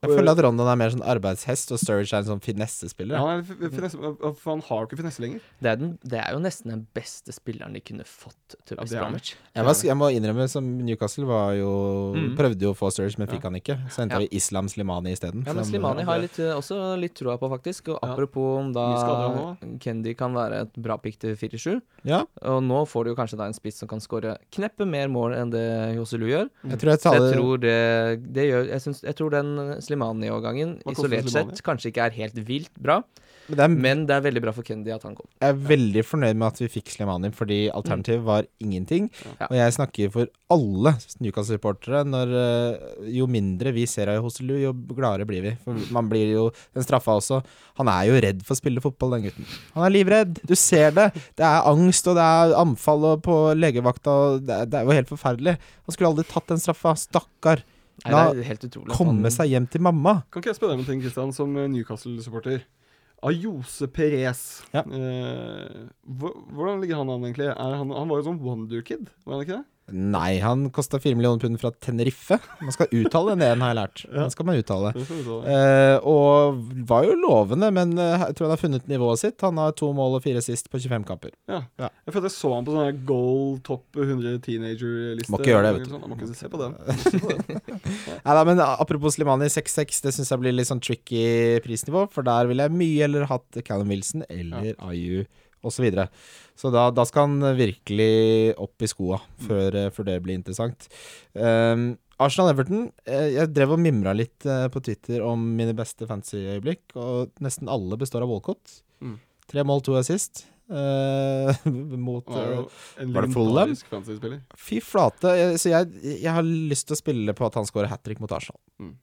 [SPEAKER 3] Jeg føler at Rondon er mer sånn arbeidshest, og Sturridge er en sånn finessespiller.
[SPEAKER 2] Ja, han, er f- finesse, for han har jo ikke finesse lenger.
[SPEAKER 1] Det, er den, det er jo nesten den beste spilleren de kunne fått til
[SPEAKER 2] Ja,
[SPEAKER 1] West
[SPEAKER 2] det er han.
[SPEAKER 1] Bromwich.
[SPEAKER 3] Jeg, var, jeg må innrømme, som Newcastle var jo
[SPEAKER 1] Mm.
[SPEAKER 3] prøvde jo å få Sturridge, men fikk han ikke. Så
[SPEAKER 1] Ja.
[SPEAKER 3] henta vi Islam Slimani isteden.
[SPEAKER 1] Ja, men
[SPEAKER 3] som-
[SPEAKER 1] Slimani har jeg litt, eh, også litt troa på, faktisk. Og
[SPEAKER 2] Ja.
[SPEAKER 1] apropos om da
[SPEAKER 2] Mye skader
[SPEAKER 1] Kendy kan være et bra pick til 4-7.
[SPEAKER 3] Ja,
[SPEAKER 1] Og nå får du jo kanskje da en spiss som kan skåre kneppe mer mål enn det Joselu gjør.
[SPEAKER 3] jeg tror jeg
[SPEAKER 1] Så jeg
[SPEAKER 3] taler
[SPEAKER 1] tror det, det gjør jeg, syns, jeg tror den Slimani-årgangen
[SPEAKER 2] Hva koster
[SPEAKER 1] isolert
[SPEAKER 2] Slimani?
[SPEAKER 1] sett kanskje ikke er helt vilt bra,
[SPEAKER 3] men det er,
[SPEAKER 1] men det er veldig bra for Kendy at han kom.
[SPEAKER 3] Jeg er veldig fornøyd med at vi fikk Slimani, fordi alternativet var ingenting.
[SPEAKER 1] Ja.
[SPEAKER 3] Og jeg snakker for alle Newcastle-supportere når eh, Jo mindre vi ser av Hoselu, jo gladere blir vi. For man blir jo Den straffa også. Han er jo redd for å spille fotball, den gutten. Han er livredd. Du ser det. Det er angst, og det er anfall og på legevakta, og det er, det er jo helt forferdelig. Han skulle aldri tatt den straffa. Stakkar.
[SPEAKER 1] Nei,
[SPEAKER 3] La
[SPEAKER 1] det er helt utrolig. at han-
[SPEAKER 3] komme seg hjem til mamma.
[SPEAKER 2] Kan ikke jeg spørre deg om en ting, Kristian, som eh, Newcastle-supporter? Ayose Perez.
[SPEAKER 3] Ja.
[SPEAKER 2] Eh, hvor- hvordan ligger han an, egentlig? Er han, han var jo sånn wonderkid, var han ikke det?
[SPEAKER 3] Nei, han kosta fire millioner pund fra Tenerife. Man skal uttale den ene, har jeg lært. Den skal man uttale.
[SPEAKER 2] det? får vi ta.
[SPEAKER 3] Eh, og var jo lovende, men eh, jeg tror han har funnet nivået sitt. Han har to mål og fire sist på 25 kamper.
[SPEAKER 2] Ja.
[SPEAKER 3] Ja.
[SPEAKER 2] Jeg følte jeg så han på sånn her goal top 100 teenager-liste.
[SPEAKER 3] Må ikke gjøre det, vet du.
[SPEAKER 2] Sånn. Må ikke se
[SPEAKER 3] [LAUGHS]
[SPEAKER 2] på den.
[SPEAKER 3] Nei da, men apropos Slimani, 6-6, det syns jeg blir litt sånn tricky prisnivå, for der ville jeg mye heller hatt Callum Wilson eller Ayu osv. Så, videre. så da, da skal han virkelig opp i skoa før, eh, før det blir interessant. Um, Arsenal-Everton, eh, jeg drev og mimra litt eh, på Twitter om mine beste fantasy-øyeblikk, og nesten alle består av Walcott.
[SPEAKER 2] Mm.
[SPEAKER 3] Tre mål, to assist. eh, [LAUGHS] mot
[SPEAKER 2] Han er
[SPEAKER 3] eh,
[SPEAKER 2] jo en
[SPEAKER 3] Var det Fulham?
[SPEAKER 2] legendarisk fantasy-spiller. [LAUGHS]
[SPEAKER 3] Fy flate. Jeg, så jeg, jeg har lyst til å spille på at han scorer hat trick mot Arsenal.
[SPEAKER 2] Mm.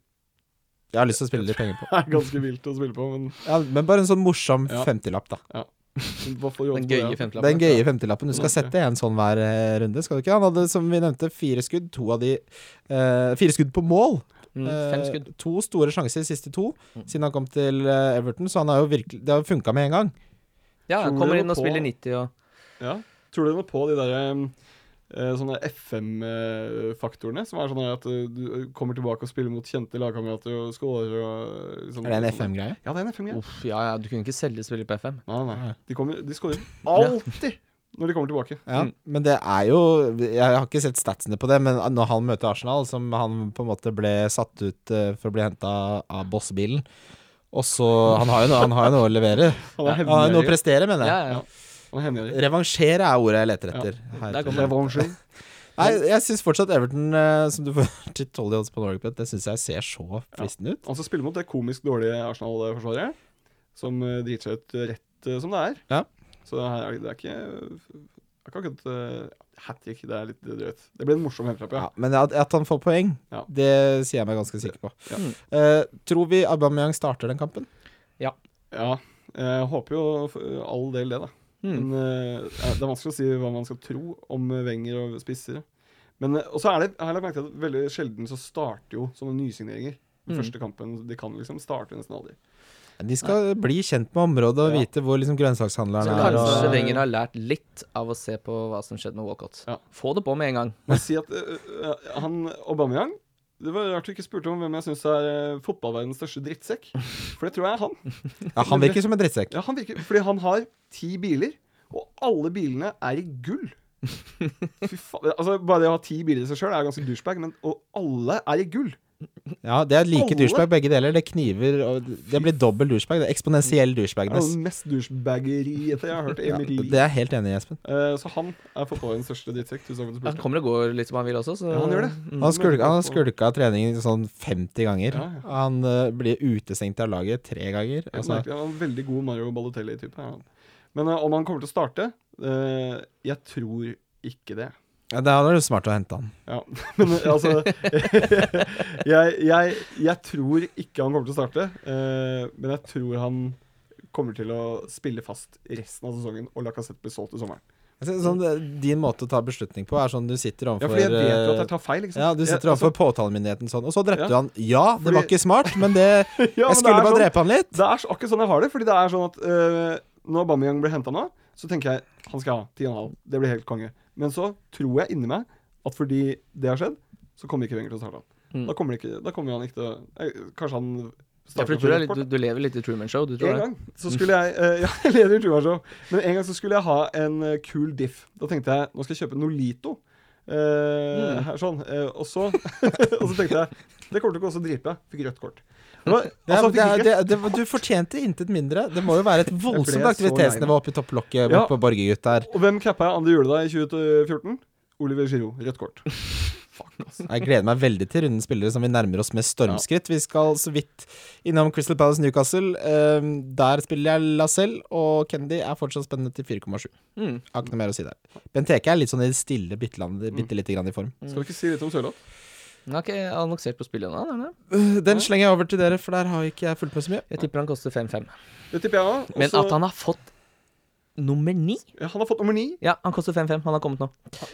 [SPEAKER 3] Jeg har lyst til å spille litt penger på.
[SPEAKER 2] Det er ganske vilt å spille på, men
[SPEAKER 3] Ja, men bare en sånn morsom
[SPEAKER 2] Ja.
[SPEAKER 3] 50-lapp, da.
[SPEAKER 2] hva får
[SPEAKER 1] Den gøye femtelappen.
[SPEAKER 3] Den gøye 50-lappen. Du skal
[SPEAKER 2] Ok.
[SPEAKER 3] sette en sånn hver eh, runde, skal du ikke? Han hadde, som vi nevnte, fire skudd. To av de eh, Fire skudd på mål.
[SPEAKER 1] Mm,
[SPEAKER 3] Eh,
[SPEAKER 1] Fem skudd.
[SPEAKER 3] to store sjanser, siste to,
[SPEAKER 1] Mm.
[SPEAKER 3] siden han kom til eh, Everton. Så han har jo virkelig Det har funka med en gang.
[SPEAKER 1] Ja, han
[SPEAKER 2] tror
[SPEAKER 1] kommer
[SPEAKER 2] du
[SPEAKER 1] inn og
[SPEAKER 2] på-
[SPEAKER 1] spiller 90 og
[SPEAKER 2] Ja. Tror du noe på de der eh, sånne FM-faktorene? Som er sånn her at eh, du kommer tilbake og spiller mot kjente lagkamerater og scorer og liksom,
[SPEAKER 1] Mm.
[SPEAKER 3] Er det en Oh. FM-greie?
[SPEAKER 2] Ja, det er en FM-greie.
[SPEAKER 1] Uff, ja ja, du kunne ikke selge spiller på FM.
[SPEAKER 2] Nei, nei.
[SPEAKER 3] Nei.
[SPEAKER 2] De, kommer-
[SPEAKER 3] [LAUGHS]
[SPEAKER 2] de scorer alltid når de kommer tilbake.
[SPEAKER 3] Ja,
[SPEAKER 1] Mm.
[SPEAKER 3] men det er jo Jeg har ikke sett statsene på det, men når han møter Arsenal, som han på en måte ble satt ut eh, for å bli henta av bossbilen Og så Han har jo noe, han har jo noe å levere.
[SPEAKER 2] Han er
[SPEAKER 3] Han har jo noe å
[SPEAKER 2] hevngjerrig.
[SPEAKER 3] prestere, mener jeg.
[SPEAKER 1] Ja, ja.
[SPEAKER 2] Han er hevngjerrig.
[SPEAKER 3] Revansjere er ordet jeg leter etter. her.
[SPEAKER 1] der kommer
[SPEAKER 2] Revansjer.
[SPEAKER 3] Nei, jeg syns fortsatt Everton, eh, som du [LAUGHS] får til 12 i odds på Norway Bet, det syns jeg ser så fristende ut.
[SPEAKER 2] Han som spiller mot det komisk dårlige Arsenal-forsvaret, som eh, driter seg ut eh, rett eh, som det er.
[SPEAKER 3] Ja.
[SPEAKER 2] Så det, her, er- det er ikke det er ikke akkurat uh, hat trick. Det er litt drøyt. Det blir en morsom hjemmetrapp, ja.
[SPEAKER 3] Ja, men at, at han får poeng,
[SPEAKER 2] Ja.
[SPEAKER 3] det sier jeg meg ganske sikker på.
[SPEAKER 2] Ja.
[SPEAKER 3] Eh, tror vi Aubameyang starter den kampen?
[SPEAKER 2] ja. Jeg håper jo for all del det, da.
[SPEAKER 1] Mm.
[SPEAKER 2] Men eh, ja, det er vanskelig å si hva man skal tro om eh, Wenger og spissere. Men eh, og så er det, jeg har lagt merke til at veldig sjelden så starter jo sånne nysigneringer. Den
[SPEAKER 1] Mm.
[SPEAKER 2] første kampen de kan liksom starte nesten aldri.
[SPEAKER 3] De skal bli kjent med området og
[SPEAKER 2] Ja.
[SPEAKER 3] vite hvor liksom
[SPEAKER 1] Så
[SPEAKER 3] grønnsakshandleren er. og-
[SPEAKER 1] kanskje Wenger har lært litt av å se på hva som skjedde med Walcott.
[SPEAKER 2] Ja.
[SPEAKER 1] Få det på med en gang.
[SPEAKER 2] Men si at øh, øh, han Aubameyang Det var rart du ikke spurte om hvem jeg syns er øh, fotballverdens største drittsekk. For det tror jeg er han.
[SPEAKER 3] Ja, han virker som en drittsekk.
[SPEAKER 2] Ja, han virker, fordi han har ti biler, og alle bilene er i
[SPEAKER 3] [LAUGHS]
[SPEAKER 2] gull. Fy faen, altså Bare det å ha ti biler i seg sjøl er ganske douchebag, men og alle er i gull.
[SPEAKER 3] Ja, det er like
[SPEAKER 2] Alle?
[SPEAKER 3] douchebag begge deler. Det kniver og Det blir dobbel douchebag. Det er eksponentiell
[SPEAKER 2] Det er
[SPEAKER 3] douchebagness.
[SPEAKER 2] det mest douchebageriete jeg har hørt i
[SPEAKER 3] Ja,
[SPEAKER 2] mitt liv.
[SPEAKER 3] det er jeg helt enig i, Espen.
[SPEAKER 2] Eh, så han er fotballens største drittsekk. Tusen
[SPEAKER 1] Han
[SPEAKER 2] takk for at du spurte.
[SPEAKER 1] kommer og går litt som han vil også, så
[SPEAKER 2] Ja, han gjør det.
[SPEAKER 1] Mm.
[SPEAKER 3] Han skulka, han skulka treningen sånn 50 ganger.
[SPEAKER 2] Ja, ja.
[SPEAKER 3] Han eh, blir utestengt av laget tre ganger.
[SPEAKER 2] Helt
[SPEAKER 3] Altså,
[SPEAKER 2] merkelig. Han er en veldig god Mario Balotelli-type. er han. Men eh, om han kommer til å starte? Eh, jeg tror ikke det.
[SPEAKER 3] ja, det hadde vært smart å hente han.
[SPEAKER 2] Ja, [LAUGHS] men eh, altså [LAUGHS] jeg, jeg, jeg tror ikke han kommer til å starte, eh, men jeg tror han kommer til å spille fast resten av sesongen, og Lacassette blir solgt til sommeren.
[SPEAKER 3] Altså, sånn, eh, din måte å ta beslutning på er sånn du sitter
[SPEAKER 2] Ja,
[SPEAKER 3] overfor
[SPEAKER 2] fordi jeg vet jo at
[SPEAKER 3] eh,
[SPEAKER 2] jeg tar feil, ikke sant?
[SPEAKER 3] ja, du sitter
[SPEAKER 2] Jeg-
[SPEAKER 3] overfor påtalemyndigheten sånn, og så drepte
[SPEAKER 2] Ja.
[SPEAKER 3] du han. Ja, det var
[SPEAKER 2] Fordi-
[SPEAKER 3] ikke smart, men det
[SPEAKER 2] altså, [LAUGHS] [LAUGHS] ja, men
[SPEAKER 3] Jeg
[SPEAKER 2] det
[SPEAKER 3] skulle
[SPEAKER 2] er
[SPEAKER 3] bare
[SPEAKER 2] sånn-
[SPEAKER 3] drepe han litt.
[SPEAKER 2] Det er så- akkurat sånn jeg har det, fordi det er sånn at øh, når Aubameyang blir henta nå, så tenker jeg han skal ha 10,5. Det blir helt konge. Men så tror jeg inni meg at fordi det har skjedd, så kommer ikke Wenger til å starte han.
[SPEAKER 1] Mm.
[SPEAKER 2] Da, kommer det ikke, da kommer han ikke til å eh, Kanskje han
[SPEAKER 1] Ja, for
[SPEAKER 2] starter
[SPEAKER 1] du, tror det
[SPEAKER 2] for
[SPEAKER 1] er litt,
[SPEAKER 2] Watford,
[SPEAKER 1] du, du lever litt i Truman Show, du tror
[SPEAKER 2] en
[SPEAKER 1] det?
[SPEAKER 2] gang så skulle jeg eh, [LAUGHS] Ja, jeg leder i True Show. Men en gang så skulle jeg ha en eh, kul diff. Da tenkte jeg nå skal jeg kjøpe Nolito.
[SPEAKER 1] Mm.
[SPEAKER 2] Eh, her, sånn. Eh, og, så, [LAUGHS] og så tenkte jeg Det kommer til å gå så dritbra. Fikk rødt kort. Det var-
[SPEAKER 3] Det er,
[SPEAKER 2] altså,
[SPEAKER 3] det
[SPEAKER 2] fikk
[SPEAKER 3] er,
[SPEAKER 2] ikke-
[SPEAKER 3] det er, det, du fortjente intet mindre. Det må jo være [LAUGHS] et voldsomt
[SPEAKER 2] så lei
[SPEAKER 3] aktivitetsnivå
[SPEAKER 2] meg.
[SPEAKER 3] oppe i topplokket
[SPEAKER 2] Ja.
[SPEAKER 3] bort på Borgergutt der.
[SPEAKER 2] Og hvem cappa jeg andre jule da i 2014? Oliver Giroud. Rødt kort.
[SPEAKER 1] Mm.
[SPEAKER 3] Jeg gleder meg veldig til rundens spillere som vi nærmer oss med stormskritt. Vi skal så vidt innom Crystal Palace Newcastle. Ehm, der spiller jeg Lacelle, og Kennedy er fortsatt spennende til 4,7.
[SPEAKER 1] Mm.
[SPEAKER 3] Har ikke noe mer å si der. Benteke er litt sånn i det stille, bitte, land, bitte lite grann i form.
[SPEAKER 2] Skal vi ikke si litt om Sørloth?
[SPEAKER 1] Han har ikke annonsert på spillet ennå, har han det?
[SPEAKER 3] Øh, Den slenger jeg over til dere, for der har ikke jeg fulgt med så mye.
[SPEAKER 1] Jeg tipper han koster 5-5.
[SPEAKER 2] Det tipper jeg òg.
[SPEAKER 1] Men at han har fått nummer ni
[SPEAKER 2] ja, Han har fått nummer ni.
[SPEAKER 1] Ja, han koster 5-5, han har kommet nå.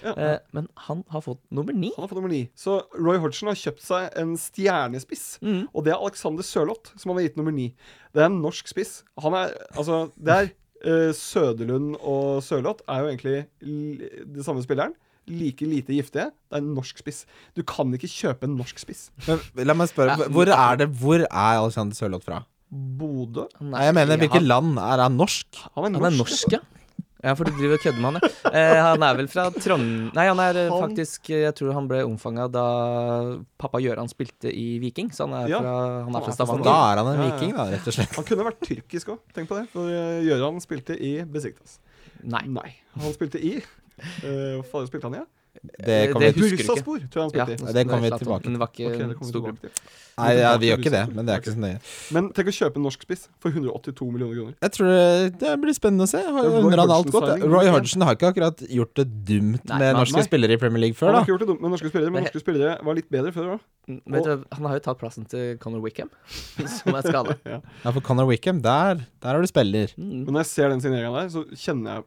[SPEAKER 2] Ja.
[SPEAKER 1] Eh, men han har fått nummer ni.
[SPEAKER 2] Han har fått nummer ni. Så Roy Hodgson har kjøpt seg en stjernespiss.
[SPEAKER 1] Mm.
[SPEAKER 2] Og det er Alexander Sørloth som han har gitt nummer ni. Det er en norsk spiss. Han er Altså, det er eh, Søderlund og Sørloth er jo egentlig l det samme spilleren. Like lite giftige. Det er en norsk spiss. Du kan ikke kjøpe en norsk spiss.
[SPEAKER 3] Men la meg spørre,
[SPEAKER 1] Ja.
[SPEAKER 3] hvor er det Hvor er Alexander Sørloth fra?
[SPEAKER 2] Bodø?
[SPEAKER 1] Han er-
[SPEAKER 3] Nei, jeg mener, hvilket
[SPEAKER 1] han,
[SPEAKER 3] land? Er han norsk?
[SPEAKER 2] Han er
[SPEAKER 1] han er
[SPEAKER 2] norsk.
[SPEAKER 1] norsk, ja. Ja, for du driver og kødder med han, ja. Eh, han er vel fra Trond... Nei, han er eh,
[SPEAKER 2] Han-
[SPEAKER 1] faktisk eh, Jeg tror han ble omfanga da pappa Gøran spilte i Viking, så han er
[SPEAKER 2] Ja,
[SPEAKER 1] fra, han er fra Stavanger.
[SPEAKER 3] Da er han en
[SPEAKER 2] Ja, ja.
[SPEAKER 3] viking, da, rett og slett.
[SPEAKER 2] Han kunne vært tyrkisk òg, tenk på det. For eh, Gøran spilte i Besiktas.
[SPEAKER 1] Nei.
[SPEAKER 2] Nei. Han spilte i eh, Hva faen spilte han i? Ja?
[SPEAKER 3] Det
[SPEAKER 1] Eh,
[SPEAKER 3] kommer
[SPEAKER 1] det-
[SPEAKER 3] vi
[SPEAKER 1] husker ikke.
[SPEAKER 2] Bursaspor, tror jeg han
[SPEAKER 1] Ja,
[SPEAKER 2] spilte i.
[SPEAKER 3] det kommer vi
[SPEAKER 1] er sant,
[SPEAKER 3] tilbake
[SPEAKER 1] Men det var ikke
[SPEAKER 2] Ok, det
[SPEAKER 1] en
[SPEAKER 2] kommer vi
[SPEAKER 1] stor klubb.
[SPEAKER 2] tilbake til.
[SPEAKER 3] Nei, ja, vi gjør ikke det, men det er ikke så nøye.
[SPEAKER 2] Men tenk å kjøpe en norsk spiss for 182 millioner kroner.
[SPEAKER 3] Jeg tror det, det blir spennende å se. Har
[SPEAKER 2] Roy
[SPEAKER 3] undrer han alt
[SPEAKER 2] Hodgson
[SPEAKER 3] godt.
[SPEAKER 2] signing.
[SPEAKER 3] Roy Hodgson har ikke akkurat gjort det dumt
[SPEAKER 1] Nei,
[SPEAKER 3] med
[SPEAKER 1] nei,
[SPEAKER 3] norske
[SPEAKER 2] nei.
[SPEAKER 3] spillere i Premier League
[SPEAKER 2] Han
[SPEAKER 3] før,
[SPEAKER 2] har
[SPEAKER 3] da. Mm.
[SPEAKER 2] ikke gjort det dumt med norske spillere, men
[SPEAKER 1] Det-
[SPEAKER 2] norske spillere var litt bedre før òg.
[SPEAKER 1] Vet du, han har jo tatt plassen til Conor Wickham, [LAUGHS] som er skada.
[SPEAKER 3] Ja, for Connor Wickham, der, der har du spiller.
[SPEAKER 1] Mm.
[SPEAKER 2] Men når jeg ser den signeringa der, så kjenner jeg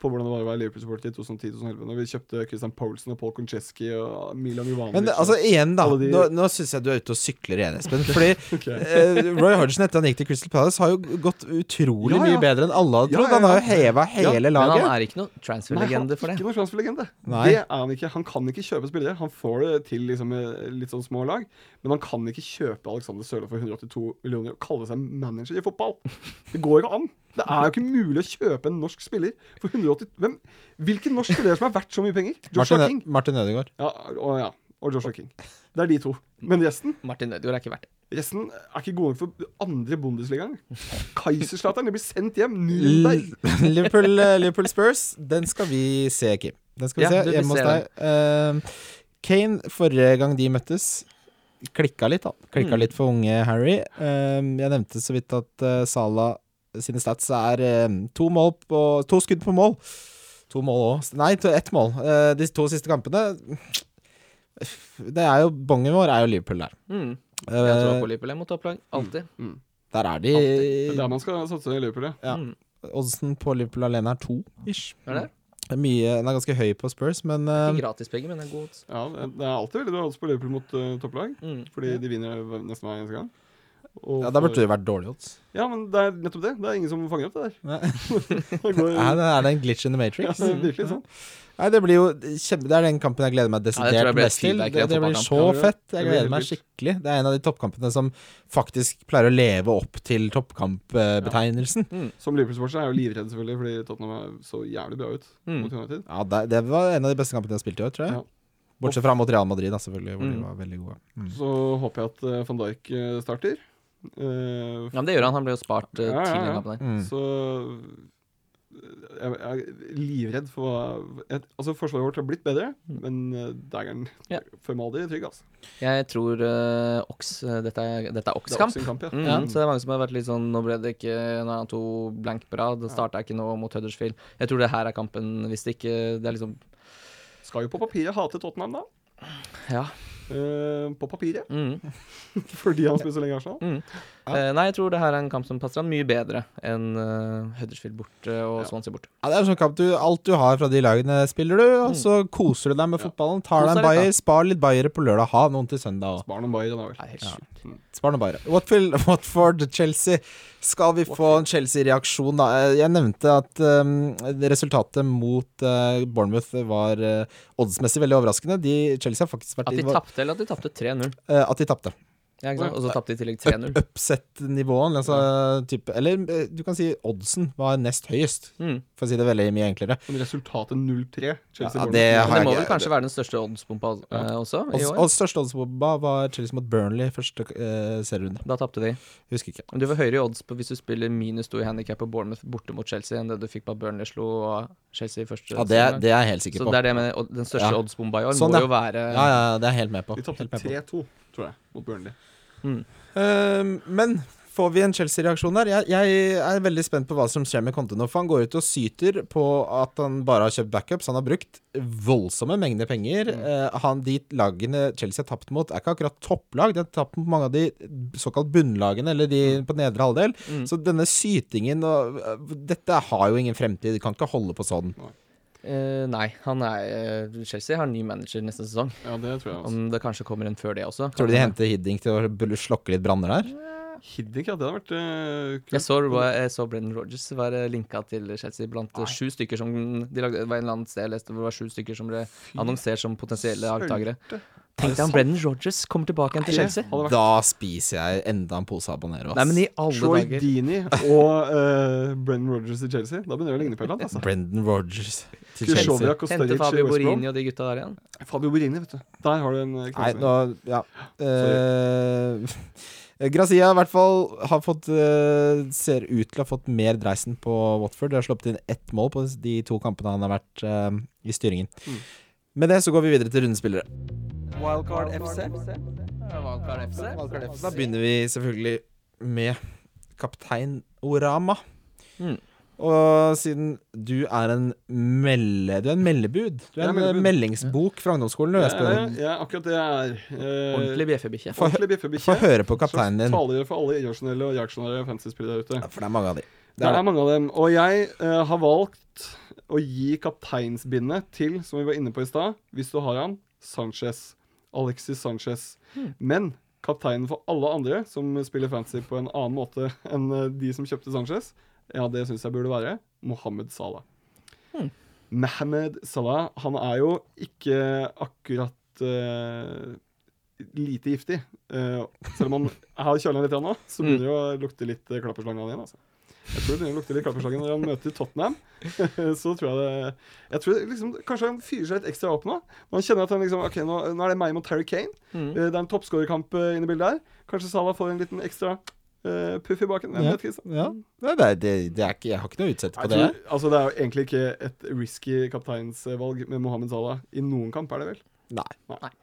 [SPEAKER 2] på hvordan det var å være Liverpool-supporter i 2010-2011. Når vi kjøpte Christian Poulsen og Paul Koncheski og Milan Jovanovic.
[SPEAKER 3] Men det, altså, igjen, da.
[SPEAKER 2] Alle de-
[SPEAKER 3] Nå, nå syns jeg du er ute og sykler igjen,
[SPEAKER 2] [LAUGHS]
[SPEAKER 3] Espen. Fordi eh, Roy Hodgson etter han gikk til Crystal Palace, har jo gått utrolig
[SPEAKER 2] Ja, ja.
[SPEAKER 3] mye bedre enn alle hadde
[SPEAKER 2] Ja,
[SPEAKER 3] trodd.
[SPEAKER 2] ja,
[SPEAKER 3] Han har
[SPEAKER 2] ja.
[SPEAKER 3] jo heva hele
[SPEAKER 1] Men han
[SPEAKER 3] laget.
[SPEAKER 1] er ikke noe
[SPEAKER 2] Nei, han
[SPEAKER 1] transfer-legende
[SPEAKER 2] er
[SPEAKER 1] for det.
[SPEAKER 2] ikke noen transferlegende.
[SPEAKER 3] Nei.
[SPEAKER 2] Det er han ikke. Han kan ikke kjøpe spillere. Han får det til liksom, eh, litt sånn små lag, men han kan ikke kjøpe Alexander Sørloth for 182 millioner og kalle seg manager i fotball. Det går ikke an. Det er jo ikke mulig å kjøpe en norsk spiller for 180 Hvem? Hvilken norsk spiller som er verdt så mye penger? Joshua
[SPEAKER 3] Martin,
[SPEAKER 2] King.
[SPEAKER 3] Martin Ødegaard.
[SPEAKER 2] Ja, og, ja, og Joshua King. Det er de to. Men resten
[SPEAKER 1] Martin Ødegaard er ikke verdt det.
[SPEAKER 2] Resten er ikke gode nok for andre Bundesliga engang. Kaiserslatteren, de blir sendt hjem. Nürnberg.
[SPEAKER 3] Liverpool, eh, Liverpool Spurs, den skal vi se, Kim. Den skal vi
[SPEAKER 1] Ja, du-
[SPEAKER 3] se
[SPEAKER 1] vi
[SPEAKER 3] hjemme hos
[SPEAKER 1] ser
[SPEAKER 3] deg. Eh, Kane, forrige gang de møttes, klikka litt, da. Klikka
[SPEAKER 1] Mm.
[SPEAKER 3] litt for unge Harry. Eh, jeg nevnte så vidt at eh, Salah sine stats er eh, to, mål på, to skudd på mål. To mål òg. Nei, to- ett mål. Eh, de to siste kampene Det er jo Bongen vår er jo Liverpool der.
[SPEAKER 1] Mm.
[SPEAKER 3] Eh,
[SPEAKER 1] Jeg tror på Liverpool jeg, mot topplag. Alltid.
[SPEAKER 3] der er de
[SPEAKER 2] Det er der man skal satse i Liverpool, ja.
[SPEAKER 3] Ja.
[SPEAKER 1] Mm.
[SPEAKER 3] Oddsen på Liverpool alene er to, ish.
[SPEAKER 1] Er det?
[SPEAKER 3] Det er Mye, den er ganske høy på Spurs, men eh,
[SPEAKER 1] Ikke gratispenger, men det er godt.
[SPEAKER 2] ja. Det er alltid veldig bra odds på Liverpool mot eh, topplag.
[SPEAKER 1] Mm.
[SPEAKER 2] Fordi de vinner hver- nesten hver eneste gang. Og
[SPEAKER 3] ja, da
[SPEAKER 2] for-
[SPEAKER 3] burde det vært dårlig odds.
[SPEAKER 2] Ja, men det er nettopp det. Det er ingen som fanger opp det der.
[SPEAKER 3] Nei.
[SPEAKER 2] [LAUGHS]
[SPEAKER 3] [LAUGHS]
[SPEAKER 2] Det går,
[SPEAKER 3] Er det, er det en glitch in the
[SPEAKER 2] ja,
[SPEAKER 3] matrix?
[SPEAKER 2] det er virkelig sånn.
[SPEAKER 3] Nei, det blir jo kjempe, Det er den kampen jeg gleder meg
[SPEAKER 1] Ja, det tror
[SPEAKER 3] desidert
[SPEAKER 1] jeg blir
[SPEAKER 3] mest til.
[SPEAKER 1] fyrverkeri
[SPEAKER 3] Det,
[SPEAKER 1] av
[SPEAKER 3] det blir
[SPEAKER 1] fotballkamp.
[SPEAKER 3] så
[SPEAKER 2] Ja, det blir-
[SPEAKER 3] fett.
[SPEAKER 2] det
[SPEAKER 3] Jeg
[SPEAKER 2] blir
[SPEAKER 3] gleder
[SPEAKER 2] helt
[SPEAKER 3] meg
[SPEAKER 2] vilt.
[SPEAKER 3] skikkelig. Det er en av de toppkampene som faktisk pleier å leve opp til toppkampbetegnelsen.
[SPEAKER 2] Som Liverpool-sportser er jeg jo livredd, selvfølgelig, fordi Tottenham er så jævlig bra ut
[SPEAKER 1] Mm.
[SPEAKER 2] mot United.
[SPEAKER 3] Ja, det, det var en av de beste kampene jeg har spilt i år, tror jeg.
[SPEAKER 2] Ja.
[SPEAKER 3] Bortsett fra mot Real Madrid, da, selvfølgelig, hvor
[SPEAKER 1] Mm.
[SPEAKER 3] de var veldig gode. Mm.
[SPEAKER 2] Så håper jeg at eh, van Dijk eh, starter. Eh,
[SPEAKER 1] Ja, men det gjør han. Han ble jo spart eh,
[SPEAKER 2] Ja, ja,
[SPEAKER 1] til
[SPEAKER 2] ja.
[SPEAKER 1] den kampen der.
[SPEAKER 3] Mm.
[SPEAKER 2] Så eh, jeg, jeg er livredd for hva jeg, Altså, forsvaret vårt har blitt bedre,
[SPEAKER 3] Mm.
[SPEAKER 2] men uh, dageren
[SPEAKER 1] Ja.
[SPEAKER 2] føler meg aldri trygg, altså.
[SPEAKER 1] Jeg tror eh, Ox eh, Dette er, dette er
[SPEAKER 2] Det er
[SPEAKER 1] Ox-kamp.
[SPEAKER 2] også en kamp, ja.
[SPEAKER 1] Mm,
[SPEAKER 3] Ja.
[SPEAKER 1] Så det er mange som har vært litt sånn Nå ble det ikke Nå er han to blank på rad. Det starta ikke nå mot Huddersfield. Jeg tror det her er kampen, hvis det ikke Det er liksom
[SPEAKER 2] Skal jo på papiret hate Tottenham, da.
[SPEAKER 1] Ja.
[SPEAKER 2] Eh, på papiret, [LAUGHS]
[SPEAKER 1] Mm,
[SPEAKER 2] fordi han spiller så lenge i Arsenal.
[SPEAKER 1] mm. Eh, nei, jeg tror det her er en kamp som passer han mye bedre enn eh, Huddersfield borte og Swansea borte.
[SPEAKER 3] Ja, det er en sånn kamp du, Alt du har fra de lagene, spiller du, og
[SPEAKER 1] Mm.
[SPEAKER 3] så koser du deg med
[SPEAKER 2] Ja.
[SPEAKER 3] fotballen. Tar
[SPEAKER 1] Kos
[SPEAKER 3] deg
[SPEAKER 1] deg
[SPEAKER 3] en
[SPEAKER 1] litt, da.
[SPEAKER 3] bayer, spar litt bayere på lørdag, ha noen til søndag òg.
[SPEAKER 2] Barn om Bayern, da vel.
[SPEAKER 1] Det er helt
[SPEAKER 3] Ja.
[SPEAKER 1] sjukt.
[SPEAKER 3] Spar noen bayere. Watfield, Watford, Chelsea. Skal vi få en Chelsea-reaksjon, da? Eh, Jeg nevnte at eh, resultatet mot eh, Bournemouth var eh, oddsmessig veldig overraskende. De, Chelsea har faktisk vært
[SPEAKER 1] At de
[SPEAKER 3] involvert-
[SPEAKER 1] tapte, eller at de tapte 3-0.
[SPEAKER 3] eh, at de tapte.
[SPEAKER 1] Ja, ikke sant? Og så tapte de i tillegg 3-0.
[SPEAKER 3] Up- Upset-nivået, altså, type- eller eh, du kan si oddsen var nest høyest,
[SPEAKER 1] Mm.
[SPEAKER 3] for å si det veldig mye enklere.
[SPEAKER 2] Men resultatet 0-3. Chelsea
[SPEAKER 3] Ja,
[SPEAKER 2] Bournemouth.
[SPEAKER 3] det har
[SPEAKER 1] Men det
[SPEAKER 3] jeg
[SPEAKER 1] må
[SPEAKER 3] ikke-
[SPEAKER 1] vel kanskje være den største oddspumpa eh, også i
[SPEAKER 3] Odds-
[SPEAKER 1] år?
[SPEAKER 3] Odds største oddsbomba var Chelsea mot Burnley første eh, serierunde.
[SPEAKER 1] Da tapte de.
[SPEAKER 3] Husker ikke.
[SPEAKER 1] Men Du får høyere odds på hvis du spiller minus to i handikap på Bournemouth borte mot Chelsea, enn det du fikk på at Burnley slo og Chelsea i første
[SPEAKER 3] Ja, det,
[SPEAKER 1] sesong.
[SPEAKER 3] det er jeg helt sikker
[SPEAKER 1] Så
[SPEAKER 3] på.
[SPEAKER 1] det er det med odd- den største
[SPEAKER 3] Ja.
[SPEAKER 1] oddsbomba i år.
[SPEAKER 3] Sånn,
[SPEAKER 1] må
[SPEAKER 3] ja.
[SPEAKER 1] jo være
[SPEAKER 3] Ja, ja, det er jeg helt med på.
[SPEAKER 2] De tapte
[SPEAKER 3] Helt med på.
[SPEAKER 2] 3-2, tror jeg, mot Burnley.
[SPEAKER 3] Ehm, men får vi en Chelsea-reaksjon der? Jeg, jeg er veldig spent på hva som skjer med Conte nå. For han går ut og syter på at han bare har kjøpt backups. Han har brukt voldsomme mengder penger.
[SPEAKER 1] Mm.
[SPEAKER 3] Eh, han, de lagene Chelsea har tapt mot, er ikke akkurat topplag. De har tapt mot mange av de såkalt bunnlagene, eller de
[SPEAKER 1] Mm.
[SPEAKER 3] på nedre halvdel. Så denne sytingen og eh, Dette har jo ingen fremtid. De kan ikke holde på sånn.
[SPEAKER 1] Eh, nei, han er eh, Chelsea har ny manager neste sesong.
[SPEAKER 2] Ja, det tror jeg. Altså.
[SPEAKER 1] Om det kanskje kommer en før det også.
[SPEAKER 3] Tror du de henter Hiddink til å bl- slokke litt branner her?
[SPEAKER 2] Hiddink, ja. Det hadde vært eh, kult.
[SPEAKER 1] Jeg så, jeg så Brendan Rogers var eh, linka til Chelsea blant eh, sju stykker som De lagde, det var en eller annen sted jeg leste hvor det var sju stykker som ble annonsert som potensielle avtakere.
[SPEAKER 2] Sølte.
[SPEAKER 1] Tenk deg om Brendan Rogers kommer tilbake igjen til
[SPEAKER 2] Nei,
[SPEAKER 1] Chelsea.
[SPEAKER 2] hadde vært-
[SPEAKER 3] Da spiser jeg enda en pose habanero.
[SPEAKER 1] Nei, men i alle
[SPEAKER 2] Troy
[SPEAKER 1] dager
[SPEAKER 2] Deeney og uh, Brennan Rogers i Chelsea. Da begynner det å ligne på et eller
[SPEAKER 3] [LAUGHS]
[SPEAKER 2] annet. Altså.
[SPEAKER 3] Brendan Rogers til Chelsea.
[SPEAKER 2] Kulisjovjak og
[SPEAKER 1] Hente
[SPEAKER 2] Sturridge i
[SPEAKER 1] Fabio
[SPEAKER 2] West Brom.
[SPEAKER 1] Borini og de gutta der igjen.
[SPEAKER 2] Fabio Borini, vet du. Der har du en eh,
[SPEAKER 3] Nei,
[SPEAKER 2] knallsving.
[SPEAKER 3] nå Ja. Eh, [LAUGHS] Grazia i hvert fall har fått eh, ser ut til å ha fått mer dreisen på Watford. De har sluppet inn ett mål på de to kampene han har vært eh, i styringen.
[SPEAKER 2] Mm.
[SPEAKER 3] Med det så går vi videre til rundens spillere.
[SPEAKER 1] Wildcard FC. Wildcard FC.
[SPEAKER 3] Da begynner vi selvfølgelig med kaptein Orama.
[SPEAKER 1] Mm.
[SPEAKER 3] Og siden du er en melde... Du er en meldebud. Du er
[SPEAKER 2] Jeg er
[SPEAKER 3] en eh,
[SPEAKER 2] meldebud.
[SPEAKER 3] meldingsbok fra ungdomsskolen, du,
[SPEAKER 2] Ja,
[SPEAKER 3] Espen.
[SPEAKER 2] Eh, ja, akkurat det jeg er. Eh,
[SPEAKER 1] Ordentlig bjeffebikkje.
[SPEAKER 3] Få hø-
[SPEAKER 2] ordentlig
[SPEAKER 3] Få
[SPEAKER 2] biffebikkje.
[SPEAKER 3] høre på kapteinen din.
[SPEAKER 2] Taler for alle irrasjonelle og reaksjonære fantasy-spillere der ute.
[SPEAKER 3] Ja, For det er mange av de.
[SPEAKER 2] Det er mange av dem. Og jeg eh, har valgt å gi kapteinsbindet til, som vi var inne på i stad, hvis du har han, Sanchez. Alexis Sanchez. Men kapteinen for alle andre som spiller fancy på en annen måte enn eh, de som kjøpte Sanchez, ja, det syns jeg burde være Mohammed Salah.
[SPEAKER 3] Hmm.
[SPEAKER 2] Mohammed Salah, han er jo ikke akkurat eh, lite giftig. Eh, selv om han [LAUGHS] har kjøla litt grann nå, så begynner det å lukte litt eh, klapperslange av han igjen. altså. Jeg tror det begynner å lukte litt klapperslagen når han møter Tottenham. [LAUGHS] Så tror jeg det Jeg tror det liksom, Kanskje han fyrer seg litt ekstra opp nå. Når han kjenner at han liksom Ok, nå, nå er det meg mot Terry Kane.
[SPEAKER 3] Hmm.
[SPEAKER 1] Mm.
[SPEAKER 2] Eh, Det er en toppskårerkamp eh, inne i bildet her. Kanskje Salah får en liten ekstra eh, puff i baken. Jeg
[SPEAKER 3] Ja.
[SPEAKER 2] vet ikke. Kristian.
[SPEAKER 3] Ja. Nei, det, det, det er ikke, jeg har ikke noe å utsette på
[SPEAKER 2] Jeg
[SPEAKER 3] det.
[SPEAKER 2] tror, altså, det er jo egentlig ikke et risky kapteinsvalg med Mohammed Salah i noen kamp, er det vel?
[SPEAKER 3] Nei.
[SPEAKER 1] Nei.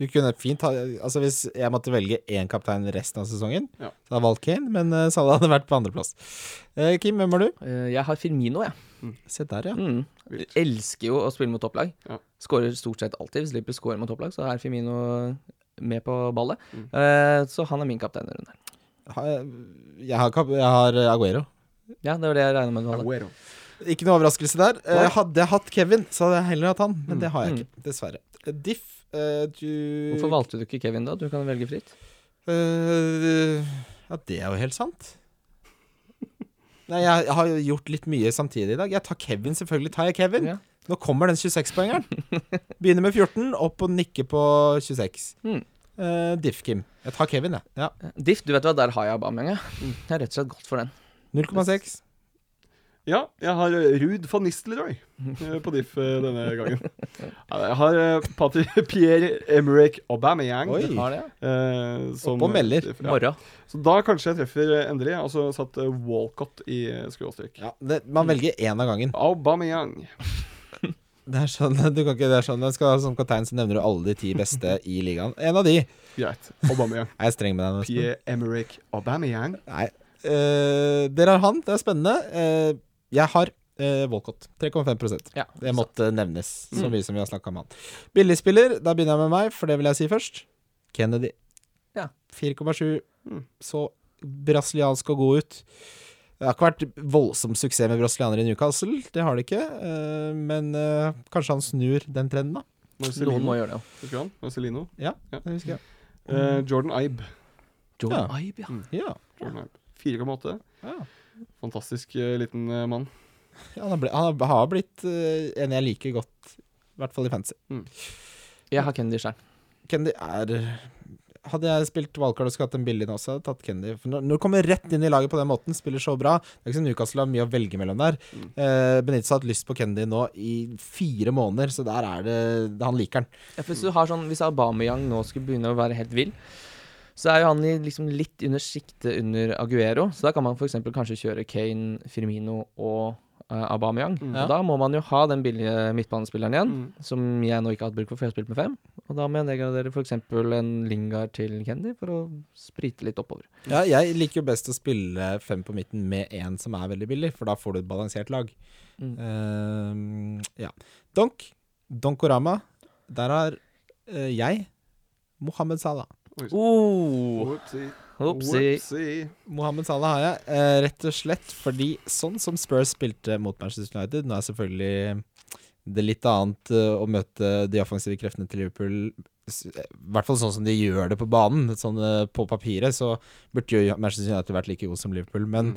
[SPEAKER 3] Du kunne fint ha Altså Hvis jeg måtte velge én kaptein resten av sesongen,
[SPEAKER 2] Ja.
[SPEAKER 3] så hadde jeg valgt Kane, men eh, Salah hadde vært på andreplass. Eh, Kim, hvem var du?
[SPEAKER 1] Eh, Jeg har Firmino, jeg.
[SPEAKER 3] Se der, ja.
[SPEAKER 1] Mm.
[SPEAKER 2] Vilt.
[SPEAKER 1] Elsker jo å spille mot topplag.
[SPEAKER 2] Ja.
[SPEAKER 1] Skårer stort sett alltid. Hvis Liverpool skårer mot topplag, så er Firmino med på ballet.
[SPEAKER 2] Mm.
[SPEAKER 1] Eh, Så han er min kaptein denne runden. her.
[SPEAKER 3] Ha, eh, jeg, har, kap- jeg har eh, Aguero.
[SPEAKER 1] Ja, det var det jeg regna med du hadde.
[SPEAKER 2] Aguero.
[SPEAKER 3] Ikke noe overraskelse der. Eh,
[SPEAKER 2] Nei.
[SPEAKER 3] hadde jeg hatt Kevin, så hadde jeg heller hatt han, men det har jeg
[SPEAKER 1] Mm.
[SPEAKER 3] ikke, dessverre. Eh, Diff, eh, du
[SPEAKER 1] Hvorfor valgte du ikke Kevin da? Du kan velge fritt.
[SPEAKER 3] Eh, ja, det er jo helt sant. Nei, jeg, jeg har jo gjort litt mye samtidig i dag. Jeg tar Kevin, selvfølgelig tar jeg Kevin.
[SPEAKER 1] Ja.
[SPEAKER 3] Nå kommer den 26-poengeren. Begynner med 14, opp og nikker på 26.
[SPEAKER 1] Mm.
[SPEAKER 3] Eh, Diff, Kim. Jeg tar Kevin, jeg. Ja.
[SPEAKER 1] Mm. Diff, du vet hva, der har jeg Aubameyang, jeg. Jeg har rett og slett gått for den.
[SPEAKER 3] 0,6.
[SPEAKER 2] Ja, jeg har eh, Ruud van Nistelrooy eh, på diff eh, denne
[SPEAKER 3] [LAUGHS]
[SPEAKER 2] gangen. Ja, Jeg har eh, Patri- [LAUGHS] Pierre-Emerick Aubameyang.
[SPEAKER 3] Oi.
[SPEAKER 1] Har det, ja.
[SPEAKER 2] eh, som-
[SPEAKER 3] Opp og melder.
[SPEAKER 2] Ja.
[SPEAKER 1] Morra.
[SPEAKER 2] Så da kanskje jeg treffer eh, endelig. Altså satt eh, Walcott i eh, skråstrek.
[SPEAKER 3] Ja, det, man velger én av gangen.
[SPEAKER 2] Aubameyang.
[SPEAKER 3] Det er sånn, du kan ikke, det er sånn jeg skal, Som kaptein så nevner du alle de ti beste i ligaen. En av de.
[SPEAKER 2] Greit. Aubameyang.
[SPEAKER 3] Er jeg streng med deg nå? Espen?
[SPEAKER 2] Pierre-Emerick Aubameyang.
[SPEAKER 3] Nei. Eh, dere har han, det er spennende. Eh, jeg har eh, Walcott. 3,5
[SPEAKER 1] Ja,
[SPEAKER 3] Det måtte nevnes, så mye som vi har snakka om han. Billigspiller, da begynner jeg med meg, for det vil jeg si først. Kennedy.
[SPEAKER 1] Ja.
[SPEAKER 3] 4,7.
[SPEAKER 2] Mm.
[SPEAKER 3] Så brasiliansk og god ut. Det har ikke vært voldsom suksess med brasilianere i Newcastle, det har det ikke. eh, Men eh, kanskje han snur den trenden, da.
[SPEAKER 1] Noen må
[SPEAKER 2] Marcelino.
[SPEAKER 1] gjøre det. ja.
[SPEAKER 2] Husker du han? Marcelino.
[SPEAKER 3] Det husker jeg.
[SPEAKER 2] Eh, Jordan Ibe.
[SPEAKER 1] Jordan
[SPEAKER 3] Ja.
[SPEAKER 1] Ibe, ja.
[SPEAKER 3] Ja.
[SPEAKER 2] Jordan Ibe. 4,8.
[SPEAKER 3] ja.
[SPEAKER 2] Fantastisk eh, liten eh, mann.
[SPEAKER 3] Ja, han, har blitt, han har- har blitt eh, en jeg liker godt, i hvert fall i fantasy.
[SPEAKER 1] Jeg har Kennedy sjøl.
[SPEAKER 3] Kendy er Hadde jeg spilt wildcard og skulle hatt en billig nå, så hadde jeg tatt Kendy. For når, når du kommer rett inn i laget på den måten, spiller så bra Det er ikke som Newcastle har mye å velge mellom der.
[SPEAKER 2] Mm.
[SPEAKER 3] Eh, Benitez har hatt lyst på Kendy nå i fire måneder, så der er det Han liker den.
[SPEAKER 1] Ja, for hvis, du har sånn, hvis Aubameyang nå skulle begynne å være helt vill, så er jo han i liksom litt under siktet under Aguero. Så da kan man f.eks. kanskje kjøre Kane, Firmino og eh, Aubameyang.
[SPEAKER 2] Mm.
[SPEAKER 1] Og da må man jo ha den billige midtbanespilleren igjen,
[SPEAKER 2] Mm.
[SPEAKER 1] som jeg nå ikke har hatt bruk for, for jeg har spilt med fem. Og da må jeg nedgradere f.eks. en Lingard til Kendy for å sprite litt oppover.
[SPEAKER 3] Ja, jeg liker jo best å spille fem på midten med én som er veldig billig, for da får du et balansert lag.
[SPEAKER 1] Mm.
[SPEAKER 3] Eh, ja. Donk. Donkorama. Der har eh, jeg Mohammed Salah.
[SPEAKER 1] Oh,
[SPEAKER 2] Whoopsie.
[SPEAKER 1] Opsi.
[SPEAKER 2] Whoopsie.
[SPEAKER 3] Mohammed Salah har jeg, eh, rett og slett fordi sånn som Spurs spilte mot Manchester United Nå er selvfølgelig det litt annet eh, å møte de offensive kreftene til Liverpool s- eh, I hvert fall sånn som de gjør det på banen. Sånn eh, på papiret så burde jo Manchester United vært like god som Liverpool, men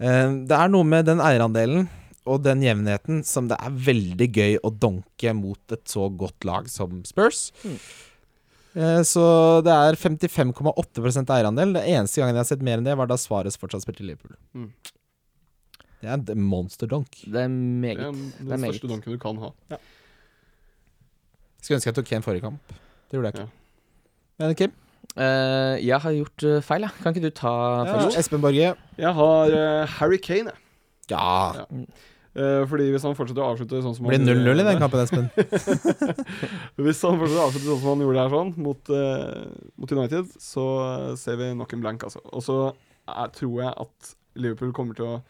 [SPEAKER 3] eh, det er noe med den eierandelen og den jevnheten som det er veldig gøy å donke mot et så godt lag som Spurs. Eh, Så det er 55,8 eierandel. Det eneste gangen jeg har sett mer enn det, var da Svares fortsatt spilte i Liverpool.
[SPEAKER 2] Mm.
[SPEAKER 3] Det er en d- monster donk.
[SPEAKER 1] Det er
[SPEAKER 2] Det er
[SPEAKER 1] meget.
[SPEAKER 2] den
[SPEAKER 1] Det er meget.
[SPEAKER 2] største dunken du kan ha.
[SPEAKER 3] Skulle ønske jeg tok en forrige kamp. Det gjorde jeg ikke.
[SPEAKER 2] Ja.
[SPEAKER 3] Men Kim,
[SPEAKER 1] Eh, jeg har gjort eh, feil, jeg. Kan ikke du ta
[SPEAKER 3] ja,
[SPEAKER 1] først?
[SPEAKER 3] Espen Borge.
[SPEAKER 2] Jeg har eh, Harry Kane, jeg.
[SPEAKER 3] Ja,
[SPEAKER 2] Ja. Eh, fordi hvis han fortsetter å avslutte sånn som
[SPEAKER 3] det blir
[SPEAKER 2] han
[SPEAKER 3] 0-0
[SPEAKER 2] gjorde-
[SPEAKER 3] i den kampen, Espen.
[SPEAKER 2] Hvis han fortsetter å avslutte sånn som han gjorde her sånn, mot, eh, mot United, så eh, ser vi nok en blank, altså. Og så er- tror jeg at Liverpool kommer til å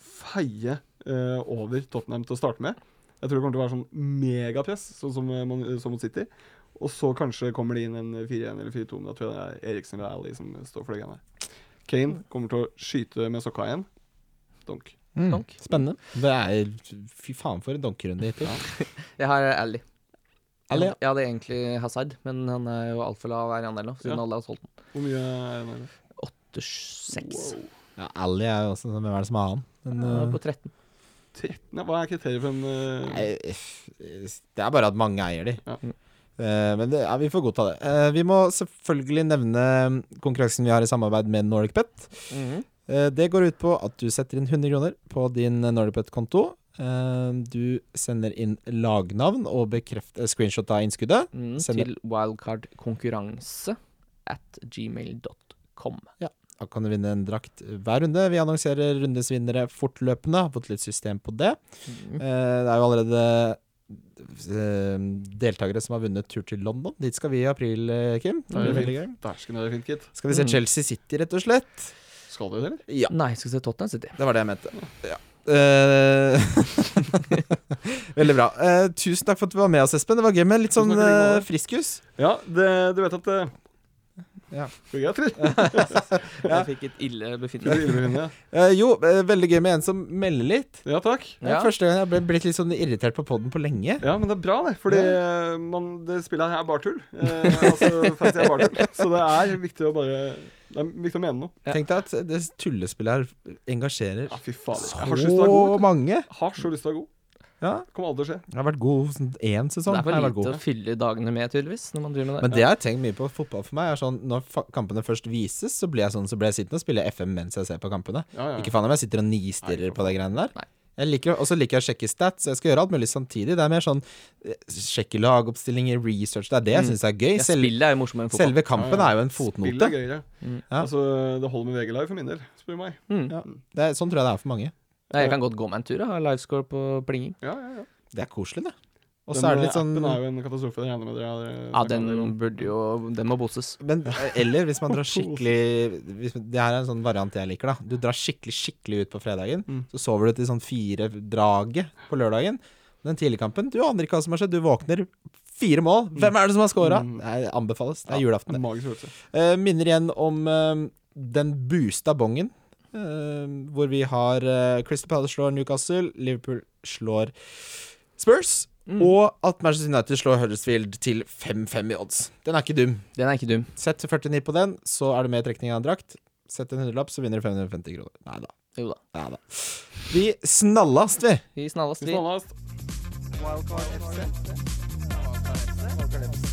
[SPEAKER 2] feie eh, over Tottenham til å starte med. Jeg tror det kommer til å være sånn megapress, sånn som, eh, man, som mot City. Og så kanskje kommer det inn en 4-1 eller 4-2, men da tror jeg det er Eriksen eller Ally som står for det greiene her. Kane kommer til å skyte med sokka igjen. Donk.
[SPEAKER 3] Mm.
[SPEAKER 1] Donk.
[SPEAKER 3] Spennende. Det er Fy faen for en donkerunde hittil.
[SPEAKER 1] Jeg har eh, Ally.
[SPEAKER 3] Ally, ja.
[SPEAKER 1] Jeg hadde egentlig Hazard, men han er jo altfor lav eierandel nå, siden
[SPEAKER 2] Ja.
[SPEAKER 1] alle har solgt den.
[SPEAKER 2] Hvor mye er det nå?
[SPEAKER 1] til 6.
[SPEAKER 3] Ja, Ally er jo også sånn Hvem er det som har han? Men,
[SPEAKER 1] Ja,
[SPEAKER 3] eh,
[SPEAKER 1] på 13.
[SPEAKER 2] 13? Ja, Hva er kriteriet for en eh,
[SPEAKER 3] Nei, f- Det er bare at mange eier de.
[SPEAKER 2] Ja.
[SPEAKER 3] Eh, men det, ja, vi får godta det. Eh, vi må selvfølgelig nevne konkurransen vi har i samarbeid med NordicBet.
[SPEAKER 1] Mhm.
[SPEAKER 3] Eh, det går ut på at du setter inn 100 kroner på din NordicBet-konto. Eh, du sender inn lagnavn og bekreft, eh, screenshot av innskuddet.
[SPEAKER 1] Mm,
[SPEAKER 3] Send det.
[SPEAKER 1] til wildcardkonkurranse at gmail.com.
[SPEAKER 3] Da kan du vinne en drakt hver runde. Vi annonserer rundens vinnere fortløpende. Har fått litt system på det.
[SPEAKER 1] Mm.
[SPEAKER 3] Eh, Det er jo allerede eh, deltakere som har vunnet tur til London. Dit skal vi i april, eh, Kim. Det
[SPEAKER 2] Det
[SPEAKER 3] blir
[SPEAKER 2] er
[SPEAKER 3] veldig gøy.
[SPEAKER 2] Dæsken, det er fint, gitt.
[SPEAKER 3] Skal vi se
[SPEAKER 1] Mm.
[SPEAKER 3] Chelsea City, rett og slett?
[SPEAKER 2] Skal dere det, eller?
[SPEAKER 3] Ja.
[SPEAKER 1] Nei, skal vi se Tottenham City.
[SPEAKER 3] Det var det jeg mente. Ja. Eh, [LAUGHS] Veldig bra. Eh, tusen takk for at du var med oss, Espen. Det var gøy med litt sånn
[SPEAKER 2] Tusen takk i
[SPEAKER 3] eh,
[SPEAKER 2] like måte.
[SPEAKER 3] friskus.
[SPEAKER 2] Ja, det, du vet at det
[SPEAKER 3] Ja.
[SPEAKER 2] Det er greit, eller?
[SPEAKER 1] Jeg fikk et ille
[SPEAKER 2] Det er
[SPEAKER 1] befinnende.
[SPEAKER 2] illebefinnende,
[SPEAKER 3] Eh, jo, eh, veldig gøy med en som melder litt.
[SPEAKER 2] Ja, Ja, takk.
[SPEAKER 3] Det er
[SPEAKER 1] Ja.
[SPEAKER 3] Første gang jeg ble blitt litt sånn irritert på poden på lenge.
[SPEAKER 2] Ja, men det er bra, det. Fordi eh, man, det spillet her er bare tull. Eh, altså, fancy er [LAUGHS] bare tull. Så det er viktig å bare Det er viktig å mene noe.
[SPEAKER 1] Ja.
[SPEAKER 3] Tenk deg at det tullespillet her engasjerer
[SPEAKER 2] Ja, fy fader. Jeg har så lyst til å være god.
[SPEAKER 3] så
[SPEAKER 2] vet
[SPEAKER 3] mange.
[SPEAKER 2] du. Har så lyst til å være god.
[SPEAKER 3] Ja.
[SPEAKER 2] Kommer aldri til å skje.
[SPEAKER 3] Jeg har vært god sånn én
[SPEAKER 1] Det
[SPEAKER 3] sesong.
[SPEAKER 1] er
[SPEAKER 3] Jeg
[SPEAKER 1] for
[SPEAKER 3] har vært god.
[SPEAKER 1] lite å fylle dagene med, tydeligvis, når man driver med det.
[SPEAKER 3] Men det jeg har tenkt mye på fotball for meg, er sånn når fa- kampene først vises, så blir jeg sånn Så blir jeg sittende og spille FM mens jeg ser på kampene.
[SPEAKER 2] Ja, ja.
[SPEAKER 3] Ikke faen om jeg sitter og
[SPEAKER 2] Nei,
[SPEAKER 3] nistirrer
[SPEAKER 2] for
[SPEAKER 3] på de greiene der.
[SPEAKER 1] Nei.
[SPEAKER 3] Jeg liker, og så liker jeg å sjekke stats. Jeg skal gjøre alt mulig samtidig. Det er mer sånn eh, sjekke lagoppstillinger, research. Det er det jeg
[SPEAKER 1] Mm.
[SPEAKER 3] syns er gøy.
[SPEAKER 1] Ja,
[SPEAKER 3] Selve,
[SPEAKER 1] spillet er jo morsommere enn fotball.
[SPEAKER 3] selve kampen er jo en
[SPEAKER 2] Spill er
[SPEAKER 3] fotnote.
[SPEAKER 2] gøyere.
[SPEAKER 1] Mm.
[SPEAKER 3] Ja.
[SPEAKER 2] Altså, det holder med VG Live for min del, spør du meg.
[SPEAKER 1] Mm.
[SPEAKER 3] Ja. Det er, sånn tror jeg det er for mange.
[SPEAKER 1] Nei, jeg kan godt gå meg en tur og ha livescore på plinging.
[SPEAKER 2] Ja, ja, ja.
[SPEAKER 3] Det er koselig, det. Og
[SPEAKER 2] Den eh,
[SPEAKER 3] så er det litt sånn
[SPEAKER 2] appen er jo en katastrofe. Jeg regner med dere har
[SPEAKER 1] Ja, den burde jo Den må boses.
[SPEAKER 3] Men eh, eller hvis man drar
[SPEAKER 2] [LAUGHS]
[SPEAKER 3] skikkelig hvis, Det her er en sånn variant jeg liker, da. Du drar skikkelig skikkelig ut på fredagen,
[SPEAKER 2] Mm.
[SPEAKER 3] så sover du til sånn fire-draget på lørdagen. Den tidlige kampen Du aner ikke hva som har skjedd. Du våkner, fire mål. Hvem er det som har scora?
[SPEAKER 2] Mm.
[SPEAKER 3] Det anbefales. Det er julaften. det.
[SPEAKER 2] Magisk følelse.
[SPEAKER 3] Eh, minner igjen om eh, den boosta bongen, eh, hvor vi har eh, Crystal Palace slår Newcastle, Liverpool slår Spurs,
[SPEAKER 1] Mm.
[SPEAKER 3] og at Manchester United slår Huddersfield til 5-5 i odds. Den er ikke dum.
[SPEAKER 1] Den er ikke dum.
[SPEAKER 3] Sett 49 på den, så er du med i trekning av en drakt. Sett en hundrelapp, så vinner du 550 kroner. Nei da.
[SPEAKER 1] Jo da.
[SPEAKER 3] Nei da. Vi snallast, vi.
[SPEAKER 1] Vi snallast,
[SPEAKER 2] Hvis
[SPEAKER 1] vi.
[SPEAKER 2] noen har-
[SPEAKER 3] Wildcard FC.